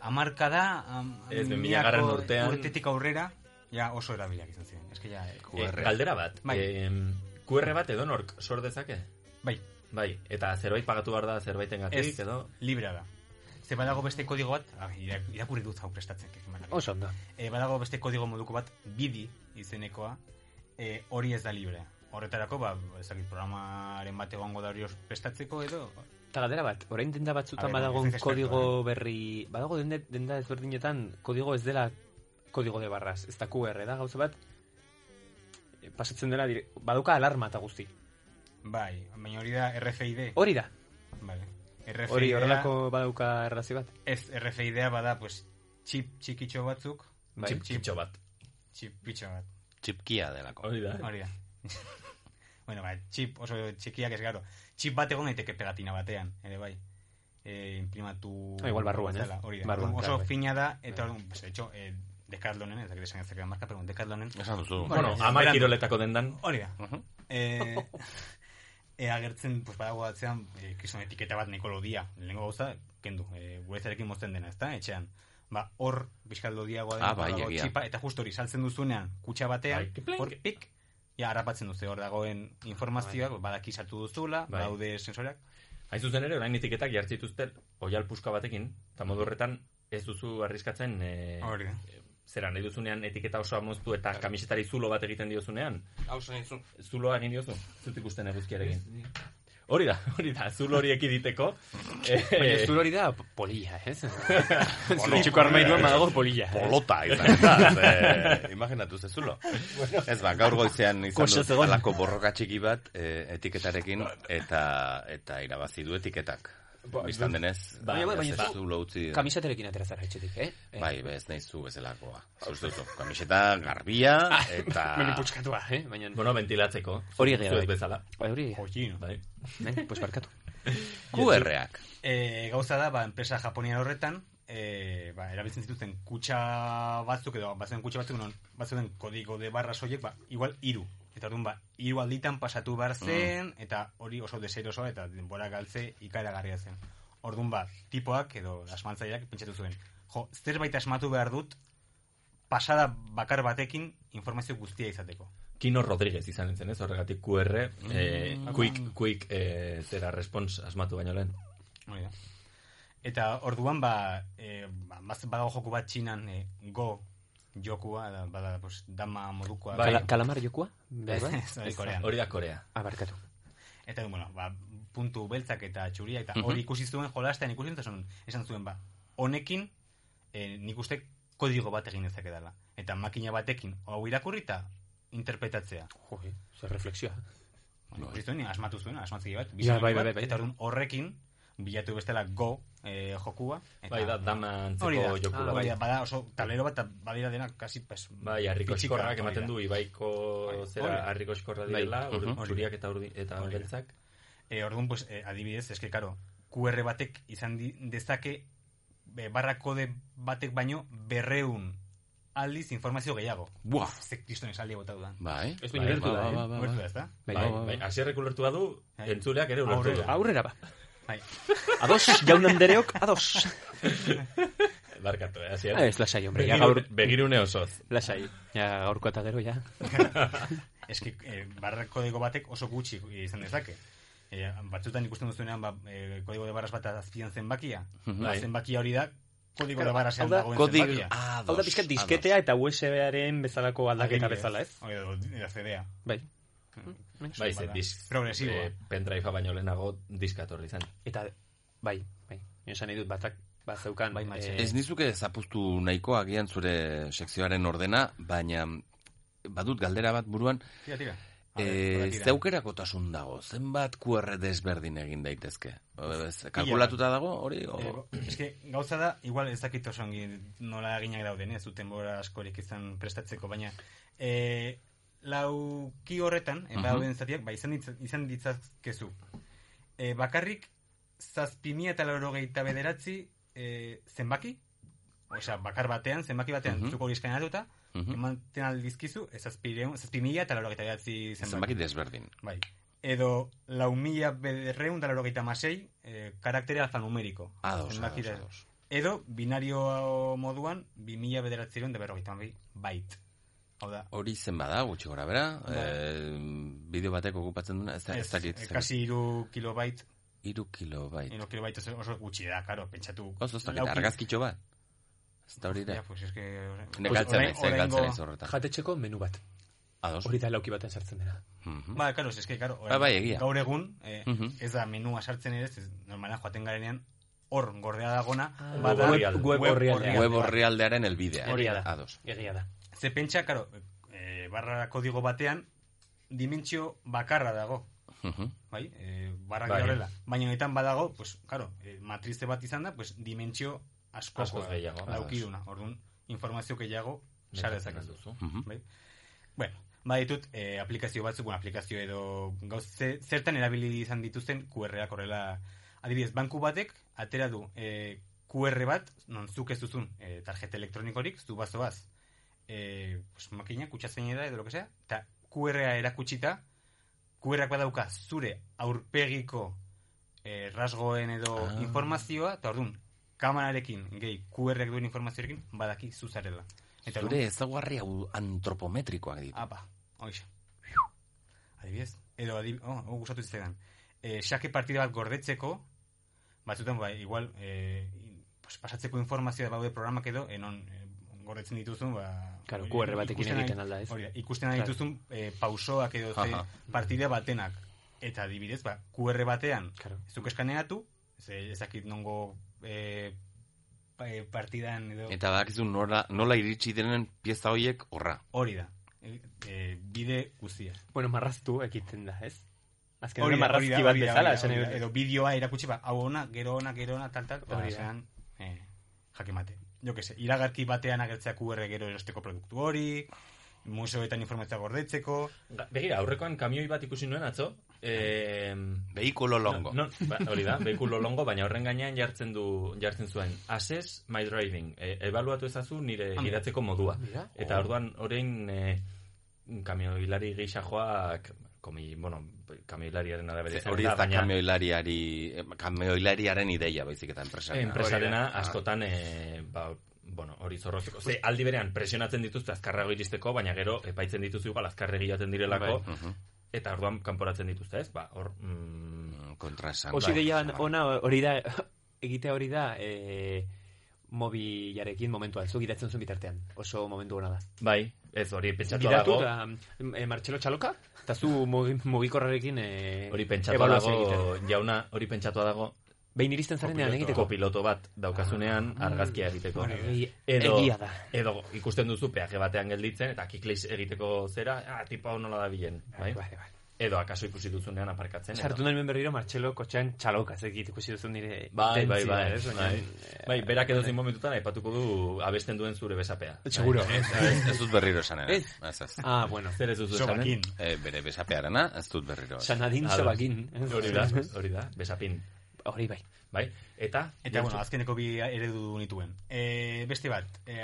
Speaker 3: amarkada, am,
Speaker 1: Ez, bi
Speaker 3: milako
Speaker 1: milagarren urtean.
Speaker 3: urtetik aurrera, ja oso erabilak izan ziren. Ez que ja, eh,
Speaker 1: Eh, galdera bat.
Speaker 3: Bai.
Speaker 1: em, QR bat edonork sor dezake?
Speaker 3: Bai.
Speaker 1: Bai, eta zerbait pagatu behar da zerbaiten
Speaker 3: ez,
Speaker 1: edo?
Speaker 3: librea da. Ze badago beste kodigo bat, ah, irak- irakurri dut hau prestatzen. kekin banaka.
Speaker 2: Oso ondo.
Speaker 3: E, badago beste kodigo moduko bat, bidi izenekoa, e, hori ez da libre. Horretarako, ba, ez dakit programaren bat egongo da hori os- prestatzeko edo...
Speaker 2: Eta galdera bat, orain denda
Speaker 3: A
Speaker 2: batzutan
Speaker 3: ver,
Speaker 2: badago
Speaker 3: ez dut
Speaker 2: kodigo
Speaker 3: espertu,
Speaker 2: berri... Badago dende, denda ezberdinetan kodigo ez dela kodigo de barras, ez da QR, da gauza bat eh, pasatzen dela, dire- baduka alarma eta guzti.
Speaker 3: Bai, baina hori da RFID.
Speaker 2: Hori da.
Speaker 3: Vale. RFID
Speaker 2: Hori horrelako baduka errazi bat.
Speaker 3: Ez, RFID-a bada, pues, txip txikitxo batzuk.
Speaker 2: Bai. Txip
Speaker 1: txitxo bat.
Speaker 3: Txip pitxo bat.
Speaker 4: Txipkia delako.
Speaker 1: Hori da.
Speaker 3: Hori da. bueno, ba, txip oso txikiak ez garo. Txip bat egon daiteke pegatina batean, ere bai. E, imprimatu...
Speaker 2: Ah, igual barruan, ez?
Speaker 3: bezala, Hori da.
Speaker 2: Barruan,
Speaker 3: oso
Speaker 2: claro, bai.
Speaker 3: fina da, eta hori, pues, de hecho, eh, Decathlon, ez dakit esan ez marka, pero Decathlon...
Speaker 4: Esan duzu.
Speaker 1: Bueno, ama kiroletako dendan.
Speaker 3: Hori da. Eh, eh, agertzen, pues, badago atzean, eh, kriston etiketa bat neko lodia. Lehenko gauza, kendu, eh, gurezarekin mozten dena, ezta, etxean. Ba, hor, bizkal lodiagoa
Speaker 4: Ah, bai,
Speaker 3: badago
Speaker 4: egia.
Speaker 3: txipa, eta justo hori saltzen duzunean, kutsa batean, hor pik, ja, harrapatzen duzu, hor dagoen informazioak, badaki sartu duzula,
Speaker 1: Bai.
Speaker 3: daude sensoreak.
Speaker 1: Hain zuzen ere, orain etiketak jartzituzten oial puska batekin, eta modu horretan ez duzu arriskatzen e,
Speaker 4: Eh,
Speaker 3: Hori da.
Speaker 1: zera nahi duzunean etiketa osoa moztu eta kamisetari zulo bat egiten diozunean.
Speaker 4: Hau zen izun.
Speaker 1: Zuloa egin diozu, zut ikusten eguzkiarekin. Hori da, hori da, zulo hori ekiditeko. Eh.
Speaker 2: Baina zure hori da polilla, ez? Zure txiko armairuan badago polilla. ez?
Speaker 4: Polota izan da. ze, Imaginatu zezulo. Ez ba, gaur goizean izan
Speaker 2: Koxa
Speaker 4: dut
Speaker 2: zegoen.
Speaker 4: alako borroka txiki bat eh, etiketarekin eta eta irabazi du etiketak.
Speaker 2: Ba,
Speaker 4: Bistan denez,
Speaker 2: Ba, baina, baina,
Speaker 4: ez
Speaker 2: zu-
Speaker 4: zulo utzi.
Speaker 2: Kamiseterekin atera zara etxetik, eh? Eh,
Speaker 4: Bai, be, ez nahi zu bezalakoa. Zustu duzu, kamiseta garbia eta...
Speaker 2: Meni putxkatua, eh? Baina...
Speaker 1: bueno, ventilatzeko.
Speaker 2: Hori egia
Speaker 1: Zuek
Speaker 2: bai.
Speaker 1: bezala.
Speaker 2: Bai, hori egia.
Speaker 3: Jokin.
Speaker 1: Bai.
Speaker 2: Bai, pues barkatu.
Speaker 4: QRak.
Speaker 3: E, gauza da, ba, enpresa japonian horretan, e, ba, erabiltzen zituzten kutxa batzuk edo bazen kutxa batzuk non batzuen kodigo de barra soiek, ba, igual hiru. Eta orduan ba, hiru alditan pasatu behar zen eta hori oso deserosoa eta denbora galtze ikaragarria zen. Orduan ba, tipoak edo asmantzaileak pentsatu zuen. Jo, zerbait asmatu behar dut pasada bakar batekin informazio guztia izateko.
Speaker 1: Kino Rodríguez izan zen, ez? Horregatik QR, eh,
Speaker 3: Mm.
Speaker 1: quick, quick, eh, zera, response asmatu baino lehen.
Speaker 3: Hori da. Eta orduan ba, e, ba baz- badago joku bat txinan e, go jokua, da, bada, pues, dama modukoa.
Speaker 2: Bai. Kala, kalamar jokua? Bai, bai.
Speaker 3: Ez, hori korean.
Speaker 1: Hori da Korea.
Speaker 2: Ah, barkatu.
Speaker 3: Eta bueno, ba, puntu beltzak eta txuria eta
Speaker 2: Mhm.
Speaker 3: hori ikusi zuen jolastean ikusi zuen, esan zuen ba, honekin e, nik uste kodigo bat egin dezake dela. Eta makina batekin hau irakurrita interpretatzea.
Speaker 2: Jo, eh, zer reflexioa.
Speaker 3: Bueno, ikusi zuen, asmatu zuen, asmatzegi bat,
Speaker 2: Ja, bai,
Speaker 3: bat,
Speaker 2: bai, bai, bai.
Speaker 3: eta orduan horrekin bilatu bestela go eh, jokua. Eta,
Speaker 1: Bai, da, dama antzeko
Speaker 3: Hori da.
Speaker 1: jokua,
Speaker 3: Ah,
Speaker 1: bai.
Speaker 3: hori da, bada oso tablero bat, eta badira dena, kasi, pues,
Speaker 1: Bai, harriko
Speaker 3: pitxika,
Speaker 1: eskorrak
Speaker 3: hori da.
Speaker 1: ematen
Speaker 3: Bai,
Speaker 1: du, ibaiko
Speaker 3: Hori
Speaker 1: zera
Speaker 3: da.
Speaker 1: harriko eskorra
Speaker 3: Bai.
Speaker 1: direla, ur-
Speaker 3: Mhm.
Speaker 1: zuriak eta urdi, eta
Speaker 3: Hori da.
Speaker 1: beltzak.
Speaker 3: Eh, orduan, pues, eh, adibidez, eske, karo, QR batek izan di- dezake eh, barra kode batek baino berreun aldiz informazio gehiago.
Speaker 4: Buah.
Speaker 3: Ze kriston esaldia bota dudan.
Speaker 4: Bai.
Speaker 3: Ez
Speaker 1: baina ulertu da, eh?
Speaker 3: Ulertu da, ezta?
Speaker 1: Bai, bai, asierrek ulertu badu, entzuleak ere ulertu
Speaker 3: Bai. Aurrera.
Speaker 1: du.
Speaker 2: Aurrera ba.
Speaker 3: Bai.
Speaker 2: Ados, jaun andereok, ados.
Speaker 1: Barkatu, eh, asier.
Speaker 2: Ah, ez lasai, hombre, ja
Speaker 1: Begirune,
Speaker 2: gaur-
Speaker 1: Begirune osoz.
Speaker 2: Lasai. Ja, gaurko eta gero, ja.
Speaker 3: Eski, eh, barra kodego batek oso gutxi izan dezake. Eh, batzutan ikusten duzunean, ba, eh, kodigo de barras bat azpian zenbakia.
Speaker 2: Mhm.
Speaker 3: Ba,
Speaker 2: Bai.
Speaker 3: zenbakia hori da, kodigo
Speaker 2: Claro,
Speaker 3: de barrasean
Speaker 2: hau da-
Speaker 3: dagoen
Speaker 2: kodi-
Speaker 3: zenbakia.
Speaker 2: Ah, hau da pixkat disketea eta USB-aren bezalako aldaketa
Speaker 3: Adibidez.
Speaker 2: bezala, ez?
Speaker 3: Hori da, da CD-a.
Speaker 2: Bai.
Speaker 1: Bai, ze disk.
Speaker 3: Progresibo.
Speaker 1: Eh, pendrive baino lehenago diskatorri zen.
Speaker 2: Eta, bai, bai. Nio esan nahi dut batak, bat zeukan. Bai,
Speaker 4: Ez nizuke zapuztu nahiko agian zure sekzioaren ordena, baina badut galdera bat buruan.
Speaker 3: Tira, tira. A ver,
Speaker 4: E,
Speaker 3: hola, tira.
Speaker 4: zeukerako tasun dago, zenbat QR desberdin egin daitezke? O, ez, kalkulatuta dago hori? O...
Speaker 3: Eh, eske, gauza da, igual ez dakit oso ongi nola eginak dauden, ez duten bora askorik izan prestatzeko, baina e, lauki horretan, uh
Speaker 4: Mhm.
Speaker 3: dauden zatiak, ba, izan, ditza, izan ditzazkezu. E, bakarrik, zazpimia eta laurogeita bederatzi e, zenbaki, Osea, bakar batean, zenbaki batean,
Speaker 4: Mhm.
Speaker 3: zuko hori eskainatuta,
Speaker 4: Mhm.
Speaker 3: ematen aldizkizu, ez zazpireun- zazpimila eta laurogeita bederatzi zenbaki.
Speaker 4: Zenbaki desberdin.
Speaker 3: Bai. Edo lau mila bederreun da laurogeita masei eh, karaktere alfanumeriko.
Speaker 4: Ados,
Speaker 3: Zenbaki
Speaker 4: ados,
Speaker 3: da- Edo binario moduan bi mila bederatzireun da berrogeita hamabi bait. Hau da,
Speaker 4: Hori zen bada, gutxi gora bera,
Speaker 3: Bai.
Speaker 4: eh, bideo batek okupatzen duna, ez da, ez,
Speaker 3: ez,
Speaker 4: dakit,
Speaker 3: eh,
Speaker 4: ez dakit.
Speaker 3: kasi iru kilobait,
Speaker 4: Iru kilobait.
Speaker 3: iru kilobait oso- oso gutxi da, karo, pentsatu.
Speaker 4: Oso ez dakit,
Speaker 3: lau kil-
Speaker 4: argazkitxo bat. Ez da hori da.
Speaker 3: Ja, pues, eske,
Speaker 4: Nekaltzen
Speaker 3: orain-
Speaker 4: naiz, eh, galtzen
Speaker 3: oraingo-
Speaker 4: naiz horretan.
Speaker 2: Jatetxeko menu bat.
Speaker 4: Ados.
Speaker 2: Hori da lauki baten sartzen dena.
Speaker 4: Mhm.
Speaker 3: Ba, karo, eske, karo,
Speaker 4: Ba, bai, egia.
Speaker 3: gaur egun, eh,
Speaker 4: Mhm.
Speaker 3: ez da menua sartzen ere, ez, normala joaten garenean, hor gordea dagona,
Speaker 4: web
Speaker 3: bada-
Speaker 4: orrialde. Web orrialdearen
Speaker 3: bat.
Speaker 4: orrialdearen helbidea. eh?
Speaker 2: Hori da.
Speaker 4: Ados.
Speaker 2: Egia da.
Speaker 3: Ze pentsa, karo, e, barra kodigo batean, dimentsio bakarra dago,
Speaker 4: Mhm.
Speaker 3: bai? E, barra
Speaker 1: Bai.
Speaker 3: horrela. Baina honetan badago, pues, karo, e, matrize bat izan da, pues, dimentsio asko
Speaker 1: Askoz gehiago.
Speaker 3: Laukiduna, orduan, informazio gehiago,
Speaker 1: Metatzen
Speaker 3: sare dezakezu.
Speaker 1: alduzu.
Speaker 4: Mhm.
Speaker 3: Bai? Bueno, baditut, e, aplikazio batzuk, bueno, aplikazio edo gauz, ze- zertan erabili izan dituzten QR-ak horrela, adibidez, banku batek, atera du, e, QR bat, non zuk ez duzun, e, tarjeta elektronikorik, zu bazoaz, e, pues, makina, kutsatzeinera edo lo que sea, eta QR-a erakutsita, QR-ak badauka zure aurpegiko e, rasgoen edo
Speaker 4: Ah.
Speaker 3: informazioa, eta orduan, kamerarekin, gehi, QR-ak duen informazioarekin, badaki zuzarela. Eta
Speaker 4: Zure ezaguarri hau antropometrikoak ditu.
Speaker 3: Apa, hoxe. Adibidez. Edo, adib... oh, oh, gustatu zitzaidan. Eh, xake partida bat gordetzeko, batzutan, ba, igual, eh, in- pues, pasatzeko informazioa daude programak edo, enon eh, gordetzen dituzun, ba...
Speaker 2: Claro,
Speaker 3: hori-
Speaker 2: QR batekin
Speaker 3: ikusten ari-
Speaker 2: egiten alda, ez?
Speaker 3: Hori da, ikusten ari
Speaker 2: Claro.
Speaker 3: dituzun eh, pausoak edo ze
Speaker 4: Aha.
Speaker 3: partida batenak. Eta adibidez, ba, QR batean,
Speaker 2: Claro.
Speaker 3: ez duk eskaneatu, ze ezakit nongo eh, pa- eh, partidan edo...
Speaker 4: Eta badakizu nola, nola iritsi direnen pieza hoiek horra.
Speaker 3: Hori da. E, e, bide guztia.
Speaker 2: Bueno, marraztu ekiten da, ez? Azken
Speaker 3: Hori
Speaker 2: hori,
Speaker 3: da, hori da,
Speaker 2: marrazki bat
Speaker 3: hori da,
Speaker 2: bezala,
Speaker 3: hori da,
Speaker 2: esan
Speaker 3: hori da.
Speaker 2: nahi dut.
Speaker 3: Edo bideoa erakutsi, ba, hau ona, gero ona, gero ona, tal, tal,
Speaker 2: Hori
Speaker 3: hori
Speaker 2: da.
Speaker 3: esan, eh, jakimate. Jo que se, iragarki batean agertzea QR gero erosteko produktu hori, museoetan informazioa gordetzeko,
Speaker 1: Ga- Begira, aurrekoan kamioi bat ikusi nuen atzo, eh,
Speaker 4: Behikulo longo.
Speaker 1: No, ba, hori da, behikulo longo, baina horren gainean jartzen du jartzen zuen Assess my driving. E, ebaluatu ezazu nire
Speaker 3: Ah, mira.
Speaker 1: gidatzeko modua.
Speaker 2: Mira.
Speaker 1: Eta orduan orain e, kamioilari gisa joak komi, bueno, kamioilariaren adabere
Speaker 4: Ze
Speaker 1: izan
Speaker 4: Hori ez da
Speaker 1: baina-
Speaker 4: kameoilariari, eh, kameoilariaren ideia baizik eta enpresaren.
Speaker 1: Eh,
Speaker 4: Hori
Speaker 1: enpresarena
Speaker 4: eh? Ah. da.
Speaker 1: askotan eh, ba, bueno, hori zorrotzeko. Ze, aldi berean presionatzen dituzte azkarrago iristeko, baina gero epaitzen dituzu igual azkarregi joaten direlako,
Speaker 4: Bai, mhm.
Speaker 1: eta orduan kanporatzen dituzte, ez? Ba, hor... Mm,
Speaker 4: Mm, Kontraesan.
Speaker 2: Osi
Speaker 4: Bai.
Speaker 2: deia ona hori da, egitea hori da, e, mobilarekin momentu altzu gidatzen zuen bitartean. Oso momentu ona da.
Speaker 1: bai, ez hori pentsatua
Speaker 2: Gidatu
Speaker 1: dago,
Speaker 2: da, e, Martxelo Txaloka, eta zu mogi- mugikorrarekin e,
Speaker 1: hori pentsatua
Speaker 2: ebaluazioa
Speaker 1: dago,
Speaker 2: egiten.
Speaker 1: jauna, hori pentsatua dago,
Speaker 2: Behin iristen zarenean egiteko.
Speaker 1: piloto bat daukazunean argazkia egiteko.
Speaker 2: Hori
Speaker 1: Edo,
Speaker 2: egia da.
Speaker 1: edo ikusten duzu peaje batean gelditzen, eta kiklis egiteko zera, ah, tipa hau nola da bilen. Bai?
Speaker 2: Bai, bai, bai.
Speaker 1: Edo akaso ikusi duzunean aparkatzen. edo-
Speaker 2: Sartu nahi hemen berriro Martxelo kotxean Txaloka, ez dakit ikusi duzun nire
Speaker 1: Bai, bai,
Speaker 2: intentzioa,
Speaker 1: bai,
Speaker 2: ez? Baina,
Speaker 1: bai.
Speaker 2: eh,
Speaker 1: Bai, berak edo zein momentutan aipatuko du abesten duen zure besapea. Bai,
Speaker 2: Seguro.
Speaker 4: Ez, ez dut berriro esanen. Ez,
Speaker 2: Ez.
Speaker 4: ez.
Speaker 2: Ah, bueno.
Speaker 1: Zer ez duzu esanen?
Speaker 3: sobakin.
Speaker 4: Eh, bere besapearana, ez dut berriro. esan.
Speaker 2: Sanadin
Speaker 1: Ados.
Speaker 2: sobakin.
Speaker 1: Hori da, hori da, besapin.
Speaker 2: Hori bai.
Speaker 1: Bai, eta...
Speaker 3: Eta, bueno, azkeneko bi eredu nituen. E, beste bat, e,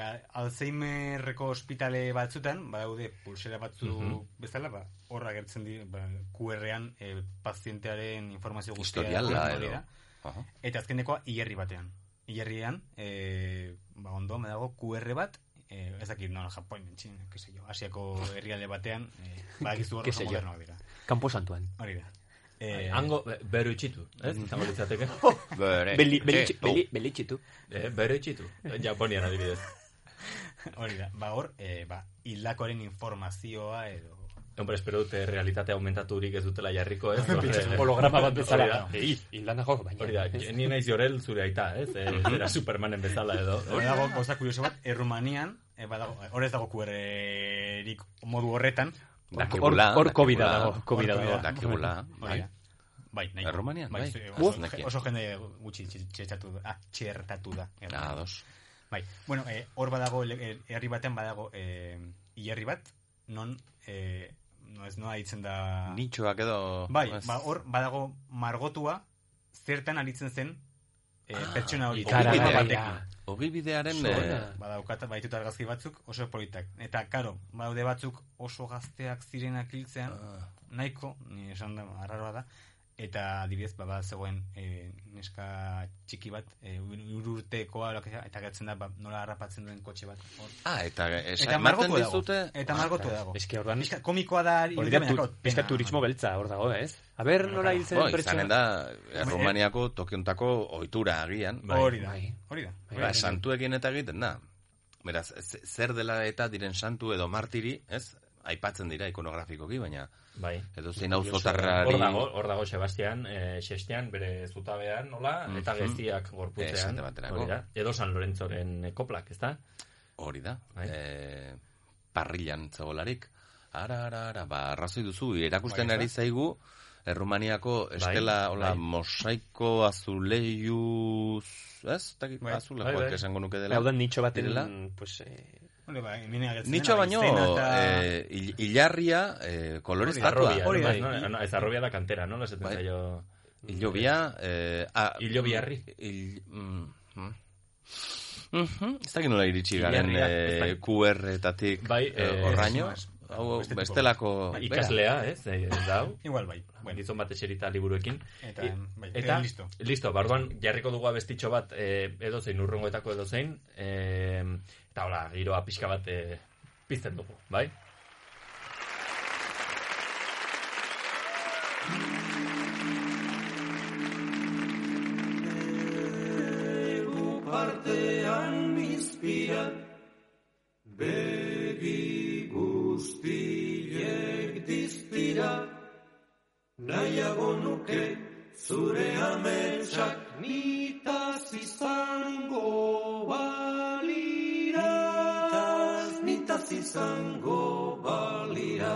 Speaker 3: Alzheimerreko ospitale batzutan, badaude pulsera batzu
Speaker 4: Mhm.
Speaker 3: bezala, ba, horra gertzen di, ba, QR-ean e, pazientearen informazio guztia.
Speaker 4: Historiala
Speaker 3: hori
Speaker 4: edo.
Speaker 3: da.
Speaker 4: Aha.
Speaker 3: Eta azkenekoa hilerri batean. Hilerrian, e, ba, ondo, dago QR bat, e, ez dakit, non, Japón, Txin, que se jo, Asiako herrialde batean, e, badakizu hor
Speaker 2: Ke
Speaker 3: oso
Speaker 2: sé yo.
Speaker 3: modernoak dira.
Speaker 2: Kampo santuan.
Speaker 3: Hori da.
Speaker 1: Eh, hango, be- bero itxitu, ez?
Speaker 2: Mm.
Speaker 1: Izango litzateke.
Speaker 2: Bere. Beli- beli- Eh, beli- oh. beli itxitu.
Speaker 1: Eh, bero itxitu. Japonian adibidez.
Speaker 3: Hori da, ba hor, e, ba, hildakoaren informazioa edo...
Speaker 1: Hombre, espero dute realitate aumentaturik ez dutela jarriko, ez?
Speaker 2: Pitxo, holograma Eh. bat bezala.
Speaker 1: eh. Hori da.
Speaker 2: Ei, hildana jo, baina.
Speaker 1: Hori da, ni naiz jorel zure aita, ez? Eh, zera Supermanen bezala edo. eh?
Speaker 3: Hori dago, gauza kurioso bat, Errumanian, e, badago, hor ez dago QR-erik modu horretan.
Speaker 4: Dakigula,
Speaker 2: Hor- hor COVID-a
Speaker 4: dakigula.
Speaker 2: dago, COVID-a
Speaker 4: Hor
Speaker 2: dago.
Speaker 4: Dakigula,
Speaker 3: Hori da.
Speaker 4: bai.
Speaker 3: Bai, nahi.
Speaker 4: Errumanian, bai.
Speaker 3: Oso,
Speaker 4: Nekien.
Speaker 3: oso jende gutxi tx- txertatu da. Ah, txertatu da. Errumanian.
Speaker 4: Ados.
Speaker 3: Bai, bueno, eh, hor badago, le- eh, herri batean badago, eh, hilerri bat, non, eh, no ez noa ditzen da...
Speaker 4: Nitxoak edo...
Speaker 3: Bai,
Speaker 4: ez-
Speaker 3: ba, hor badago margotua zertan aritzen zen eh, pertsona hori.
Speaker 4: Ah,
Speaker 3: Ogibide
Speaker 4: Ikaragarria.
Speaker 3: batekin.
Speaker 4: Ogibidearen,
Speaker 3: Zuena.
Speaker 4: eh,
Speaker 3: Badaukat baitut argazki batzuk oso politak. Eta karo, badaude batzuk oso gazteak zirenak hiltzean,
Speaker 4: Ah.
Speaker 3: nahiko, ni esan da, arraroa da, eta adibidez, ba, bat zegoen eh, neska txiki bat, e, urtekoa, lo que sea, eta gertzen da, ba, nola harrapatzen duen kotxe bat. Hor.
Speaker 4: Ah, eta esa,
Speaker 3: Eta
Speaker 4: ematen
Speaker 3: margotua dago.
Speaker 4: dizute...
Speaker 3: Eta margotua dago.
Speaker 2: Eske orduan...
Speaker 3: Pixka komikoa da...
Speaker 2: Hori da,
Speaker 3: irudia
Speaker 2: tu,
Speaker 3: baina, kau,
Speaker 2: pizka
Speaker 3: pena.
Speaker 2: turismo beltza hor dago, ez? A ber, nola hil zen
Speaker 4: Bo,
Speaker 2: pertsona.
Speaker 4: izanen da, Errumaniako tokiontako ohitura agian.
Speaker 3: Bai. Hori da, Bai. hori da.
Speaker 4: Ba, santuekin eta egiten da. Beraz, ze- zer dela eta diren santu edo martiri, ez? Aipatzen dira ikonografikoki, baina
Speaker 1: bai.
Speaker 4: edo zein auzotarrari...
Speaker 1: Hor dago, hor dago Sebastian, eh, Xestean, bere zutabean, nola, eta
Speaker 4: Mhm.
Speaker 1: geziak gorputzean.
Speaker 4: Esate baterako.
Speaker 1: Hori da. Edo San eh, Lorenzoren koplak, ez da?
Speaker 4: Hori da.
Speaker 1: Bai.
Speaker 4: Eh, parrillan zegoelarik. Ara, ara, ara, ba, arrazoi duzu, erakusten
Speaker 1: Bai, ez da?
Speaker 4: ari zaigu, Errumaniako estela, hola,
Speaker 1: bai.
Speaker 4: mosaiko azuleiuz, ez? Takik,
Speaker 1: Bai.
Speaker 4: azulakoak
Speaker 1: Bai, bai.
Speaker 4: esango nuke dela.
Speaker 2: Hau da nitxo baten,
Speaker 4: Direla.
Speaker 2: pues, eh,
Speaker 3: Hori ba, hemen agertzen
Speaker 4: Nitxo
Speaker 3: dena,
Speaker 4: baino,
Speaker 3: izena eta-
Speaker 4: eh, hil- hilarria, eh, kolorez tatua.
Speaker 1: Arrobia, no, no, no, ez arrobia da kantera, nola esaten
Speaker 4: Bai.
Speaker 1: zaio...
Speaker 4: Ilobia, eh, ah,
Speaker 1: Ilobiarri.
Speaker 4: Il, mm, mm. Mhm, Ez dakit nola iritsi garen
Speaker 1: Ilarria, ez
Speaker 4: eh,
Speaker 1: dakit.
Speaker 4: QR-tatik
Speaker 1: Bai,
Speaker 4: eh,
Speaker 1: eh,
Speaker 4: horraino.
Speaker 1: ez,
Speaker 4: Hau
Speaker 1: beste tipo
Speaker 4: bestelako...
Speaker 1: bat.
Speaker 4: Bai, bera.
Speaker 1: ikaslea, ez? Eh, dau.
Speaker 3: Igual bai. Bueno.
Speaker 1: Gizon bat eserita liburuekin.
Speaker 3: Eta,
Speaker 1: I-
Speaker 3: bai,
Speaker 1: eta
Speaker 3: eh, listo.
Speaker 1: Listo, ba, orduan jarriko dugu abestitxo bat eh, edozein urrungoetako edozein. Eh, eta hola, giroa pixka bat eh, pizten dugu, bai?
Speaker 6: partean bizpira Begi guztiek diztira Nahiago nuke zure ametsak Nitaz izango balira Nitaz, nitaz izango balira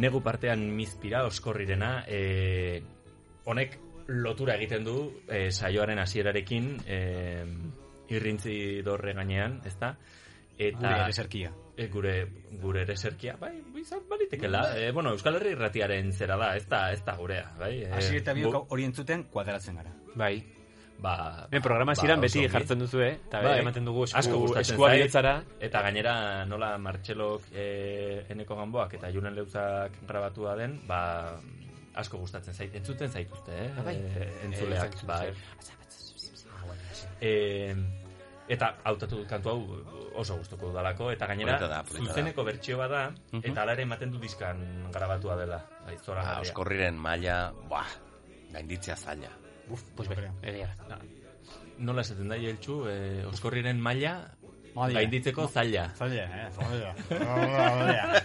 Speaker 1: Negu partean mizpira oskorrirena, eh, honek lotura egiten du eh, saioaren hasierarekin eh, irrintzi dorre gainean, ezta? Eta,
Speaker 3: Gure ereserkia.
Speaker 1: Eh, gure, gure ereserkia, bai, izan
Speaker 3: Mm.
Speaker 1: balitekela. Eh, bueno, Euskal Herri irratiaren zera da, ez da, ez da gurea, bai? Eh,
Speaker 3: Hasi eta biok
Speaker 1: gu-
Speaker 3: hau hori entzuten kuadratzen gara.
Speaker 2: Bai.
Speaker 1: Ba,
Speaker 2: Hemen programa
Speaker 1: ba,
Speaker 2: hasieran
Speaker 1: oso
Speaker 2: beti
Speaker 1: ongi. Bai.
Speaker 2: jartzen duzu, eh? Eta ematen dugu esku-
Speaker 1: asko gustatzen
Speaker 2: eskua
Speaker 1: zait.
Speaker 2: bihotzara.
Speaker 1: Eta gainera, nola Martxelok eh, eneko ganboak eta Julen Leuzak grabatua den, ba, asko gustatzen zait. Entzuten zaituzte, eh?
Speaker 2: Ah, bai.
Speaker 1: Eh,
Speaker 2: Eh,
Speaker 1: Entzuleak,
Speaker 2: entzuten Ah,
Speaker 1: bai. Eh, eta hautatu dut kantu hau oso gustuko dudalako eta gainera
Speaker 4: Polita da, polita da.
Speaker 1: zuzeneko bertsio bada
Speaker 4: Mhm.
Speaker 1: eta alare ematen du diskan grabatua dela.
Speaker 2: Ba,
Speaker 1: Bai,
Speaker 4: Ah,
Speaker 1: zoragarria.
Speaker 4: oskorriren maila, buah, gainditzea zaila.
Speaker 2: Uf, pues bai, bera, egia.
Speaker 1: Nola esaten da jeltzu, eh, oskorriren maila
Speaker 3: Maila.
Speaker 1: gainditzeko zaila.
Speaker 3: Zaila, eh? Zaila. Zaila.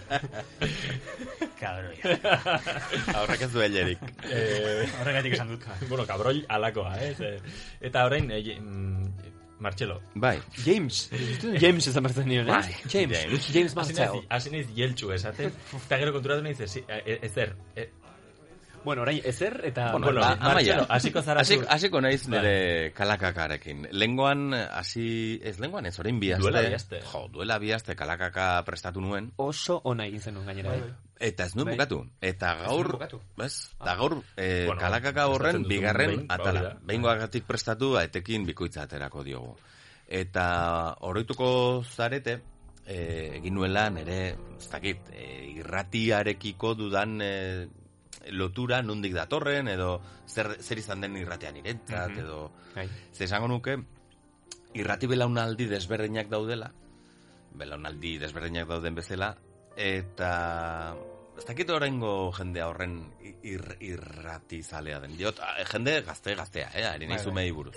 Speaker 3: Kabroia.
Speaker 4: Horrek ez du elerik.
Speaker 1: Eh,
Speaker 3: Horregatik esan dut.
Speaker 1: bueno, kabroi alakoa, ez? Eh, Eta orain, eh, je- mm, Martxelo.
Speaker 4: Bai.
Speaker 2: James. James ezan bertzen nion, eh?
Speaker 1: Bai.
Speaker 2: James. James
Speaker 1: Hasi
Speaker 2: Martell.
Speaker 1: naiz- Hasi naiz jeltxu esaten, eta gero konturatu naiz ez, ezer. eh,
Speaker 2: Bueno, orain ezer eta...
Speaker 4: Bueno, ba, amaia, hasi- hasiko
Speaker 2: Bai.
Speaker 4: naiz nire kalakakarekin. Lengoan, hasi, ez lengoan ez, orain bihazte.
Speaker 2: Duela bi aste.
Speaker 4: Jo, duela bihazte kalakaka prestatu nuen.
Speaker 2: Oso ona egin zenuen gainera.
Speaker 4: Bai. Eta ez nuen
Speaker 2: Bai.
Speaker 4: bukatu. Eta
Speaker 2: Ez
Speaker 4: gaur,
Speaker 2: nuen bukatu.
Speaker 4: ez, da gaur, eh,
Speaker 2: Ah. Bueno,
Speaker 4: kalakaka
Speaker 2: prestatzen
Speaker 4: horren,
Speaker 2: duzun
Speaker 4: bigarren
Speaker 2: behin, ba, hori
Speaker 4: atala.
Speaker 2: da.
Speaker 4: Behingoagatik prestatu, ba, etekin bikoitza aterako diogu. Eta oroituko zarete, eh, egin nuela nere, ez dakit, eh, irratiarekiko dudan eh, lotura nondik datorren, edo zer, zer izan den irratean niretzat,
Speaker 2: Mhm.
Speaker 4: edo... Ze esango nuke, irrati belaunaldi desberdinak daudela, belaunaldi desberdinak dauden bezala, eta ez dakit oraingo jendea horren ir, irrati zalea den. Diot, ah, jende gazte gaztea, eh, ari nahi
Speaker 2: Bai,
Speaker 4: zumei buruz.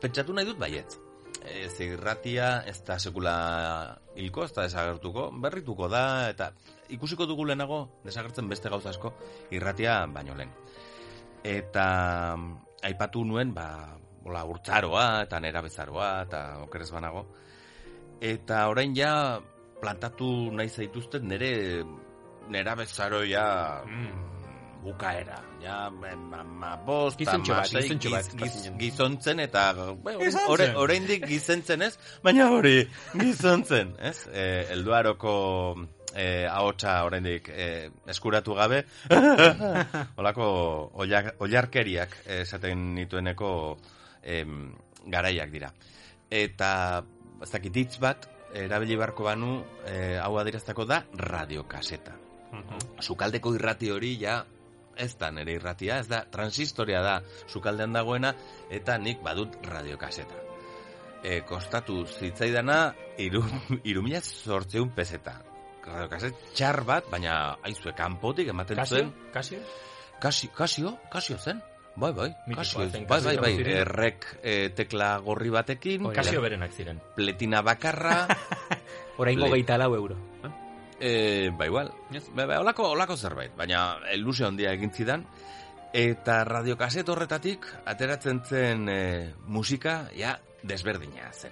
Speaker 4: Pentsatu nahi dut baietz. Ez irratia ez da sekula hilko, ez da desagertuko, berrituko da, eta ikusiko dugu lehenago desagertzen beste gauza asko irratia baino lehen. Eta mm, aipatu nuen, ba, hola, urtzaroa, eta nera bezaroa, eta okerez banago. Eta orain ja, plantatu nahi zaituzten nere, nera bezaro ja, bukaera. Ja, ma, bost,
Speaker 2: Gizontxo Mm. bat,
Speaker 4: hamasei,
Speaker 2: gizontxo bat,
Speaker 4: giz- giz-
Speaker 2: bazinen.
Speaker 4: gizontzen, eta bueno,
Speaker 2: Gizontzen.
Speaker 4: ore- oraindik gizentzen ez, baina hori, gizontzen, ez? Eh, elduaroko eh, ahotsa oraindik eh, eskuratu gabe, Olako oiak- oiarkeriak eh, esaten nitueneko em, garaiak dira. Eta ez dakit hitz bat erabili beharko banu eh, hau adierazteko da radiokaseta. Sukaldeko irrati hori ja ez da nere irratia, ez da transistoria da sukaldean dagoena eta nik badut radiokaseta. E, kostatu zitzaidana iru, iru mila zortzeun pezeta. Radiokaset txar bat, baina aizue kanpotik ematen
Speaker 2: Kasio?
Speaker 4: zuen. Kasi, kasio, kasio zen. Bai, bai,
Speaker 1: Mitikoa
Speaker 4: kasio,
Speaker 1: zen,
Speaker 4: bai,
Speaker 1: kasio
Speaker 4: bai, bai,
Speaker 1: ziren.
Speaker 4: errek eh, tekla gorri batekin.
Speaker 1: Hori da. Kasio
Speaker 4: ple-
Speaker 1: berenak ziren.
Speaker 4: Pletina bakarra.
Speaker 2: Oraingo
Speaker 4: Ple-
Speaker 2: geita lau euro.
Speaker 4: Eh, ba igual. Ba, ba, olako, olako zerbait, baina ilusio handia egin zidan. Eta radiokaset horretatik ateratzen zen eh, musika ja desberdina zen.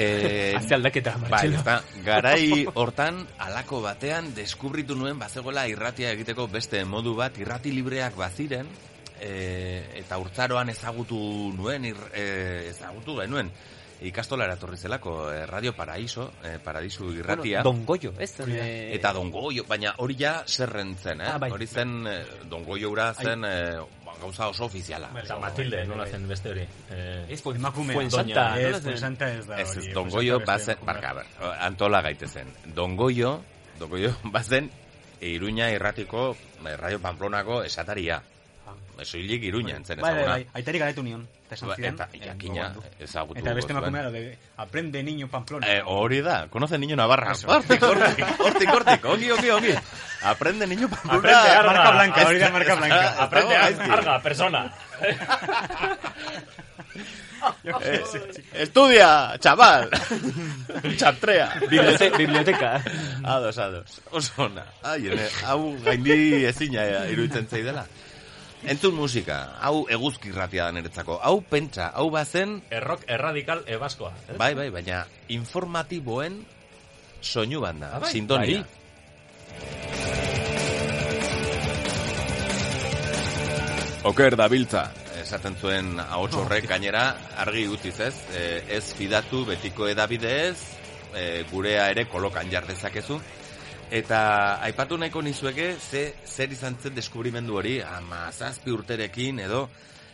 Speaker 4: Eh,
Speaker 2: Haze aldaketa,
Speaker 4: bai,
Speaker 2: Martxelo.
Speaker 4: ezta? garai hortan alako batean deskubritu nuen bazegola irratia egiteko beste modu bat, irrati libreak baziren, e, eta urtzaroan ezagutu nuen, ir, e, ezagutu genuen, ikastolara etorri zelako, e, Radio Paraiso, e, Paradisu irratia.
Speaker 2: Bueno, dongoio, ez? Eh,
Speaker 4: Eta dongoio, baina hori ja zerren zen, eh?
Speaker 2: Ah, bai.
Speaker 4: hori zen, e, dongoio ura zen e, ba, gauza oso
Speaker 2: Bai.
Speaker 4: ofiziala.
Speaker 1: Eta Matilde, nola zen beste hori? Eh,
Speaker 3: Ez, pues, emakume.
Speaker 1: Doña-
Speaker 3: Ez, Fuensanta ez da hori,
Speaker 4: Ez, ez,
Speaker 3: Fuensanta
Speaker 4: dongoio
Speaker 3: beste
Speaker 4: bazen, barka, ber, antola gaitezen. Dongoio, dongoio bazen, Iruña irratiko, eh, Radio Pamplonako esataria. Esoilik Iruñan zen
Speaker 3: Bai, bai,
Speaker 4: ezaguna.
Speaker 3: bai, aitari galdetu nion. Eta esan
Speaker 4: Ba,
Speaker 3: zidan,
Speaker 4: eta
Speaker 3: eh,
Speaker 4: jakina
Speaker 3: gogoratu.
Speaker 4: ezagutu
Speaker 3: Eta beste
Speaker 4: gozuen.
Speaker 3: emakumea, lo de, aprende niño Pamplona.
Speaker 4: Eh, hori da, conoce niño Navarra.
Speaker 3: Eso.
Speaker 4: Hortik, hortik, hortik, hortik, ongi, ongi, ongi. Aprende niño Pamplona.
Speaker 3: Aprende, Arga, marca blanca, hori da marca
Speaker 4: Ez- ez-
Speaker 3: blanca.
Speaker 4: ez- ez-
Speaker 3: Aprende,
Speaker 4: ez- ez-
Speaker 1: Arga, persona.
Speaker 4: Eh, estudia, chaval. Chaptrea.
Speaker 2: Bibliote- biblioteka.
Speaker 4: Ados, ados. Oso ona. Ai, ene, hau gaindi ezina ea, iruditzen zaidela. Entzun musika, hau eguzki irratia da niretzako. Hau pentsa, hau bazen...
Speaker 1: Errok erradikal ebaskoa. eh, ez?
Speaker 4: Bai, bai, baina informatiboen soinu banda,
Speaker 1: Ah, bai,
Speaker 4: sintonia.
Speaker 1: bai.
Speaker 4: Oker dabiltza. Esaten zuen ahots
Speaker 1: Oh.
Speaker 4: horrek gainera argi utziz ez, Eh, ez fidatu betiko edabideez, eh, gurea ere kolokan jar dezakezu. Eta aipatu nahiko nizueke ze, zer izan zen deskubrimendu hori, ama zazpi urterekin edo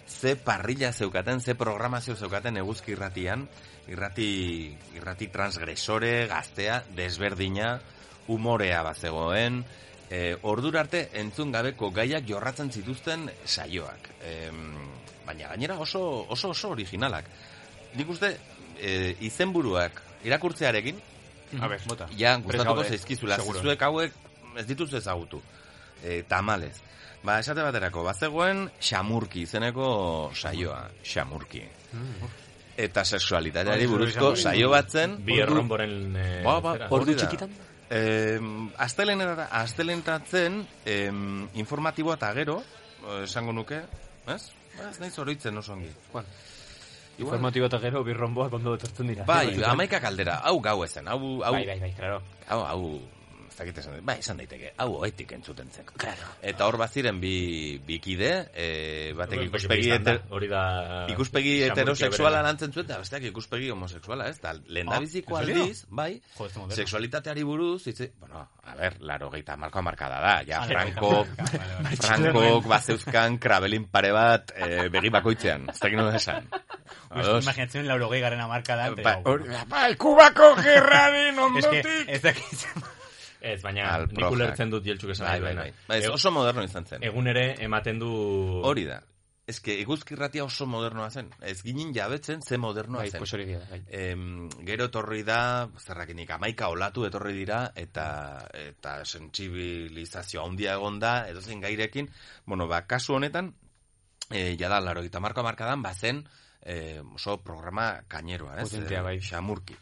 Speaker 4: ze parrilla zeukaten, ze programazio zeukaten eguzki irratian, irrati, irrati transgresore, gaztea, desberdina, umorea bat zegoen, e, ordura arte entzun gabeko gaiak jorratzen zituzten saioak. Em, baina gainera oso, oso, oso originalak. Nik uste, e, izenburuak irakurtzearekin,
Speaker 2: A ber, bota.
Speaker 4: Ja,
Speaker 2: Prest
Speaker 4: gustatuko
Speaker 2: gaude,
Speaker 4: zaizkizula,
Speaker 2: seguro.
Speaker 4: zuek hauek ez dituz ezagutu. E, tamalez. Ba, esate baterako, bazegoen xamurki izeneko saioa, xamurki.
Speaker 2: Mm.
Speaker 4: Eta sexualitateari buruzko saio bat zen.
Speaker 1: Bi
Speaker 4: ordu-
Speaker 1: erromboren... eh,
Speaker 4: Ba, ba,
Speaker 1: zera.
Speaker 4: hori da. Em, Astelehenera- astelentatzen em, informatiboa eta gero, eh, esango nuke, ez? Ba, Ez naiz oroitzen oso ongi. Igual.
Speaker 2: Informatibo eta gero birromboak ondo etortzen dira.
Speaker 4: Bai, amaika kaldera, hau gau ezen, hau... hau
Speaker 2: Bai, bai, bai, claro.
Speaker 4: Hau, hau, ez dakit esan, bai, esan daiteke, hau oetik entzuten zen. Claro. Eta hor baziren bi, bi kide, e, batek
Speaker 1: Hori
Speaker 4: ikuspegi,
Speaker 1: bistan da, Ah,
Speaker 4: heter,
Speaker 1: hori da-
Speaker 4: ikuspegi
Speaker 1: Samurkia
Speaker 4: heterosexuala
Speaker 1: berena.
Speaker 4: lantzen zuen, eta besteak ikuspegi homosexuala, ez? Da, lehen da biziko
Speaker 1: Ah, ¿en serio?
Speaker 4: aldiz, bai,
Speaker 1: Jo, ez da moderno.
Speaker 4: sexualitateari buruz, itzi, bueno, a ver, laro geita marko markada da, ja,
Speaker 1: Ah,
Speaker 4: Franco,
Speaker 1: vale, vale, vale.
Speaker 4: Frankok bazeuzkan krabelin pare bat e, begi bakoitzean, ez dakit nola esan. Ados.
Speaker 3: Imaginatzen lauro gehi garen amarkadan.
Speaker 4: Ba,
Speaker 3: Ba,
Speaker 4: hor-
Speaker 1: Bai, Kubako gerraren
Speaker 3: Ez
Speaker 1: ondotik.
Speaker 3: que, ez dakit.
Speaker 1: Ez, baina
Speaker 4: Al
Speaker 1: nik
Speaker 4: projak.
Speaker 1: ulertzen dut jeltzuk esan.
Speaker 4: Bai,
Speaker 1: nahi
Speaker 4: bai,
Speaker 1: duena.
Speaker 4: bai. Bai, ez
Speaker 1: Egu-
Speaker 4: oso moderno izan zen.
Speaker 1: Egun ere ematen du...
Speaker 4: Hori da. Ez que eguzkirratia oso modernoa zen. Ez ginen jabetzen ze modernoa
Speaker 2: Bai,
Speaker 4: zen.
Speaker 2: pues hori dira, bai.
Speaker 4: Em, gero etorri da, zerrakinik amaika olatu etorri dira, eta eta sentsibilizazio handia egon da, edozein gairekin. Bueno, ba, kasu honetan, e, jada, laro gita marko markadan, bazen e, oso programa kaineroa, ez?
Speaker 2: Potentea,
Speaker 4: Eh,
Speaker 2: bai.
Speaker 4: Xamurki.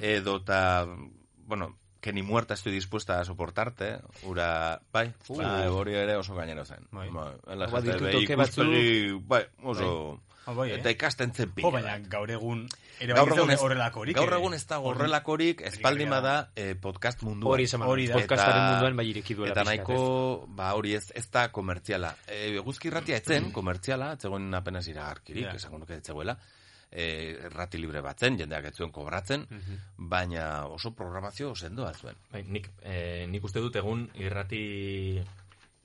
Speaker 4: Edo eta, bueno, que ni muerta estoy dispuesta a soportarte, ura, bai,
Speaker 2: Uh.
Speaker 4: bai, hori ere oso gainero zen. Bai, la
Speaker 2: Ba,
Speaker 4: jente,
Speaker 2: ditu
Speaker 4: bai,
Speaker 2: toke batzu-
Speaker 4: ikuspegi, bai, oso,
Speaker 3: Ah, bai, eh?
Speaker 4: eta ikasten zen pila.
Speaker 3: Jo, baina gaur egun... Ere
Speaker 4: Gaur
Speaker 3: bai ez
Speaker 4: egun
Speaker 3: daude
Speaker 4: ez-
Speaker 3: horrelakorik.
Speaker 4: gaur
Speaker 3: eh?
Speaker 4: egun ez dago
Speaker 3: Hori-
Speaker 4: horrelakorik, espaldin bada eh, podcast munduan.
Speaker 2: Hori esan behar dut,
Speaker 4: Eta-
Speaker 2: podcastaren munduan bai ireki duela
Speaker 4: Eta
Speaker 2: pixka bat,
Speaker 4: nahiko, ba, hori ez, ez da komertziala. E, eguzki irratia etzen, komertziala, etzegoen apenas iragarkirik,
Speaker 2: Ja.
Speaker 4: esango nuke etzegoela. E, errati libre batzen, jendeak etzuen kobratzen, baina oso programazio sendoa zuen.
Speaker 1: Bai, nik, eh, nik uste dut egun irrati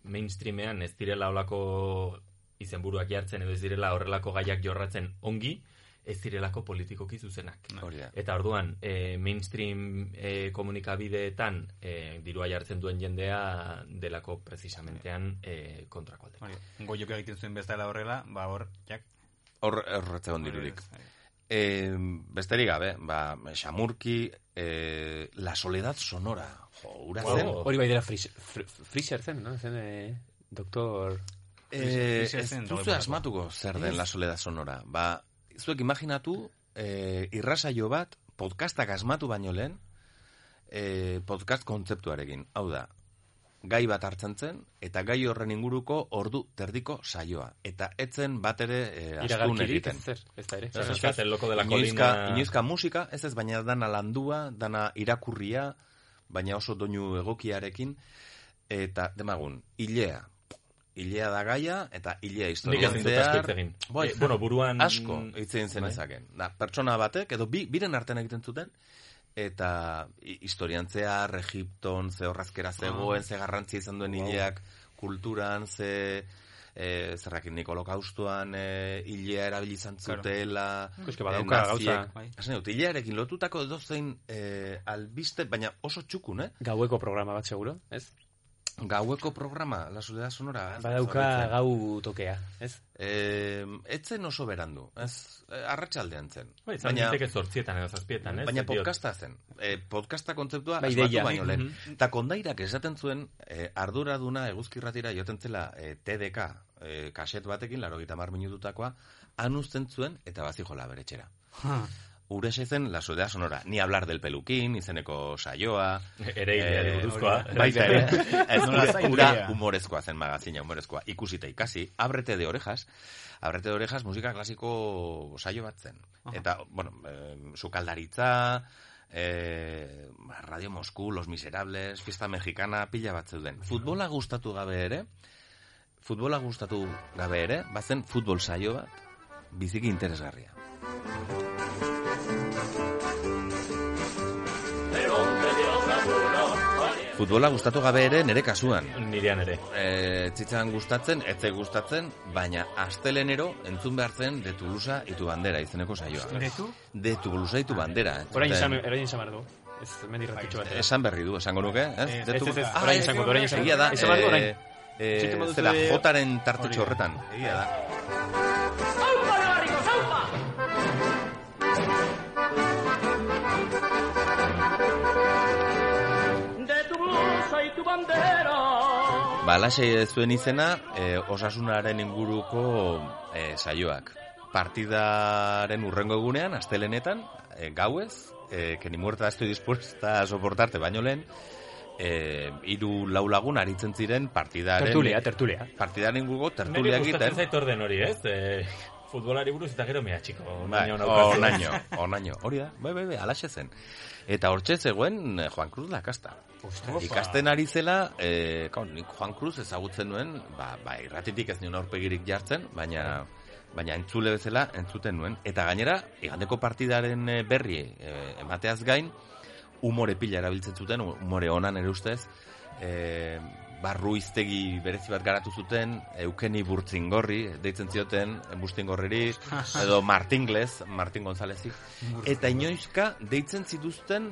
Speaker 1: mainstreamean ez direla olako izenburuak jartzen edo ez direla horrelako gaiak jorratzen ongi, ez direlako politikoki zuzenak.
Speaker 4: Hori da.
Speaker 1: Eta orduan, e, mainstream e, komunikabideetan e, dirua jartzen duen jendea delako precisamentean e, kontrako alde.
Speaker 3: Hori, Goiok egiten zuen bezala horrela, ba hor, jak, eh.
Speaker 4: Hor, hor ez zegoen dirurik. E, besterik gabe, ba, xamurki, e, la soledad sonora. Jo, hura
Speaker 2: Wow.
Speaker 4: zen.
Speaker 2: Hori bai dela Freezer, Fr- Freezer zen, no? Zen, eh, doktor...
Speaker 4: Eh, ez duzu asmatuko zer den La Soledad Sonora. Ba, zuek imaginatu, eh, irrasaio bat, podcastak asmatu baino lehen, eh, podcast kontzeptuarekin. Hau da, gai bat hartzen zen, eta gai horren inguruko ordu terdiko saioa. Eta etzen bat ere eh, astun
Speaker 2: Iragarkirik,
Speaker 4: egiten.
Speaker 2: ez zer, ez da ere.
Speaker 4: Ez, ez,
Speaker 2: Ez,
Speaker 4: ez.
Speaker 2: ez, ez, loko de la
Speaker 4: Inoizka-
Speaker 2: colina-
Speaker 4: inoizka musika, ez ez, baina dana landua, dana irakurria, baina oso doinu egokiarekin, eta demagun, hilea. Hilea da gaia, eta hilea historian
Speaker 1: Nik ez dut asko hitz egin.
Speaker 4: Bai,
Speaker 1: Eh, bueno, buruan-
Speaker 4: Asko
Speaker 2: mm,
Speaker 4: hitzein zen
Speaker 1: Bai.
Speaker 4: ezaken. Da, pertsona batek, edo bi, biren artean egiten zuten, eta hi- historian zehar, Egipton, ze horrazkera zegoen,
Speaker 2: Ah.
Speaker 4: ze garrantzia izan duen
Speaker 2: Wow.
Speaker 4: hileak, kulturan, ze... E, zerrakin nikolokaustuan e, hilea erabili izan
Speaker 2: Claro.
Speaker 4: zutela
Speaker 2: Eske badauka gauza.
Speaker 4: Bai. Esan dut, hilarekin lotutako edozein eh, albiste, baina oso txukun, eh?
Speaker 2: Gaueko programa bat seguro, ez?
Speaker 4: Gaueko programa, La Soledad Sonora. ez?
Speaker 2: Badauka
Speaker 4: Zorritzen.
Speaker 2: gau tokea, ez?
Speaker 4: Eh, etzen oso berandu, ez? Eh, Arratsaldean zen.
Speaker 1: Bai, izan daiteke zortzietan edo zazpietan, ez?
Speaker 4: Baina
Speaker 1: Diot.
Speaker 4: podcasta zen. Eh, podcasta kontzeptua
Speaker 1: Bai,
Speaker 4: asmatu
Speaker 1: ideia.
Speaker 4: baino lehen.
Speaker 1: Mhm.
Speaker 4: Eta kondairak esaten zuen eh, arduraduna eguzkirratira joten zela eh, TDK eh, kaset batekin, laro mar minututakoa, han uzten zuen eta bazijola beretxera.
Speaker 3: Ha.
Speaker 4: Urexe zen La Soledad Sonora. Ni hablar del pelukin, izeneko saioa.
Speaker 1: Ere hileari buruzkoa.
Speaker 4: Eh, hori da. Bai, Baita ere. Ez
Speaker 1: Nola
Speaker 4: ura-
Speaker 1: zaindu
Speaker 4: ura
Speaker 1: dira.
Speaker 4: humorezkoa zen magazina, humorezkoa. Ikusita ikasi. Abrete de orejas. Abrete de orejas musika klasiko saio bat zen.
Speaker 2: Aha.
Speaker 4: Eta, bueno, eh, sukaldaritza, eh, Radio Moscú, Los Miserables, Fiesta Mexicana, pila bat zeuden. Futbola gustatu gabe ere, futbola gustatu gabe ere, bazen futbol saio bat, biziki interesgarria. Futbola gustatu gabe ere nere kasuan.
Speaker 1: Nirean ere.
Speaker 4: E, tzitzan gustatzen, etze gustatzen, baina astelenero entzun behar zen de Tulusa itu bandera izeneko saioa.
Speaker 2: De tu?
Speaker 4: De Tulusa itu bandera.
Speaker 2: Orain
Speaker 4: entzuten-
Speaker 2: esan, orain esan behar du. Ez, hemen
Speaker 4: Bai,
Speaker 2: irratitxo bat.
Speaker 4: Esan berri du, esango nuke,
Speaker 2: Ez,
Speaker 4: eh? De
Speaker 2: ez,
Speaker 4: Tulusa-
Speaker 2: ez,
Speaker 4: Ah,
Speaker 2: orain
Speaker 4: ez,
Speaker 2: esango dut, orain esango
Speaker 4: Egia
Speaker 2: dut.
Speaker 4: da,
Speaker 2: Esan behar du orain.
Speaker 4: eh, eh,
Speaker 2: Sentitu modu
Speaker 4: zera,
Speaker 2: zure-
Speaker 4: jotaren tartetxo horretan. Egia da.
Speaker 25: De tu blusa y tu bandera.
Speaker 4: Balaxe zuen izena eh, osasunaren inguruko eh, saioak. Partidaren urrengo egunean, astelenetan, eh, gauez, eh, que ni muerta estoy dispuesta a soportarte baino lehen, eh, hiru lau lagun aritzen ziren partidaren...
Speaker 2: Tertulia, tertulia.
Speaker 4: Partidaren gugo, tertulia
Speaker 1: Niri gustatzen
Speaker 4: egiten.
Speaker 1: zait orden hori, ez? E, futbolari buruz eta gero mea txiko.
Speaker 4: Bai,
Speaker 1: Onaino naukazu.
Speaker 4: Onaino, onaino, hori da, bai, bai, bai, alaxe zen. Eta hortxe zegoen eh, Juan Cruz Lakasta.
Speaker 1: Ostras.
Speaker 4: Bai, Ikasten ari zela, eh, kao, nik Juan Cruz ezagutzen nuen, ba, ba, irratitik ez nion aurpegirik jartzen, baina baina entzule bezala entzuten nuen. Eta gainera, igandeko partidaren eh, berri eh, emateaz gain, umore pila erabiltzen zuten, umore onan ere ustez, e, barru iztegi berezi bat garatu zuten, Eukeni Burtzingorri, deitzen zioten, Burtzingorreri, edo Martingles, Martin Gonzalezik, eta inoizka deitzen zituzten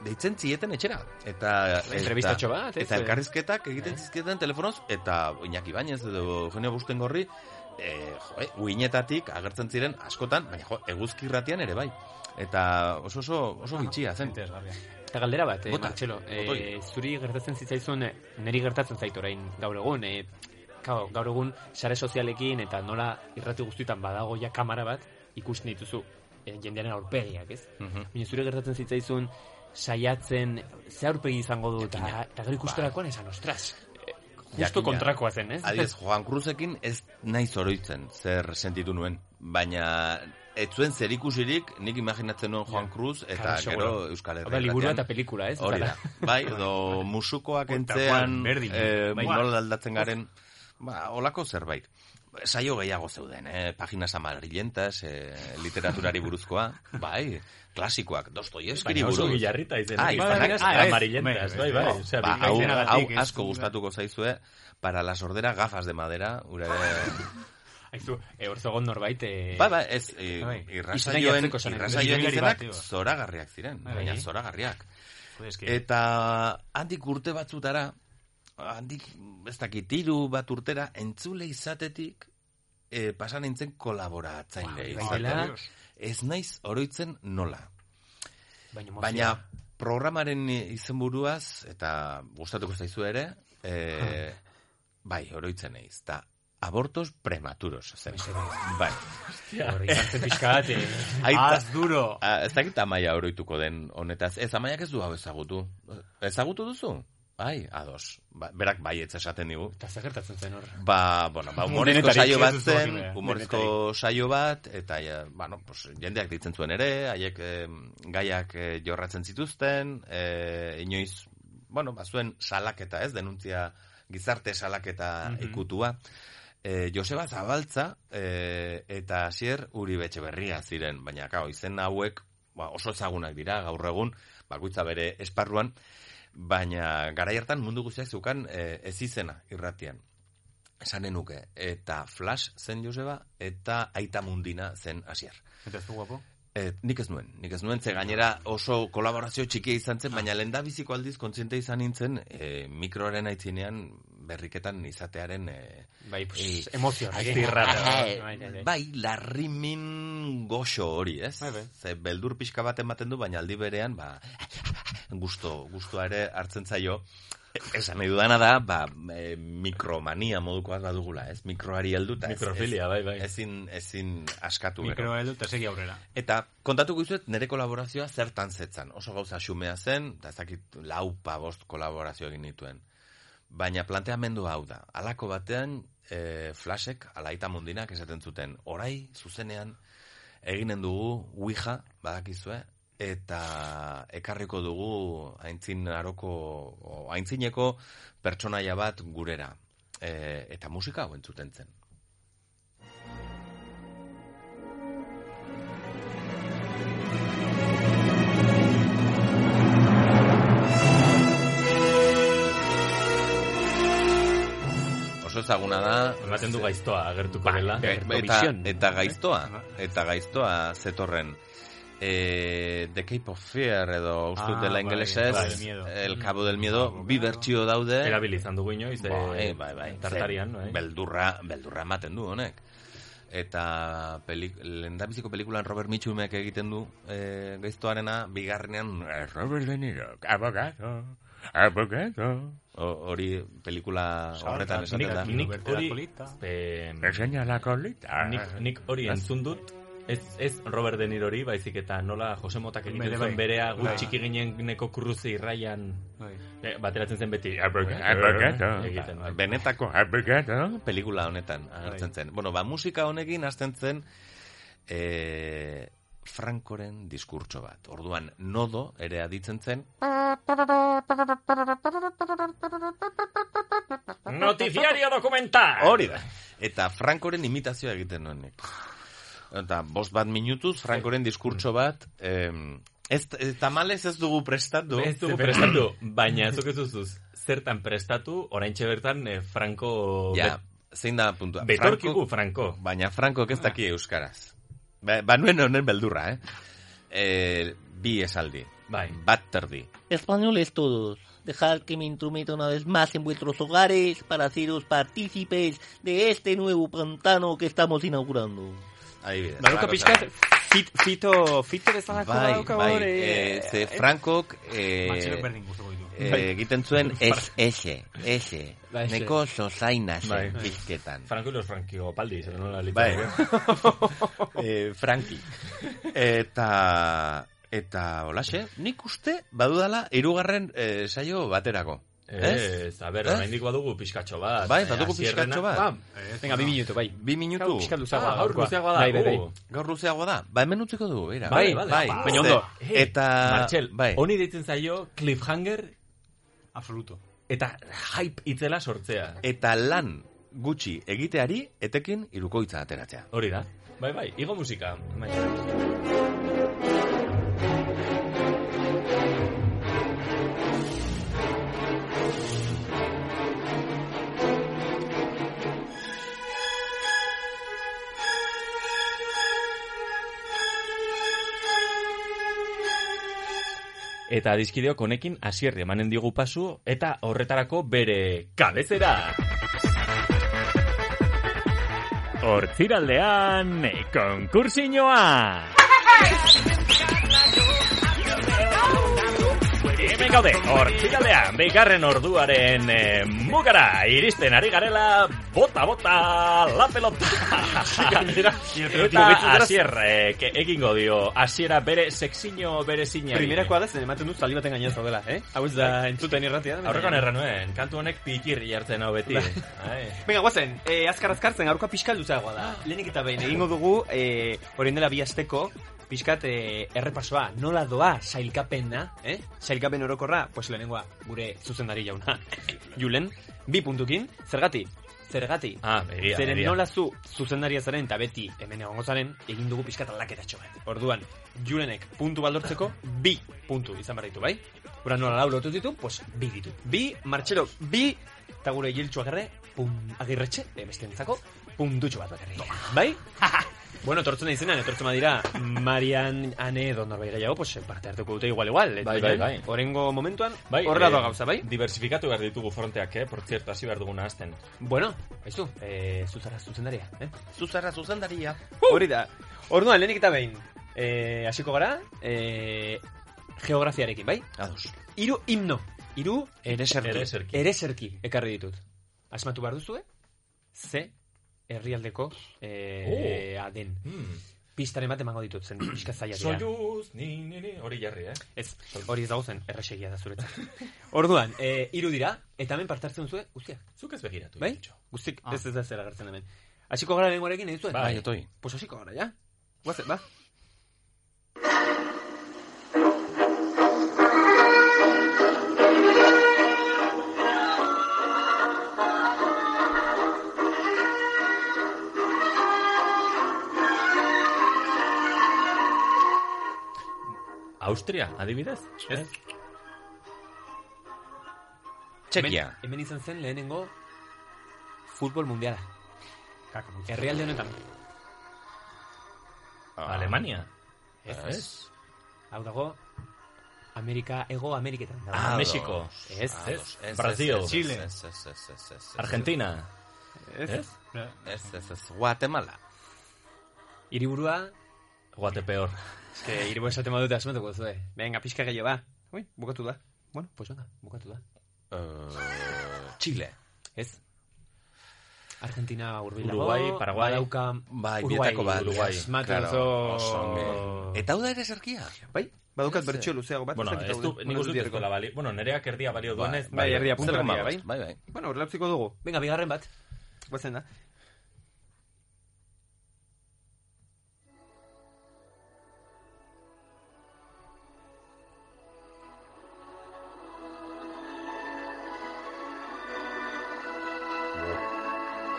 Speaker 4: deitzen zieten etxera. Eta,
Speaker 2: Bai, Entrevistatxo bat, ez?
Speaker 4: Eta elkarrizketak egiten zizkieten telefonoz, eta Iñaki Bainez, edo Eugenio Burtzingorri, e, jo, e, uinetatik agertzen ziren askotan, baina jo, eguzkirratian ere bai. Eta oso oso,
Speaker 2: Ah,
Speaker 4: oso bitxia zen.
Speaker 2: Eta galdera bat, eh,
Speaker 4: Bota.
Speaker 2: Martxelo, eh,
Speaker 4: Botoi.
Speaker 2: zuri gertatzen zitzaizun, eh, niri gertatzen zait orain gaur egun, eh, kao, gaur egun sare sozialekin eta nola irrati guztietan badago ja kamera bat ikusten dituzu eh, jendearen aurpegiak, ez?
Speaker 4: Mhm.
Speaker 2: Baina zure gertatzen zitzaizun saiatzen ze aurpegi izango du eta, eta gero ikusterakoan esan, ostras, eh, justo
Speaker 4: Jakina.
Speaker 2: kontrakoa zen, ez?
Speaker 4: Adibidez, Juan Cruzekin ez naiz oroitzen zer sentitu nuen, baina ez zuen zerikusirik nik imaginatzen nuen Juan Cruz eta
Speaker 2: Claro, seguro.
Speaker 4: gero Euskal Herria.
Speaker 2: Hau da, liburua
Speaker 4: irratian.
Speaker 2: eta pelikula, ez?
Speaker 4: Hori da.
Speaker 2: Eta-
Speaker 4: Bai, edo musukoak
Speaker 2: Eta
Speaker 4: entzean,
Speaker 2: Juan, berdin.
Speaker 4: eh,
Speaker 2: Bai.
Speaker 4: nola aldatzen garen, ba, olako zerbait. Saio gehiago zeuden, eh? Paginas amarillentas, eh, literaturari buruzkoa, bai, klasikoak, dostoieskiri
Speaker 1: Baina
Speaker 4: buruz.
Speaker 1: oso gilarrita izena.
Speaker 4: Ah,
Speaker 1: Bai, bai,
Speaker 4: izan-
Speaker 1: bai,
Speaker 4: ah, ez.
Speaker 1: amarillentas, bai, bai, osea,
Speaker 4: Ba, hau,
Speaker 1: bikainenagatik
Speaker 4: hau
Speaker 1: ez-
Speaker 4: asko gustatuko zaizue, para la sordera gafas de madera, ure...
Speaker 2: Aizu, eh, hor zegoen norbait... Eh,
Speaker 4: Ba, ba, ez, eh,
Speaker 2: bai. Izena
Speaker 4: irrasaioen,
Speaker 2: jartzeko zen,
Speaker 4: irrasaioen
Speaker 2: bidaiari
Speaker 4: izenak
Speaker 2: bat, iba.
Speaker 4: zoragarriak ziren,
Speaker 2: Bai.
Speaker 4: baina zoragarriak.
Speaker 2: Jo, eske-
Speaker 4: Eta handik urte batzutara, handik, ez dakit, hiru bat urtera, entzule izatetik e, pasan nintzen kolaboratzaile.
Speaker 2: Ba, hori
Speaker 4: izatera.
Speaker 2: baitela.
Speaker 4: ez naiz oroitzen nola.
Speaker 2: Baina, emozioa.
Speaker 4: Baina programaren izenburuaz eta gustatuko zaizu ere, e, bai, oroitzen naiz. Ta abortos prematuros zen. bai.
Speaker 2: Hostia. Hori izan zen pixkat, eh, az
Speaker 4: duro. A, Ah, ez dakit amaia oroituko den honetaz. Ez, amaiak ez du hau ezagutu. Ezagutu duzu? Bai, ados. Ba, berak baietz esaten digu.
Speaker 2: Eta zer gertatzen zen hor?
Speaker 4: Ba, bueno, ba, humorezko
Speaker 2: Denetarik,
Speaker 4: saio
Speaker 2: ez
Speaker 4: bat
Speaker 2: duzu
Speaker 4: zen,
Speaker 2: jakina.
Speaker 4: humorezko saio bat, eta, ja, bueno, pues, jendeak ditzen zuen ere, haiek eh, gaiak eh, jorratzen zituzten, eh, inoiz, bueno, ba, zuen salaketa, ez, denuntzia gizarte salaketa
Speaker 2: Mhm.
Speaker 4: ikutua. Eh, Joseba Zabaltza eh, eta Asier Uribetxe berria ziren, baina, kao, izen hauek, ba, oso ezagunak dira gaur egun, bakoitza bere esparruan, baina garai hartan mundu guztiak zeukan eh, ez izena irratian esanen nuke. Eta Flash zen Joseba, eta Aita Mundina zen Asier.
Speaker 3: Eta ez du guapo?
Speaker 4: Eh, nik ez nuen, nik ez nuen, ze gainera oso kolaborazio txikia izan zen, baina lenda biziko aldiz kontziente izan nintzen eh, mikroaren aitzinean berriketan izatearen... eh,
Speaker 2: Bai, pues,
Speaker 4: eh,
Speaker 2: emozio horrekin.
Speaker 4: aiztirra-
Speaker 2: Bai, bai, bai.
Speaker 4: Bai, larrimin goxo hori, ez?
Speaker 2: Bai, bai.
Speaker 4: Ze beldur pixka bat ematen du, baina aldi berean, ba, gusto, gustoa ere hartzen zaio. E- Esan nahi dudana da, ba, e, mikromania modukoaz badugula, ez? Mikroari heldu eta ez-
Speaker 1: Mikrofilia,
Speaker 4: ez-
Speaker 1: bai, bai.
Speaker 4: Ezin, ezin askatu gero.
Speaker 3: Mikroa heldu eta segi aurrera.
Speaker 4: Eta kontatuko dizuet nire kolaborazioa zertan zetzan. Oso gauza xumea zen, eta ez dakit lau pa bost kolaborazio egin dituen. Baina planteamendu hau da. Halako batean, e, flashek, alaita mundinak esaten zuten. Orai, zuzenean, eginen dugu Ouija, badakizue, eta ekarriko dugu aintzin aroko, o, aintzineko pertsonaia bat gurera. E, eta musika hau entzuten zen. Oso ezaguna da...
Speaker 1: Ematen du gaiztoa agertuko dela.
Speaker 4: Bai, bai, eta,
Speaker 1: Eh?
Speaker 4: eta gaiztoa, eta gaiztoa zetorren. E, The Cape of Fear edo ustut
Speaker 1: Ah,
Speaker 4: dela
Speaker 1: bai,
Speaker 4: ingelesez,
Speaker 1: Cabo del Miedo. Mm.
Speaker 4: El Cabo del Miedo, bi bertsio daude.
Speaker 1: Erabili izan dugu inoiz, eh,
Speaker 4: Bai, bai, bai.
Speaker 1: tartarian,
Speaker 4: Ze
Speaker 1: bai.
Speaker 4: Beldurra, beldurra ematen du honek. Eta peli, lehendabiziko pelikulan Robert Mitchumek egiten du e, gaiztoarena, bigarrenean eh, Robert De Niro, abogado, abogado. O- Hori pelikula horretan esaten da.
Speaker 1: Nik, nik hori... Eh,
Speaker 4: Enseña la colita.
Speaker 1: Nik, nik hori
Speaker 4: Ez?
Speaker 1: entzun dut, Ez, ez Robert De Nirori, baizik eta nola Jose Motak egiten
Speaker 2: Bere
Speaker 1: zuen
Speaker 2: bai.
Speaker 1: berea gu
Speaker 2: Bai.
Speaker 1: txiki gineneko kurruzi irraian
Speaker 2: Bai.
Speaker 1: eh, bateratzen zen beti
Speaker 4: Eh, Arbageto.
Speaker 1: egiten. bai.
Speaker 4: Benetako Arbageto Ah, pelikula honetan agertzen zen. Bueno, ba, musika honekin hasten zen eh, Frankoren diskurtso bat. Orduan, nodo ere aditzen zen.
Speaker 1: ba, Noticiario documental!
Speaker 4: Hori da. Eta Frankoren imitazioa egiten nuen nik. Eta bost bat minutuz, Frankoren diskurtso bat, em, ez, ez tamales ez dugu prestatu.
Speaker 1: Ez dugu prestatu, baina ez dukezuzuz, zertan prestatu, orain bertan eh, Franco...
Speaker 4: Ja, ba, zein da puntua.
Speaker 1: Betorkigu Franco.
Speaker 2: Bai.
Speaker 4: Baina Franko
Speaker 2: Ah.
Speaker 4: ez daki euskaraz. Ba, ba nuen honen beldurra, eh? E, bi esaldi.
Speaker 1: Bai.
Speaker 4: Bat terdi.
Speaker 8: Españoles todos, dejad que me intrometa una vez más en vuestros hogares para haceros partícipes de este nuevo pantano que estamos inaugurando.
Speaker 4: Adibidez.
Speaker 2: Baduka
Speaker 4: Franco
Speaker 2: Ba, pixkat, fit, fito, fito bezalako
Speaker 4: Bai,
Speaker 2: badauka
Speaker 4: bai,
Speaker 2: hor, eh,
Speaker 4: e, ze Frankok e,
Speaker 2: Martxelo Berdin gustuko ditu.
Speaker 4: e,
Speaker 2: Bai.
Speaker 4: egiten zuen ez, ese, ese,
Speaker 1: Ba, ese.
Speaker 4: neko zozaina
Speaker 1: Bai.
Speaker 4: zen pizketan.
Speaker 1: Franco y los Franquigopaldi, zer nola
Speaker 4: Bai.
Speaker 1: litzateke.
Speaker 4: e, Franki. Eta, eta olaxe, nik uste badudala irugarren e, saio baterako.
Speaker 2: Eh.
Speaker 1: Ez, a ber,
Speaker 4: Ez?
Speaker 1: oraindik badugu pixkatxo bat.
Speaker 4: Bai,
Speaker 1: Eh,
Speaker 4: badugu
Speaker 1: hasierrena-
Speaker 4: pixkatxo bat.
Speaker 1: Bam.
Speaker 2: Venga, bi minutu, bai.
Speaker 4: Bi minutu.
Speaker 2: Gaur pixkat luzeagoa
Speaker 1: Ah, uh.
Speaker 2: da
Speaker 1: gaur
Speaker 2: gaurkoa.
Speaker 1: luzeagoa da, Oh.
Speaker 2: Bai, bai, bai.
Speaker 1: gugu.
Speaker 4: Gaur luzeagoa da. Ba, hemen utziko dugu, bera.
Speaker 1: Bai, bale, ba,
Speaker 4: Ze-
Speaker 1: baina ondo.
Speaker 4: Eta...
Speaker 1: Martxel,
Speaker 4: bai.
Speaker 1: honi deitzen zaio cliffhanger absoluto. Eta hype itzela sortzea.
Speaker 4: Eta lan gutxi egiteari, etekin irukoitza ateratzea.
Speaker 1: Hori da. Bai, bai, igo musika. Maite. Eta adizkideok honekin asierri emanen digu pasu eta horretarako bere kabezera.
Speaker 10: Hortziraldean konkursiñoa! Hemen gaude, hortziraldean, bigarren orduaren eh, mugara, iristen ari garela, bota, bota, la pelota!
Speaker 1: Eta asier, eh, ke- egingo dio, asiera bere sexiño bere zinari.
Speaker 2: Primerakoa da, zen ematen dut zaldi baten gainean zaudela, eh? Hau ez da entzuten irratia.
Speaker 1: Aurrekoan erranuen, kantu honek pitirri jartzen hau beti. Ai.
Speaker 2: Venga, guazen, eh, azkar azkartzen gaurkoa pixkat luzeagoa da. Lehenik eta behin egingo dugu, eh, orain dela bi asteko, pixkat eh, errepasoa, nola doa sailkapena, eh? Sailkapen orokorra, pues lehenengoa, gure zuzendari jauna, Julen, bi puntukin, zergati, zergati.
Speaker 1: Ah, begia,
Speaker 2: Zeren
Speaker 1: begia.
Speaker 2: nola zu zuzendaria zaren eta beti hemen egongo zaren, egin dugu pixkat aldaketatxo bat. Orduan, Julenek puntu baldortzeko, bi puntu izan behar ditu, bai? Gura nola lau lotu ditu, pues bi ditu. Bi, Martxelo, bi, eta gure giltxu agerre, pum, agirretxe, eh, bestentzako, puntutxo bat bakarri. Bai? bueno, etortzen da izenan, etortzen badira, Marian, Ane, edo norbait gehiago, pues, parte hartuko dute igual, igual.
Speaker 1: Bai, bai, bai.
Speaker 2: Orengo momentuan,
Speaker 1: Bai,
Speaker 2: horrela
Speaker 1: eh,
Speaker 2: doa gauza, bai?
Speaker 1: Diversifikatu behar ditugu fronteak, eh? Por cierto, hasi behar duguna azten.
Speaker 2: Bueno, haizu, eh, zuzara zuzendaria, eh?
Speaker 4: Zuzarra zuzendaria.
Speaker 2: Hori da. Orduan, lehenik eta behin. Eh, hasiko gara, eh, geografiarekin, bai?
Speaker 4: Ados.
Speaker 2: Hiru himno. Hiru ereserki.
Speaker 1: Ereserki.
Speaker 2: Ereserki ekarri ditut. Asmatu behar duzue? Ze herrialdeko eh, aden.
Speaker 1: Hmm.
Speaker 2: Pistaren bat emango ditut zen, pixka zaila dira.
Speaker 1: Soyuz, ni, ni, ni, hori jarri, eh?
Speaker 2: Ez, hori ez dago zen, erresegia da zuretzat. Orduan, eh, hiru dira, eta hemen parte hartzen duzue, guztiak.
Speaker 1: Zuk ez begiratu.
Speaker 2: Bai? Guztik, ez ez da zer agertzen hemen. Hasiko gara lenguarekin egin zuen?
Speaker 1: Bai, Bai,
Speaker 4: otoi.
Speaker 2: Pues hasiko gara, ja? Guazen, ba?
Speaker 1: Austria, adibidez? Ez.
Speaker 4: Txekia.
Speaker 2: Hemen, hemen izan zen lehenengo futbol mundiala. Herrialde honetan.
Speaker 1: Ah, Alemania.
Speaker 2: Ez,
Speaker 1: Ez.
Speaker 2: ez. Hau dago, Amerika, ego Ameriketan. dago.
Speaker 1: Ah, Mexiko.
Speaker 2: Ez,
Speaker 4: Ados. Ah, Ez, ez,
Speaker 2: ez.
Speaker 4: ez,
Speaker 1: Brasil.
Speaker 4: ez,
Speaker 1: Chile.
Speaker 4: ez, ez, ez, ez, ez, ez.
Speaker 1: Argentina.
Speaker 2: Ez, ez.
Speaker 4: Ez, ez, ez. Guatemala.
Speaker 2: Hiriburua,
Speaker 1: Guatepeor.
Speaker 2: ez que hiriburua esaten badute asmatuko duzu, eh. Venga, pixka gehiago, ba. Ui, bukatu da. Bueno, pues venga, bukatu da.
Speaker 4: Eh, Chile.
Speaker 2: Ez. Argentina hurbil dago.
Speaker 1: Uruguai, Paraguai.
Speaker 2: badauka
Speaker 4: Bai,
Speaker 2: Uruguai,
Speaker 4: bietako bat.
Speaker 2: Uruguai.
Speaker 4: Asmatu
Speaker 2: Claro,
Speaker 4: duzu.
Speaker 2: oso ongi.
Speaker 4: Eta hau da ere zerkia?
Speaker 2: Bai, badaukat
Speaker 4: Ez, eh.
Speaker 2: bertxio luzeago bat.
Speaker 1: Bueno,
Speaker 2: ez dakit
Speaker 1: ez
Speaker 2: hau
Speaker 1: du,
Speaker 2: den,
Speaker 1: nik
Speaker 2: bueno,
Speaker 1: uste
Speaker 2: ez
Speaker 1: dut
Speaker 2: dut
Speaker 1: eskola balio. Bueno, nereak erdia balio duenez.
Speaker 2: Bai, erdi apunta
Speaker 1: Zer
Speaker 2: bai,
Speaker 1: bai.
Speaker 2: bai. Bueno, horrelatziko dugu. Venga, bigarren bat. Guazen da.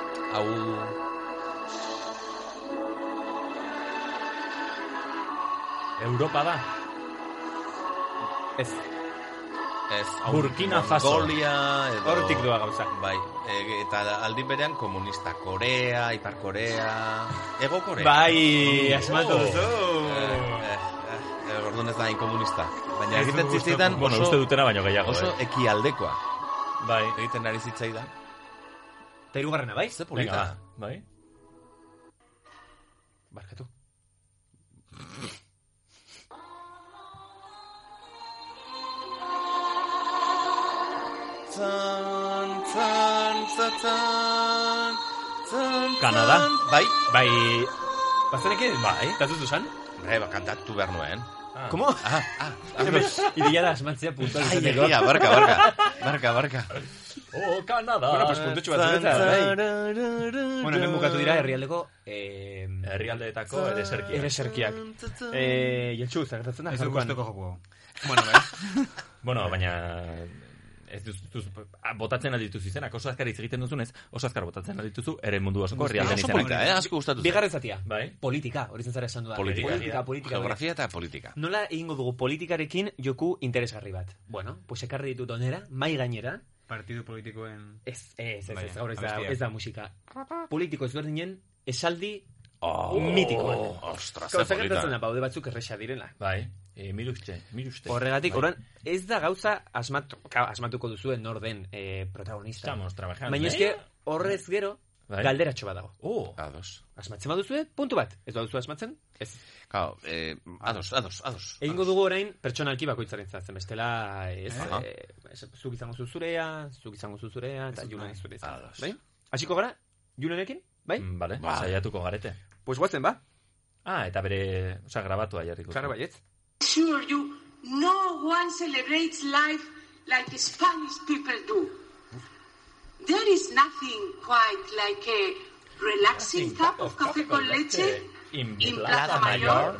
Speaker 4: Hau...
Speaker 1: Europa da.
Speaker 2: Ez.
Speaker 4: Ez.
Speaker 1: Burkina Faso.
Speaker 4: Mongolia edo...
Speaker 1: Hortik doa gauza.
Speaker 4: Bai, e, eta aldi berean komunista Korea, Ipar Korea, Ego Korea. Oh,
Speaker 2: Bai, asmatu duzu.
Speaker 4: Eh, eh, eh, Orduan ez da hain komunista. Baina
Speaker 1: Ez dut
Speaker 4: egiten
Speaker 1: gustu-
Speaker 4: zitzaidan oso...
Speaker 1: bueno, uste dutena baino gehiago,
Speaker 4: Oso
Speaker 1: eh.
Speaker 4: ekialdekoa.
Speaker 1: Bai.
Speaker 4: Egiten ari zitzaidan.
Speaker 2: Eta irugarrena, bai?
Speaker 4: Ze polita.
Speaker 1: Venga, bai.
Speaker 2: Barkatu.
Speaker 4: Zan, zan, zan, zan, zan,
Speaker 1: Kanada?
Speaker 4: Bai.
Speaker 2: Bai. Bazenekin?
Speaker 4: Bai.
Speaker 2: Eta zutu zan?
Speaker 4: Bai, ba, kantatu behar nuen.
Speaker 2: Ah. Como?
Speaker 4: Ah, ah. ah.
Speaker 2: Ideia da asmatzea puntual
Speaker 4: Ai,
Speaker 2: izateko.
Speaker 4: egia, barka, barka. Barka, barka.
Speaker 1: Oh, Kanada.
Speaker 2: Bueno, pues puntutxo bat zuretza, bai. Bueno, hemen bukatu dira herrialdeko... Eh,
Speaker 1: Herrialdeetako ereserkiak.
Speaker 2: Ereserkiak. Eh, Jeltxu, zer gertatzen da?
Speaker 1: Ez dut
Speaker 2: gaurkoan?
Speaker 1: gustuko
Speaker 3: joku hau.
Speaker 2: Bueno, bai.
Speaker 1: Bueno, baina ez duz, duz, a, botatzen aldituz izenak, oso azkar hitz egiten duzunez, oso azkar botatzen aldituzu, ere mundu osoko herrialden
Speaker 4: Oso
Speaker 1: izenak.
Speaker 4: polita, eh? Asko gustatu zait.
Speaker 2: Bigarren zatia.
Speaker 1: Bai.
Speaker 2: Politika, hori zentzara esan dudan.
Speaker 4: Politika.
Speaker 2: politika, politika.
Speaker 4: Geografia eta politika.
Speaker 2: Nola egingo dugu politikarekin joku interesgarri bat? Bueno, pues ekarri ditut onera, mai gainera.
Speaker 3: Partidu politikoen...
Speaker 2: Ez, ez, ez,
Speaker 3: Bai,
Speaker 2: ez, gaur ez da,
Speaker 3: abestiak.
Speaker 2: ez da musika. Politiko ezberdinen, esaldi
Speaker 4: oh,
Speaker 2: mitikoak.
Speaker 4: ostras, ze
Speaker 2: Gauza
Speaker 4: polita.
Speaker 2: gertatzen da, baude batzuk erresa direla.
Speaker 1: Bai, e, miruste, miruste.
Speaker 2: Horregatik,
Speaker 1: Bai.
Speaker 2: orain, ez da gauza asmatu, ka, asmatuko duzuen nor den eh, protagonista.
Speaker 1: Estamos trabajando, eh?
Speaker 2: Baina eske, horrez gero,
Speaker 4: Bai.
Speaker 2: galderatxo bat dago.
Speaker 1: Oh.
Speaker 4: Ados.
Speaker 2: Asmatzen baduzue, puntu bat. Ez baduzu asmatzen, ez.
Speaker 4: Claro, eh, ados, ados, ados.
Speaker 2: Egingo dugu orain pertsonalki bakoitzaren zazen, bestela ez,
Speaker 4: Aha.
Speaker 2: eh, ez, zuk izango zuzurea, zuk izango zuzurea, eta
Speaker 4: Ez dut
Speaker 2: julen
Speaker 4: nahi.
Speaker 2: zure izango.
Speaker 4: Ados.
Speaker 2: Bai? Hasiko gara, julenekin, bai?
Speaker 1: Mm, Bale,
Speaker 4: Bai.
Speaker 1: saiatuko garete.
Speaker 2: Pues guazen, ba?
Speaker 1: Ah, eta bere, oza, grabatua jarriko.
Speaker 2: Klaro
Speaker 4: bai.
Speaker 2: baietz.
Speaker 11: assure you, no one celebrates life like the Spanish people do. There is nothing quite like a relaxing cup of café con leche
Speaker 1: In
Speaker 11: in Plaza Mayor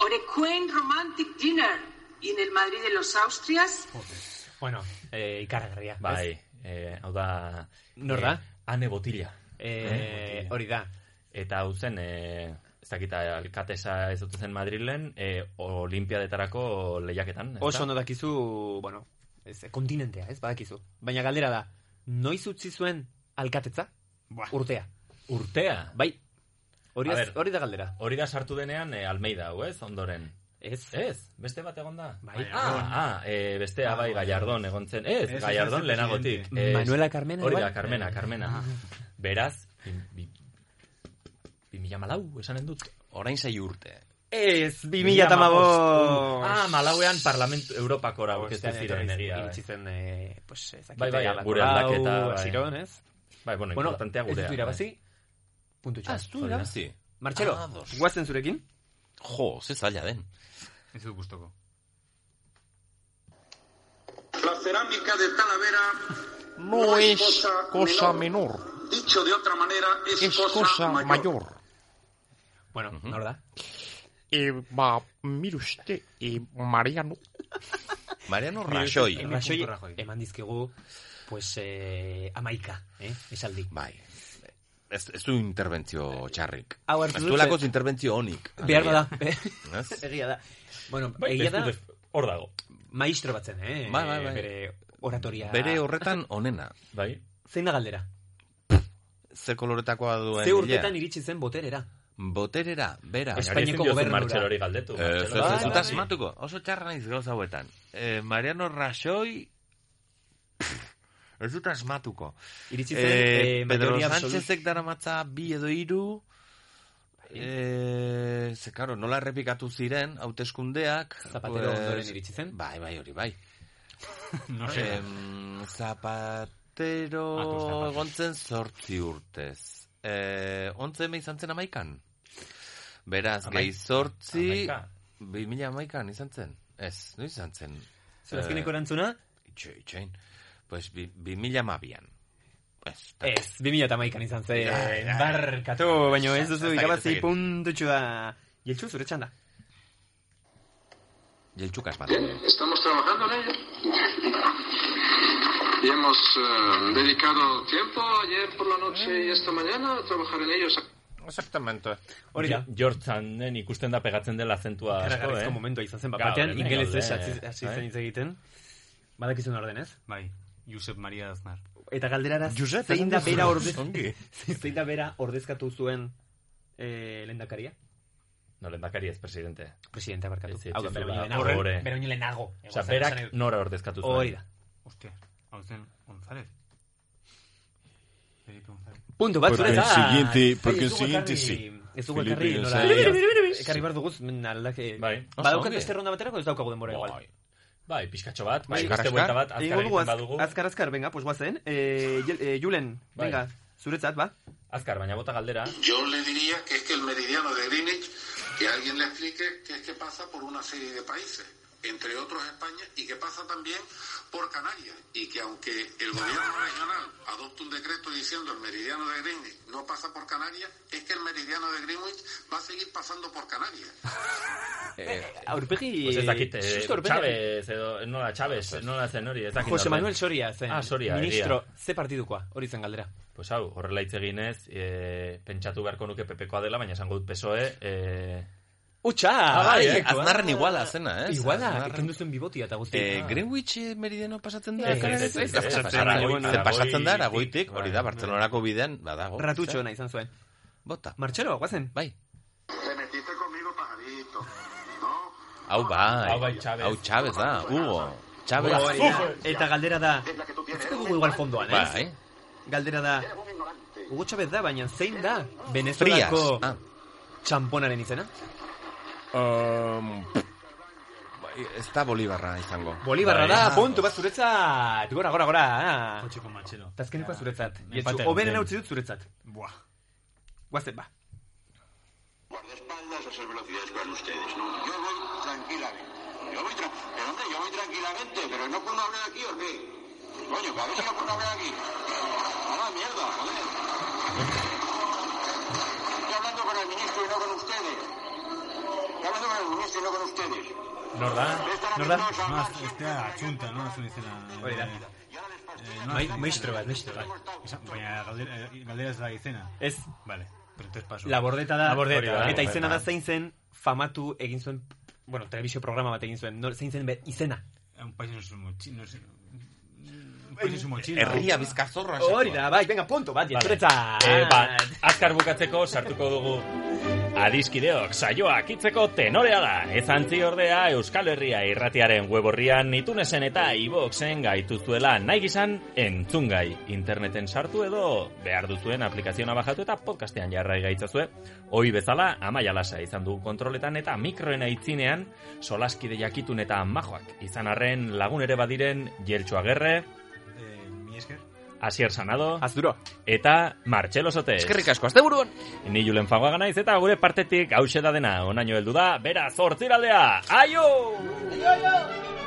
Speaker 11: or a quaint romantic dinner in el Madrid de los Austrias.
Speaker 2: Bueno, eh, ikaragarria. ez?
Speaker 1: Bai, eh, hau da...
Speaker 2: Nor da?
Speaker 1: Eh, Ane Botila.
Speaker 2: Eh,
Speaker 4: Bai.
Speaker 2: hori da.
Speaker 1: Eta hau zen, eh, ez dakita, alkatesa ez dut zen Madrilen, eh, olimpiadetarako lehiaketan. ez da?
Speaker 2: Oso ondo dakizu, bueno, ez, e, kontinentea, ez, badakizu. Baina galdera da, noiz utzi zuen alkatetza? Urtea.
Speaker 1: Urtea?
Speaker 2: Bai. Hori,
Speaker 1: Ah. A
Speaker 2: ez-
Speaker 1: ber.
Speaker 2: hori da galdera.
Speaker 1: Hori da sartu denean eh, Almeida, hau ez, ondoren.
Speaker 2: Ez.
Speaker 1: Ez, beste bat egon da.
Speaker 2: Bai.
Speaker 1: Ah, ah, eh, bestea bai, Gallardon egon zen. Ez,
Speaker 2: Ez,
Speaker 1: Gallardon
Speaker 2: ez, ez,
Speaker 1: lehenagotik.
Speaker 2: presidente. Eh,
Speaker 1: Ez.
Speaker 2: Manuela Carmena,
Speaker 1: Hori da,
Speaker 2: igual?
Speaker 1: Carmena,
Speaker 2: Eh.
Speaker 1: Carmena.
Speaker 2: Ah.
Speaker 1: Beraz, bi- bi- bi mila malau, esanen dut.
Speaker 4: Orain sei urte.
Speaker 2: Ez,
Speaker 1: 2015.
Speaker 2: 2015.
Speaker 1: Ah, malauean parlamentu Europakora aurkeztu
Speaker 2: Ostean
Speaker 1: ziren
Speaker 2: etorri-
Speaker 1: egia. bai.
Speaker 2: Iritsi zen, eh, pues, ez dakit,
Speaker 1: Bai, bai,
Speaker 2: Galako
Speaker 1: gure
Speaker 2: hau,
Speaker 1: aldaketa. bai.
Speaker 2: Asiron, ez?
Speaker 1: Bai, bueno,
Speaker 2: Bueno,
Speaker 1: importantea
Speaker 2: ez
Speaker 1: gurea.
Speaker 2: ditu irabazi, puntu txar.
Speaker 4: Ah, ez du Ah, irabazi.
Speaker 2: Martxelo,
Speaker 4: Ados.
Speaker 2: guazen zurekin?
Speaker 4: Jo, ze zaila den.
Speaker 3: Ez dut gustoko.
Speaker 12: La cerámica de Talavera
Speaker 7: No es cosa menor,
Speaker 12: Dicho de otra manera, es,
Speaker 7: es
Speaker 12: cosa,
Speaker 7: cosa
Speaker 12: mayor.
Speaker 7: mayor.
Speaker 2: Bueno, nor da?
Speaker 7: Eh, ba, mire usted, eh, Mariano.
Speaker 4: Mariano
Speaker 2: Rajoy,
Speaker 4: Rajoy.
Speaker 2: eman dizkigu, pues, eh, amaika, eh, esaldi.
Speaker 4: Bai. Ez, ez du interbentzio txarrik.
Speaker 2: Hau hartu
Speaker 4: ez
Speaker 2: dut,
Speaker 4: du lakoz
Speaker 2: ze-
Speaker 4: interbentzio honik.
Speaker 2: Behar bada.
Speaker 4: Ez?
Speaker 2: Egia da. Bueno,
Speaker 1: Bai,
Speaker 2: egia
Speaker 1: ez
Speaker 2: da,
Speaker 1: dut- Hor dago.
Speaker 2: maestro batzen, eh?
Speaker 4: Bai, bai, bai.
Speaker 2: Bere oratoria.
Speaker 4: Bere horretan onena.
Speaker 1: Bai.
Speaker 2: Zein da galdera?
Speaker 4: Ze koloretakoa duen
Speaker 2: Ze urtetan
Speaker 4: ilea.
Speaker 2: iritsi zen boterera?
Speaker 4: Boterera, bera.
Speaker 2: Baina hori Espainiako ezin diozu gobernura.
Speaker 1: Martxelori galdetu,
Speaker 4: Ez, ez,
Speaker 1: Martxelo.
Speaker 4: ez
Speaker 1: Bai,
Speaker 4: dut
Speaker 1: bai.
Speaker 4: asmatuko. Oso txarra naiz gauza hauetan. Eh, Mariano Rajoy... Pff, Ez dut asmatuko.
Speaker 2: Iritsi zen,
Speaker 4: Eh,
Speaker 2: eh,
Speaker 4: Pedro
Speaker 2: mayoría absoluta.
Speaker 4: Sánchezek daramatza bi edo hiru
Speaker 2: Bai.
Speaker 4: eh, ze, karo, nola errepikatu ziren hauteskundeak
Speaker 2: Zapatero ondoren iritsi zen.
Speaker 4: Bai, bai, hori, bai.
Speaker 3: No sé.
Speaker 4: Em, Zapatero astero egontzen zortzi urtez. E, ontze eme izan zen amaikan. Beraz,
Speaker 1: Amai-
Speaker 4: gehi zortzi,
Speaker 1: Hamaika.
Speaker 4: bi mila amaikan izan zen. Ez, nu izan zen.
Speaker 2: Zer
Speaker 4: Eh.
Speaker 2: azkeneko erantzuna?
Speaker 4: Itxe, itxein. Pues, bi, bi mila mabian. Ez, ta-
Speaker 2: Ez, 2008an izan zen.
Speaker 4: Ja, ja, ja.
Speaker 2: Barkatu, baino ez
Speaker 4: Ez
Speaker 2: duzu
Speaker 4: dakit, ez
Speaker 2: irabazi
Speaker 4: dakit.
Speaker 2: puntutxu da. Jeltxu, zure txanda.
Speaker 4: Jeltxukas bat.
Speaker 12: Estamos trabajando en ello. Y hemos eh, dedicado tiempo ayer por la noche y esta mañana a trabajar en ellos.
Speaker 4: Exactamente.
Speaker 2: Hori da.
Speaker 1: Jortzanen ikusten da pegatzen dela azentua asko, eh?
Speaker 2: Karagarrizko momentua izan zen, bat batean,
Speaker 1: Gaur,
Speaker 2: ingelesez
Speaker 1: gaude,
Speaker 2: hasi hasi
Speaker 1: eh?
Speaker 2: zen hitz egiten. Badakizun ordenez?
Speaker 3: Bai, Josep Maria Aznar.
Speaker 2: Eta galderara
Speaker 3: Josep,
Speaker 2: zein da
Speaker 3: esan
Speaker 2: bera
Speaker 3: duzu,
Speaker 2: ordez...
Speaker 3: ongi.
Speaker 2: zein da bera ordezkatu zuen eh, lehendakaria?
Speaker 1: No, lehendakari ez, presidente.
Speaker 2: Presidente barkatu.
Speaker 1: Ez, ez,
Speaker 2: Hau da,
Speaker 1: ez,
Speaker 2: bera
Speaker 1: ez,
Speaker 2: baino
Speaker 1: ez,
Speaker 2: lehenago.
Speaker 1: horre.
Speaker 2: Bera baino lehenago.
Speaker 1: O sea, berak nora ordezkatu zuen.
Speaker 2: Hori da.
Speaker 3: Hostia, hau zen González. Felipe González.
Speaker 2: Punto bat,
Speaker 14: Porque el
Speaker 2: zuretzat.
Speaker 14: siguiente- porque
Speaker 2: Ai, ez
Speaker 14: el
Speaker 2: dugu
Speaker 14: siguiente
Speaker 2: ekarri-
Speaker 14: sí.
Speaker 2: Ez dugu
Speaker 14: Felipe
Speaker 2: ekarri nola.
Speaker 14: González.
Speaker 2: Biri, biri, biri, biri. Ekarri behar dugu, men aldak... Bai. Badaukat
Speaker 1: ongi.
Speaker 2: beste ronda baterako ez daukagu denbora igual.
Speaker 1: Bai, pixkatxo bat, bai,
Speaker 2: Azkar,
Speaker 1: beste
Speaker 2: azkar.
Speaker 1: buelta bat, azkar
Speaker 2: Egingo dugu,
Speaker 1: egiten
Speaker 2: azk-
Speaker 1: badugu.
Speaker 2: Azkar, azkar, venga, pues guazen. Eh, Jel- eh, Julen,
Speaker 1: Bai.
Speaker 2: venga, zuretzat, ba?
Speaker 1: Azkar, baina bota galdera.
Speaker 12: Yo le diría que es que el meridiano de Greenwich, que alguien le explique que es que pasa por una serie de países, entre otros España, y que pasa también por Canarias, y que aunque el gobierno regional adopte un decreto diciendo el meridiano de Greenwich no pasa por Canarias, es que el meridiano de Greenwich va a seguir pasando por Canarias.
Speaker 2: Eh, aurpegi...
Speaker 1: Pues ez dakit, eh,
Speaker 2: Susto aurpegi-
Speaker 1: Chávez, edo, nola, Chávez, nola zen hori, ez dakit.
Speaker 2: Jose
Speaker 1: nola.
Speaker 2: Manuel Soria zen.
Speaker 1: Ah, Soria,
Speaker 2: Ministro,
Speaker 1: egia.
Speaker 2: ze partidukoa, hori zen galdera.
Speaker 1: Pues hau, horrela hitz eginez, eh, pentsatu beharko nuke pepekoa dela, baina esango dut PSOE... Eh...
Speaker 2: Utsa!
Speaker 1: Ah, bai, eh,
Speaker 2: Aiekoa.
Speaker 1: Aznarren iguala zena, ez?
Speaker 2: Iguala, Ah.
Speaker 1: Aznarren.
Speaker 2: kendu zuen bibotia eta guzti.
Speaker 4: Eh, Greenwich eh, meridiano pasatzen da?
Speaker 2: Ez, ez, ez, ez,
Speaker 4: Ze
Speaker 2: ez,
Speaker 4: pasatzen da,
Speaker 2: ez, ez, ez,
Speaker 4: ze pasatzen da,
Speaker 2: Aragoitik,
Speaker 4: aragoitik, hori da,
Speaker 2: bai,
Speaker 4: Bartzelonako bidean, badago.
Speaker 2: Ratutxo
Speaker 4: Ze?
Speaker 2: ona izan zuen.
Speaker 4: Bota.
Speaker 2: Martxelo, guazen?
Speaker 4: Bai.
Speaker 12: Te metiste conmigo, pajarito.
Speaker 4: Hau bai.
Speaker 2: Hau bai, Chávez.
Speaker 4: Hau Chávez da, Hugo. Chávez.
Speaker 2: Hori da. Bai, Eta galdera da, ez dugu igual fondoan, ez?
Speaker 4: Bai.
Speaker 2: Galdera da, Hugo Chávez da, baina zein da Venezuelako
Speaker 4: Frias,
Speaker 2: txamponaren izena?
Speaker 4: Um, bai, ez da Bolibarra izango.
Speaker 2: Bolibarra
Speaker 4: Bai.
Speaker 2: da,
Speaker 4: Ah,
Speaker 2: puntu bat zuretzat! Gora, gora, gora! ah.
Speaker 3: Kotxeko matxelo.
Speaker 2: Eta azkenekoa
Speaker 1: Ah,
Speaker 3: Ja,
Speaker 2: zuretzat.
Speaker 3: empate
Speaker 2: Jetxu,
Speaker 3: egin
Speaker 2: oberen
Speaker 3: den.
Speaker 2: hautzi dut zuretzat.
Speaker 3: Buah.
Speaker 2: Guazen, ba.
Speaker 12: Guardaespaldas a esas velocidades que van ustedes, ¿no? Yo voy tranquilamente. Yo voy tranquilamente. Pero hombre, yo voy tranquilamente, pero no puedo hablar aquí, ¿o qué? Coño, que a ver si no puedo hablar aquí. A la mierda, joder. Estoy hablando con el ministro y no con ustedes. Estoy hablando con el ministro y no con ustedes.
Speaker 1: Nor da?
Speaker 12: Nor da?
Speaker 3: No, ez da, atxunta, no? Ez izena.
Speaker 2: Hori da.
Speaker 3: Eh,
Speaker 2: Mai- maestro bat, maestro bat.
Speaker 3: Esa- Baina galdera, eh, galdera ez da izena.
Speaker 2: Ez.
Speaker 3: Vale, pero entonces paso.
Speaker 2: La bordeta da,
Speaker 3: Labordeta,
Speaker 1: bai.
Speaker 2: eta
Speaker 3: labordeta.
Speaker 2: izena da zein zen famatu egin zuen, bueno, telebizio programa bat egin zuen, no, zein zen be, izena.
Speaker 3: Eh, Un país en su mochila. Un país en su mochila.
Speaker 4: Herria bizkazorra.
Speaker 2: Hori da, bai, venga, punto, bat,
Speaker 1: Vale.
Speaker 2: jetxuretza!
Speaker 1: Eh,
Speaker 2: Ah.
Speaker 1: ba, azkar bukatzeko sartuko dugu Adiskideok saioak hitzeko tenorea da. Ezantzi ordea Euskal Herria irratiaren web horrian itunesen eta iboxen gaituzuela nahi gizan entzungai. Interneten sartu edo behar duzuen aplikaziona bajatu eta podcastean jarrai gaitzazue. Hoi bezala amaia lasa izan dugu kontroletan eta mikroena itzinean solaskide jakitun eta majoak. Izan arren lagun ere badiren Jeltxo Agerre,
Speaker 3: Eh, mi esker.
Speaker 1: Asier Sanado.
Speaker 2: Azduro.
Speaker 1: Eta Martxelo Sote.
Speaker 4: Eskerrik asko, azte buruan.
Speaker 1: Ni Julen Fagoaga naiz eta gure partetik hause da dena. Onaino heldu da, beraz, hortziraldea. Aio!
Speaker 6: Aio, aio!